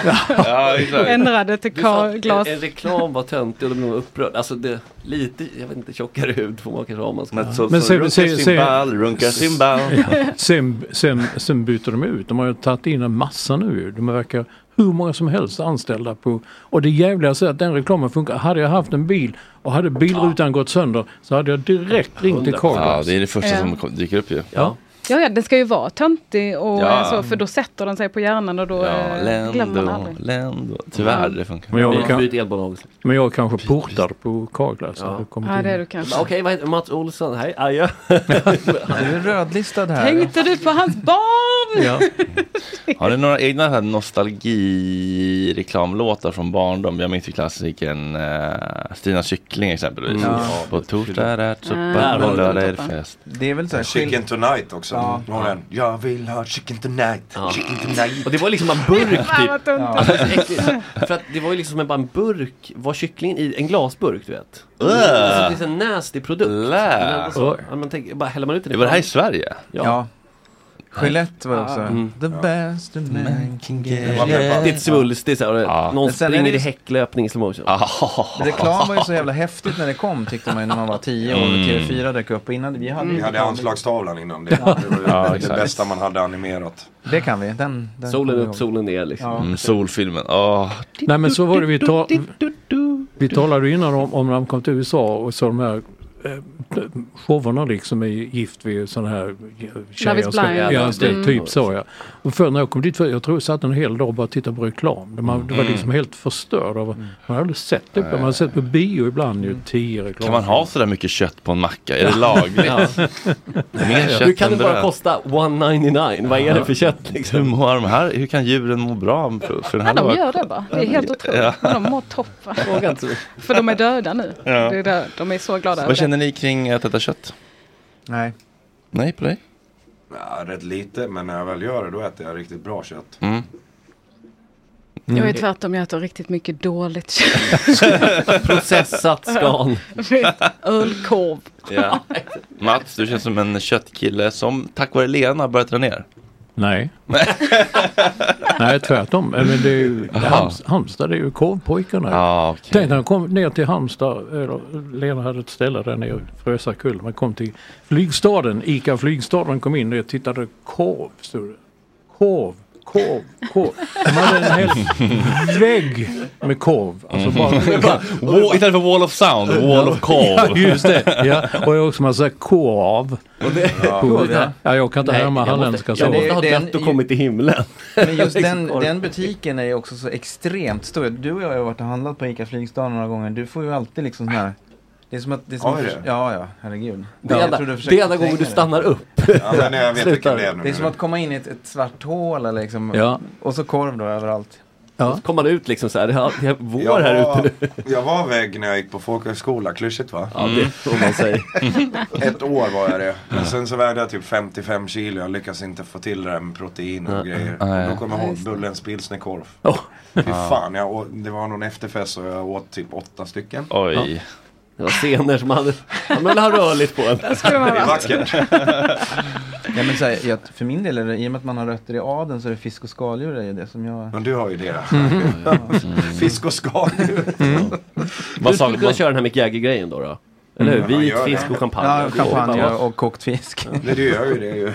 Speaker 1: Ja,
Speaker 7: Ändrade till
Speaker 5: Du sa att
Speaker 7: karlglas.
Speaker 5: En, en reklam var töntig och då blev man upprörd. Alltså det, lite, jag vet inte, tjockare hud får man kanske ha om man ska.
Speaker 9: Men så- Men så- så runkar så- så- cymbal,
Speaker 1: runkar
Speaker 9: Ja, sen, sen, sen byter de ut. De har ju tagit in en massa nu. ju. De verkar hur många som helst anställda på... Och det jävligaste är att den reklamen funkar. Hade jag haft en bil och hade bilrutan gått sönder så hade jag direkt ringt till
Speaker 1: Ja,
Speaker 9: Carglass.
Speaker 1: det är det första
Speaker 7: Ja.
Speaker 1: som kom- dyker upp ju.
Speaker 5: Ja.
Speaker 7: Ja, ja, den ska ju vara töntig och
Speaker 1: Ja.
Speaker 7: eh, så, för då sätter den sig på hjärnan och då eh, glömmer man
Speaker 1: Ländo,
Speaker 7: aldrig.
Speaker 1: Ländo. Tyvärr, det funkar.
Speaker 9: Men jag,
Speaker 5: Byt
Speaker 9: kan, men jag kanske portar på Carglass. när det kommer
Speaker 7: Ja,
Speaker 9: till-
Speaker 7: det är du kanske.
Speaker 5: Okej, vad heter Mats Olsson? Hej, adjö.
Speaker 20: Du är rödlistad här.
Speaker 7: Tänkte du på hans barn?
Speaker 1: Ja. Har ni några egna här nostalgireklamlåtar från barndom? Jag minns ju klassikern eh, Stina Kyckling exempelvis.
Speaker 20: Mm.
Speaker 1: På torsdag är det soppa,
Speaker 20: Där
Speaker 1: på
Speaker 20: har du
Speaker 1: lördag är det
Speaker 20: toppen.
Speaker 1: fest.
Speaker 20: Det är väl så här
Speaker 19: Chicken tonight också.
Speaker 20: Ja.
Speaker 19: Någon en, Jag vill ha chicken tonight, chicken tonight.
Speaker 5: Och det var liksom en burk
Speaker 7: Fan,
Speaker 5: typ.
Speaker 7: vad tunt.
Speaker 5: Alltså, äckligt. För att det var ju liksom en- bara en burk. Var kycklingen i en glasburk du vet?
Speaker 1: Äh.
Speaker 5: Alltså, det är en nasty produkt. Men alltså,
Speaker 1: Oj.
Speaker 5: ja, man tänker, bara häller man ut den i
Speaker 1: Det var det här i
Speaker 5: pannan.
Speaker 1: Sverige?
Speaker 5: Ja.
Speaker 20: Gillette var också.
Speaker 5: Mm.
Speaker 20: The best a man can get.
Speaker 5: Det är ett svulst, det är såhär, någon
Speaker 20: Men sen är
Speaker 5: springer
Speaker 20: det-
Speaker 5: i häcklöpning i slowmotion.
Speaker 20: Reklam var ju så jävla häftigt när det kom tyckte man ju när man var tio år och
Speaker 19: Mm.
Speaker 20: TV4 dök upp. Och Innan vi hade,
Speaker 19: Vi hade anslagstavlan innan det. Det var ju
Speaker 1: Ja,
Speaker 19: det
Speaker 1: exakt.
Speaker 19: bästa man hade animerat.
Speaker 20: Det kan vi. Den,
Speaker 5: Solen
Speaker 20: den kommer jag
Speaker 5: upp,
Speaker 20: ihåg.
Speaker 5: solen ner liksom.
Speaker 20: Ja.
Speaker 1: Mm, solfilmen, åh.
Speaker 9: Nej men så var det vi, ta- vi talade ju innan om, om när man kom till USA och så de här eh, showerna liksom är gift vid sådana här eh,
Speaker 7: Love
Speaker 9: tjejer.
Speaker 7: is
Speaker 9: som-
Speaker 7: blind.
Speaker 9: Ja, det,
Speaker 7: Mm.
Speaker 9: typ så ja. Och förr när jag kom dit, för jag tror jag satt en hel dag och bara tittade på reklam. De, man, det var
Speaker 1: Mm.
Speaker 9: liksom helt förstörd av, man har aldrig sett det. Man har sett på bio ibland ju, tio reklam.
Speaker 1: Mm. Kan man ha sådär mycket kött på en macka? Är det lagligt?
Speaker 9: Ja.
Speaker 1: Mer kött
Speaker 5: Nu kan
Speaker 1: än
Speaker 5: det bara
Speaker 1: bröd.
Speaker 5: kosta 199, vad är det för kött liksom?
Speaker 1: Hur, mår de här? Hur kan djuren må bra för, för den
Speaker 7: Ja,
Speaker 1: här
Speaker 7: de
Speaker 1: låten?
Speaker 7: gör det bara. Det är helt otroligt.
Speaker 1: Ja.
Speaker 7: Men de mår toppen.
Speaker 5: Fråga inte.
Speaker 7: För de är döda nu.
Speaker 1: Ja.
Speaker 7: Det är där, de är så glada över
Speaker 1: Vad
Speaker 7: det.
Speaker 1: känner ni kring att äta kött?
Speaker 20: Nej.
Speaker 1: Nej på dig?
Speaker 19: Ja, rätt lite, men när jag väl gör det då äter jag riktigt bra kött.
Speaker 1: Mm.
Speaker 7: Jag är tvärtom, jag äter riktigt mycket dåligt kött.
Speaker 5: Processat skan.
Speaker 7: Ölkorv.
Speaker 1: Ja. Mats, du känns som en köttkille som tack vare Lena har börjat dra ner.
Speaker 9: Nej. Nej, tvärtom. Äh, Men det är ju, Hams, Halmstad är ju korvpojkarna.
Speaker 1: Ah, okay.
Speaker 9: Tänk när han kom ner till Halmstad, eller Lena hade ett ställe där nere, Frösakull. Man kom till flygstaden, ICA flygstaden kom in och jag tittade, korv stod det. Korv, korv, korv. De hade en hel vägg med korv. Alltså
Speaker 1: Mm.
Speaker 9: bara,
Speaker 1: Wall- Istället för wall of sound, wall of
Speaker 9: Ja,
Speaker 1: korv.
Speaker 9: just det. Ja. Och jag har också massa korv.
Speaker 5: Ja.
Speaker 9: Ja. ja, jag kan inte härma halländska så.
Speaker 5: Jag måste ha dött och kommit till himlen.
Speaker 20: Men just den,
Speaker 5: Liksom,
Speaker 20: den butiken är ju också så extremt stor. Du och jag har ju varit och handlat på ICA Flygstad några gånger. Du får ju alltid liksom sån här... Det är som att... Det är som
Speaker 5: Har
Speaker 20: att
Speaker 5: vi
Speaker 20: förs- ja, ja, herregud.
Speaker 5: Det är
Speaker 20: Jag
Speaker 5: enda-
Speaker 20: tror du
Speaker 5: det
Speaker 20: försöker
Speaker 5: är enda gången
Speaker 20: förtränga
Speaker 5: du stannar
Speaker 20: det.
Speaker 5: upp. Ja, men jag vet vilken det är nu.
Speaker 20: Det är som att komma in i ett, ett svart hål eller liksom.
Speaker 5: Ja.
Speaker 20: Och så korv då överallt.
Speaker 5: Ja. Så kom man ut liksom så här, det är det är vår
Speaker 19: Jag
Speaker 5: här
Speaker 19: var,
Speaker 5: ute nu. Mm.
Speaker 19: jag var väg när jag gick på folkhögskola, klyschigt va?
Speaker 5: Ja, det får man säga.
Speaker 19: Ett år var jag det. Men sen så vägde jag typ 55 kilo. Jag lyckas inte få till det där med protein och
Speaker 1: Nej.
Speaker 19: grejer.
Speaker 1: Nej.
Speaker 19: Då kommer jag
Speaker 1: Ja,
Speaker 19: ihåg
Speaker 1: just det.
Speaker 19: Bullens pilsnerkorv.
Speaker 5: Oh.
Speaker 19: Fy
Speaker 1: Ja.
Speaker 19: fan, jag åt, det var någon efterfest och jag åt typ åtta stycken.
Speaker 1: Oj.
Speaker 5: Det var scener som hade, man ville ha rörligt på en.
Speaker 7: skulle man
Speaker 19: Det är
Speaker 7: ha.
Speaker 19: vackert.
Speaker 20: Nej, men så här, jag, för min del är det, i och med att man har rötter i adeln så är det fisk och skaldjur är ju det som jag...
Speaker 19: Men du har ju det.
Speaker 20: Mm.
Speaker 19: Fisk och skaldjur.
Speaker 5: Du skulle kunna köra den här Mick Jagger-grejen då? då? Eller hur?
Speaker 19: Mm. Ja,
Speaker 5: Vit
Speaker 19: gör det.
Speaker 5: fisk och champagne.
Speaker 19: Ja, champagne
Speaker 20: och kokt fisk.
Speaker 19: Nej, du gör ju det ju.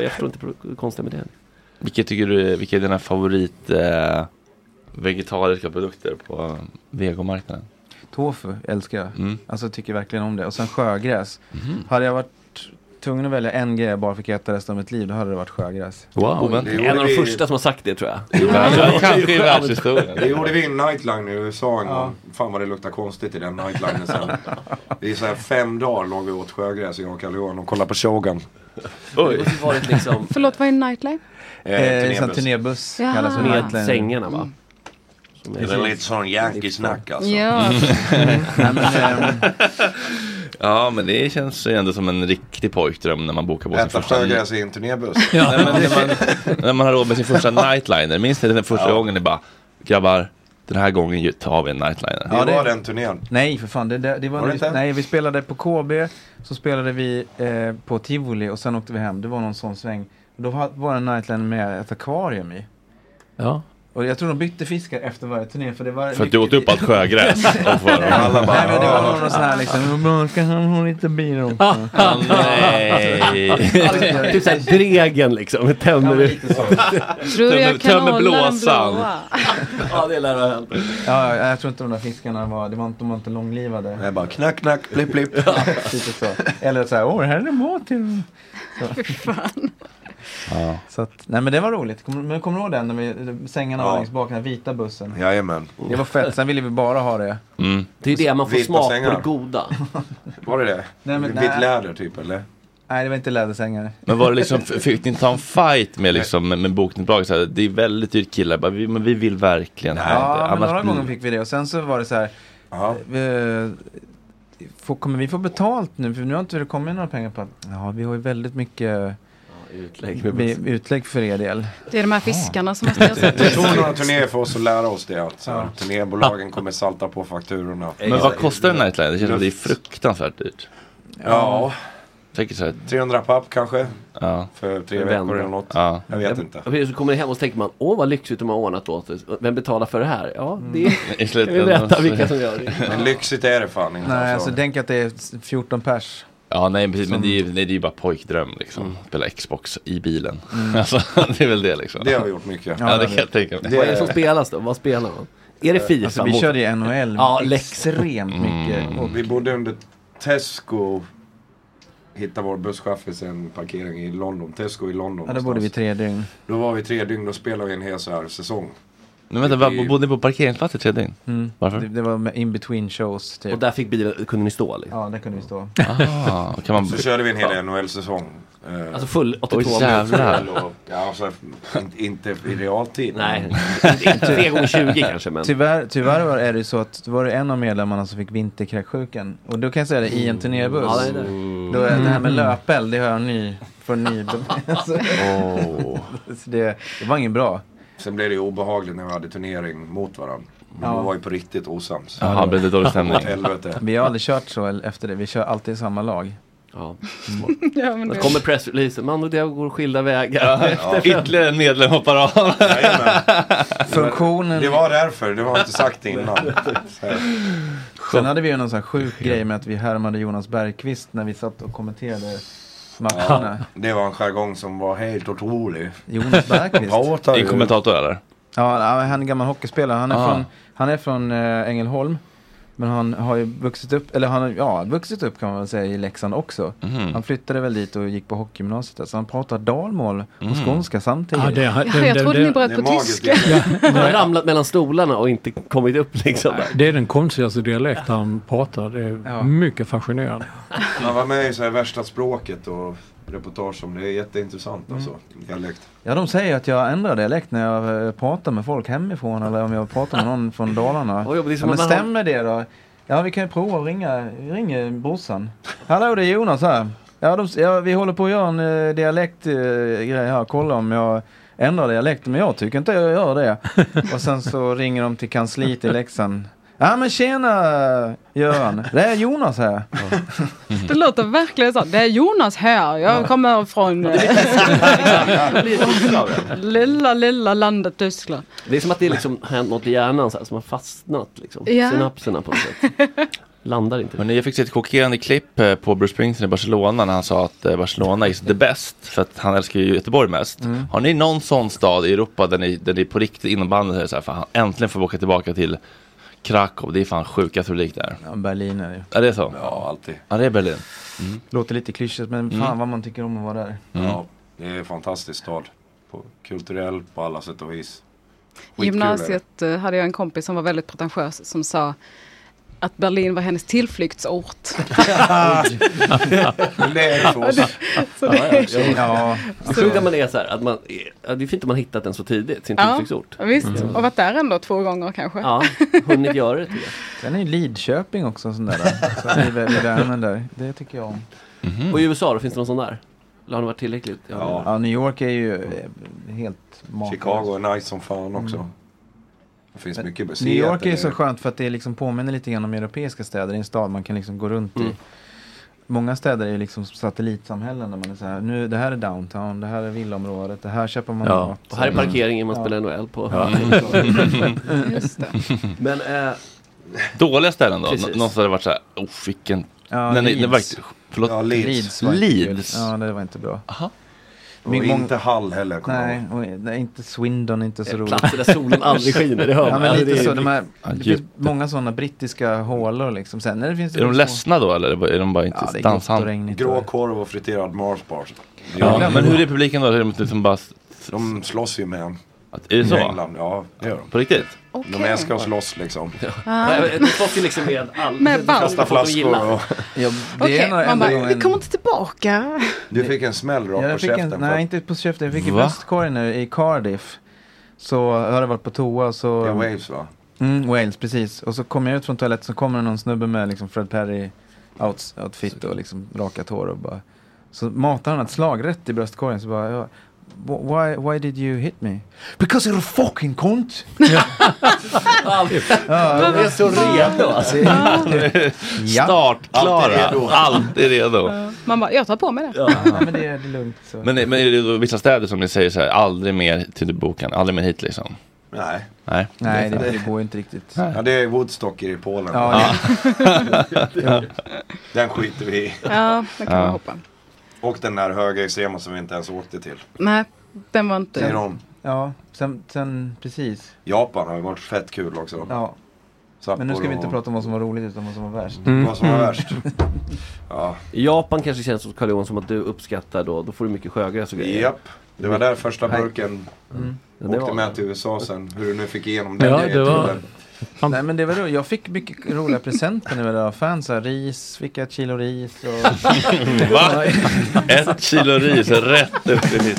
Speaker 5: Jag förstår inte pro- det konstiga med det.
Speaker 1: Vilket tycker du, vilka är dina favorit eh, vegetariska produkter på vegomarknaden?
Speaker 20: Tofu älskar jag.
Speaker 1: Mm.
Speaker 20: Alltså tycker verkligen om det. Och sen sjögräs.
Speaker 5: Mm.
Speaker 20: Hade jag varit tvungen att välja en grej jag bara fick äta resten av mitt liv, då hade det varit sjögräs.
Speaker 5: En av de första som har sagt det tror jag.
Speaker 19: Det gjorde vi i en nightline i USA en gång. Fan vad det luktar konstigt i den nightlinen sen. Det är så här fem dagar låg vi åt sjögräs, jag och Kalle Johan och kollade på Shogun.
Speaker 5: Oj. Det var liksom...
Speaker 7: Förlåt, vad är nightlife?
Speaker 19: Eh,
Speaker 20: sån turnébuss
Speaker 7: Jaha.
Speaker 20: kallas det.
Speaker 7: Med
Speaker 20: Nightline.
Speaker 5: sängarna, va?
Speaker 19: Mm. Det är väl lite sån Yankee-snack alltså.
Speaker 7: Ja.
Speaker 1: Mm. Ja, men det känns ju ändå som en riktig pojkdröm när man bokar på sin
Speaker 19: Äta
Speaker 1: första...
Speaker 19: sjögräs i en turnébuss.
Speaker 1: Nej, men när, man, när man har råd med sin första nightliner. Minns ni den första gången ni bara, grabbar, den här gången ju- tar vi en nightliner.
Speaker 19: Det var den turnén.
Speaker 20: Nej, för fan. Det, det, det var
Speaker 19: Var det
Speaker 20: när vi,
Speaker 19: inte?
Speaker 20: nej, vi spelade på KB, så spelade vi eh, på Tivoli och sen åkte vi hem. Det var någon sån sväng. Då var, var en Nightland med ett akvarium i.
Speaker 9: Ja.
Speaker 20: Och jag tror de bytte fiskar efter varje turné. För, det var
Speaker 1: För att du åt upp allt sjögräs. Och för-
Speaker 20: Alla bara, nej, men det var
Speaker 1: "Ah."
Speaker 20: någon sån här liksom. "Bra, Ska han ha lite bin också?
Speaker 5: Ah, typ såhär Dregen liksom, med tänder ut.
Speaker 7: Tror du jag kan hålla den blåa?
Speaker 5: ja, det lär ha hänt.
Speaker 20: Ja, jag tror inte de där fiskarna var, det var inte, de var inte långlivade.
Speaker 19: Nej, bara knack, knack, blipp, blipp.
Speaker 20: Lite så. Eller så här, åh, här är det mat till. Så. Så att, nej men det var roligt. Kommer, men kommer du ihåg den? När vi, sängarna
Speaker 5: Ja.
Speaker 20: var längst bak, den här vita bussen.
Speaker 19: Jajamän.
Speaker 20: Det var fett, sen ville vi bara ha det.
Speaker 1: Mm.
Speaker 5: Det är det, man får
Speaker 20: Vita
Speaker 5: smak
Speaker 20: sängar.
Speaker 5: på det goda.
Speaker 19: Var det det?
Speaker 20: Nej, men nej.
Speaker 19: Vitt läder typ eller?
Speaker 20: Nej, det var inte lädersängar.
Speaker 1: Men var det liksom, fick ni ta en fight med, liksom, med, med bokningsbolaget? Så här, Det är väldigt dyrt killar, bara, vi, men vi vill verkligen ha det.
Speaker 20: Ja, men
Speaker 1: Annars
Speaker 20: några
Speaker 1: blir-
Speaker 20: gånger fick vi det. Och sen så var det så här. eh, får, kommer vi få betalt nu? För nu har inte det kommit några pengar på att, ja vi har ju väldigt mycket
Speaker 5: utlägg,
Speaker 20: vi, utlägg för er del.
Speaker 7: Det är
Speaker 5: Ah.
Speaker 7: de här fiskarna som måste ersättas.
Speaker 19: Det tog några turnéer för oss att lära oss det. Att så här, turnébolagen kommer salta på fakturorna.
Speaker 1: Men vad kostar en nightliner? Det känns som det är fruktansvärt dyrt.
Speaker 19: Ja.
Speaker 1: Säkert så här,
Speaker 19: 300 papp kanske.
Speaker 1: ja.
Speaker 19: För tre
Speaker 5: En
Speaker 19: veckor
Speaker 5: vända.
Speaker 19: eller något.
Speaker 1: Ja.
Speaker 19: Jag vet inte.
Speaker 5: Precis, Så kommer ni hem och så tänker man, åh vad lyxigt de har ordnat åt oss. Vem betalar för det här? Ja,
Speaker 20: Mm.
Speaker 5: det
Speaker 1: I
Speaker 5: kan vi
Speaker 1: slutändan
Speaker 5: berätta
Speaker 1: så-
Speaker 5: vilka som gör det.
Speaker 19: Men lyxigt är det fan inte.
Speaker 20: Nej,
Speaker 19: alltså.
Speaker 20: alltså tänk att det är 14 pers.
Speaker 1: Ja, nej precis, men
Speaker 20: Som-
Speaker 1: det är ju nej, det är ju bara pojkdröm liksom. Spela Xbox i bilen. Alltså, det är väl det liksom.
Speaker 19: Det har vi gjort mycket.
Speaker 1: Ja, det kan jag tänka mig.
Speaker 5: Vad är det som spelas då? Vad spelar man? Är det Fifa?
Speaker 20: Alltså, vi
Speaker 5: mot-
Speaker 20: körde ju NHL
Speaker 5: Ja, Lex.
Speaker 20: extremt
Speaker 1: Mm.
Speaker 20: mycket. Och
Speaker 19: Vi bodde under Tesco. Hittade vår busschaufför en parkering i London. Tesco i London.
Speaker 20: Ja, då bodde vi
Speaker 19: någonstans.
Speaker 20: tre dygn.
Speaker 19: Då var vi tre dygn. Då spelade vi en hel så här säsong.
Speaker 1: Men vänta, var, bodde ni på parkeringsplats i tre dygn?
Speaker 20: Mm.
Speaker 1: Varför?
Speaker 20: Det, det var med in between shows typ.
Speaker 5: Och där fick bilen, kunde ni stå? Liksom.
Speaker 20: Ja, där kunde vi stå.
Speaker 1: Ah, kan man...
Speaker 19: Så körde vi en hel NHL-säsong. Eh,
Speaker 5: Alltså full 82
Speaker 1: Oj, jävlar.
Speaker 19: full och- Ja, alltså, in- inte i realtid.
Speaker 5: Nej, inte tre gånger 20 kanske men.
Speaker 20: Tyvärr, tyvärr var- är det ju så att det var det en av medlemmarna som fick vinterkräksjukan. Och då kan jag säga det, i en turnébuss.
Speaker 5: Ja, det är
Speaker 20: Då är det här
Speaker 1: Mm.
Speaker 20: med löpeld, det har jag ny, för ny. alltså, så det, det var inget bra.
Speaker 19: Sen blev det ju obehagligt när vi hade turnering mot varandra. Vi
Speaker 20: Ja.
Speaker 19: var ju på riktigt osams.
Speaker 1: Jaha, blev det dålig stämning?
Speaker 19: Åt Helvete.
Speaker 20: Vi har aldrig kört så el- efter det, vi kör alltid samma lag.
Speaker 5: Ja.
Speaker 7: Ja, men
Speaker 5: Då
Speaker 7: det-
Speaker 5: kommer pressreleasen, man och jag går skilda vägar. Efter fem-
Speaker 1: Ytterligare en medlem hoppar av.
Speaker 20: Funktionen...
Speaker 19: Det var därför, det var inte sagt innan. Så här.
Speaker 20: Sen hade vi ju någon sån här sjuk grej med att vi härmade Jonas Bergqvist när vi satt och kommenterade
Speaker 19: Ja,
Speaker 20: matcherna.
Speaker 19: det var en jargong som var helt otrolig.
Speaker 20: Jonas Bergqvist.
Speaker 19: Pratar
Speaker 1: Det är
Speaker 19: ju.
Speaker 1: kommentator eller?
Speaker 20: Ja, han är en gammal hockeyspelare. Han är
Speaker 1: Ah.
Speaker 20: från, han är från eh, Ängelholm. Men han har ju vuxit upp, eller han har ja, vuxit upp kan man väl säga i Leksand också.
Speaker 1: Mhm.
Speaker 20: Han flyttade väl dit och gick på hockeygymnasiet där. Så han pratar dalmål och
Speaker 5: Mhm.
Speaker 1: Mm.
Speaker 20: skånska samtidigt.
Speaker 9: Ja, det- Ja, det-
Speaker 7: jag trodde ni bröt på tyska.
Speaker 5: Man har ramlat mellan stolarna och inte kommit upp liksom.
Speaker 9: Det är den konstigaste dialekt han pratar. Det är mycket fascinerande.
Speaker 19: Han var med i så här värsta språket och reportage om det. Det är jätteintressant alltså.
Speaker 20: Mm.
Speaker 19: Dialekt.
Speaker 20: Ja, de säger att jag ändrar dialekt när jag eh, pratar med folk hemifrån eller om jag pratar med någon från Dalarna.
Speaker 5: Oj, men det är som
Speaker 20: ja, men
Speaker 5: att man har-
Speaker 20: stämmer det då? Ja, vi kan ju prova att ringa, ringa brorsan. Hallå, det är Jonas här. Ja, de, ja, vi håller på att göra en eh, dialektgrej här. Kolla om jag ändrar dialekt, men jag tycker inte jag gör det. Och sen så ringer de till kansliet i Leksand. Ja men tjena Göran, det är Jonas här.
Speaker 7: Det låter verkligen så. Det är Jonas här. Jag kommer från lilla, lilla landet Tyskland.
Speaker 5: Det är som att det liksom hänt något i hjärnan så här, som har fastnat liksom.
Speaker 7: Ja.
Speaker 5: Synapserna på något sätt. Landar inte.
Speaker 1: Men jag fick se ett chockerande klipp eh, på Bruce Springsteen i Barcelona när han sa att eh, Barcelona is the best för att han älskar ju Göteborg mest.
Speaker 3: Mm.
Speaker 1: Har ni någon sån stad i Europa där ni, där ni på riktigt inom bandet är så här, fan, äntligen får vi åka tillbaka till Krakow, det är fan sjuka publik där.
Speaker 20: Ja, Berlin är det ju.
Speaker 1: Är det så?
Speaker 19: Ja, alltid.
Speaker 1: Ja, det är Berlin.
Speaker 20: Låter lite klyschigt men fan
Speaker 19: Mm.
Speaker 20: vad man tycker om att vara där.
Speaker 19: Ja, det är en fantastisk stad. På, kulturell på alla sätt och vis.
Speaker 7: I
Speaker 19: Skitkul är
Speaker 7: gymnasiet eh, hade jag en kompis som var väldigt pretentiös som sa att Berlin var hennes tillflyktsort.
Speaker 5: det
Speaker 7: är det för oss. Så det är-
Speaker 5: Ja, ja. Det är sjukt
Speaker 7: Så-
Speaker 5: att man är så här, att man, ja, det är fint att man har hittat den så tidigt, sin tillflyktsort.
Speaker 7: Ja, visst,
Speaker 5: Mm.
Speaker 7: och varit där ändå två gånger kanske.
Speaker 5: Ja, hunnit göra det till
Speaker 20: Sen är ju Lidköping också en sån där. Så är det väl i värmen där. Det tycker jag om.
Speaker 5: Och i USA då, finns det någon sån där? Eller har det varit tillräckligt? Jag har
Speaker 20: Ja.
Speaker 5: aldrig-
Speaker 20: ja, New York är ju eh, helt
Speaker 19: det.
Speaker 20: makalöst.
Speaker 19: Chicago är nice som fan också.
Speaker 20: Mm.
Speaker 19: Det finns mycket
Speaker 20: Men
Speaker 19: museer.
Speaker 20: New York är ju
Speaker 19: där
Speaker 20: så
Speaker 19: nere.
Speaker 20: skönt för att det liksom påminner lite grann om europeiska städer. Det är en stad man kan liksom gå runt i.
Speaker 19: Mm.
Speaker 20: Många städer är ju liksom satellitsamhällen där man är så här, nu det här är downtown, det här är villaområdet, det här köper man
Speaker 5: Ja.
Speaker 20: mat.
Speaker 5: Och här är parkeringen man spelar NHL på. Ja. Just det. Men, eh,
Speaker 1: Dåliga ställen då?
Speaker 5: Precis.
Speaker 1: Nå- Någon som hade varit så här, oh vilken...
Speaker 20: Ja,
Speaker 1: Nej, nej, det var-
Speaker 20: Leeds.
Speaker 1: förlåt.
Speaker 20: Ja, Leeds. Leeds. var inte kul.
Speaker 1: Leeds.
Speaker 20: Ja, det var inte bra.
Speaker 19: Och inte Hall heller, kommer jag
Speaker 20: Nej, och, nej, inte Swindon, inte så
Speaker 19: Det är
Speaker 20: roligt.
Speaker 19: platser där solen aldrig skiner, det hör
Speaker 20: ja,
Speaker 19: man.
Speaker 20: men
Speaker 19: Alltså,
Speaker 20: lite
Speaker 19: det är
Speaker 20: så, de här,
Speaker 19: riktigt-
Speaker 20: det finns många sådana brittiska hålor liksom. Sen, när det finns
Speaker 1: Är de ledsna då eller är de bara inte
Speaker 20: Ja, det är gott och
Speaker 1: dansande?
Speaker 20: regnigt.
Speaker 19: Grå korv och friterad Mars bars.
Speaker 1: Ja, men hur är publiken då? Är de liksom bara...
Speaker 19: De slåss ju med en.
Speaker 1: Är det så?
Speaker 19: I England, ja det gör de.
Speaker 1: På riktigt?
Speaker 19: De älskar att slåss liksom.
Speaker 7: Ah.
Speaker 5: nej, de slåss ju liksom med all...
Speaker 7: Med band.
Speaker 19: Kasta flaskor och...
Speaker 7: Okej, man bara, vi kommer inte tillbaka.
Speaker 19: Du fick en smäll rakt
Speaker 20: Ja,
Speaker 19: på
Speaker 20: jag fick
Speaker 19: käften.
Speaker 20: En,
Speaker 19: för att-
Speaker 20: nej, inte på käften. Jag fick i
Speaker 19: Va?
Speaker 20: bröstkorgen nu i Cardiff. Så har jag varit på toa så...
Speaker 19: Det är Wales, va?
Speaker 20: Mm, Wales, precis. Och så kommer jag ut från toaletten så kommer det någon snubbe med liksom Fred Perry outs- outfit och liksom rakat hår och bara... Så matar han ett slag rätt i bröstkorgen så bara... Jag, Why, why did you hit me? Because you're a fucking cunt!
Speaker 5: De är så redo alltså.
Speaker 1: Startklara,
Speaker 20: Allt är redo.
Speaker 1: allt är redo.
Speaker 7: Man bara, jag tar på mig det.
Speaker 20: Ja, men det är det är lugnt. Så.
Speaker 1: Men, men är det då vissa städer som ni säger så här, aldrig mer till boken, aldrig mer hit liksom?
Speaker 19: Nej.
Speaker 1: Nej,
Speaker 20: Nej, det, det går ju inte riktigt.
Speaker 19: Ja, det är Woodstock i Polen.
Speaker 20: Ja,
Speaker 1: Ja.
Speaker 19: den skiter vi i.
Speaker 7: Ja, det kan man Ja. hoppa.
Speaker 19: Och den där högerextrema som vi inte ens åkte till.
Speaker 7: Nej, den var inte...
Speaker 19: Det är de.
Speaker 20: Ja, sen, sen precis.
Speaker 19: Japan har ju varit fett kul också.
Speaker 20: Ja.
Speaker 19: Sapporo
Speaker 20: Men nu ska vi inte
Speaker 19: och-
Speaker 20: prata om vad som var roligt utan vad som var värst.
Speaker 19: Vad som var
Speaker 20: Mm.
Speaker 19: värst. Ja.
Speaker 5: Japan kanske känns som karl Johan som att du uppskattar då, då får du mycket sjögräs och grejer.
Speaker 19: Japp. Det var där första
Speaker 5: Nej.
Speaker 19: burken
Speaker 5: Mm. Ja, det
Speaker 19: åkte
Speaker 5: var-
Speaker 19: med till USA sen. Hur du nu fick igenom den grejen, tror
Speaker 20: Nej men det var roligt. Jag fick mycket roliga presenter när vi var fans. här. Ris, fick jag ett kilo ris. Och...
Speaker 1: Va? Ett kilo ris rätt upp i mitt.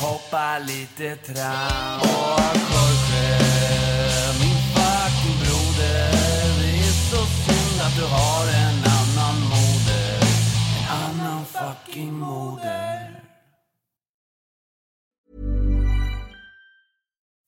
Speaker 22: Hoppa lite tram Och Jorge, min fucking broder Det är så synd att du har en annan moder En annan fucking moder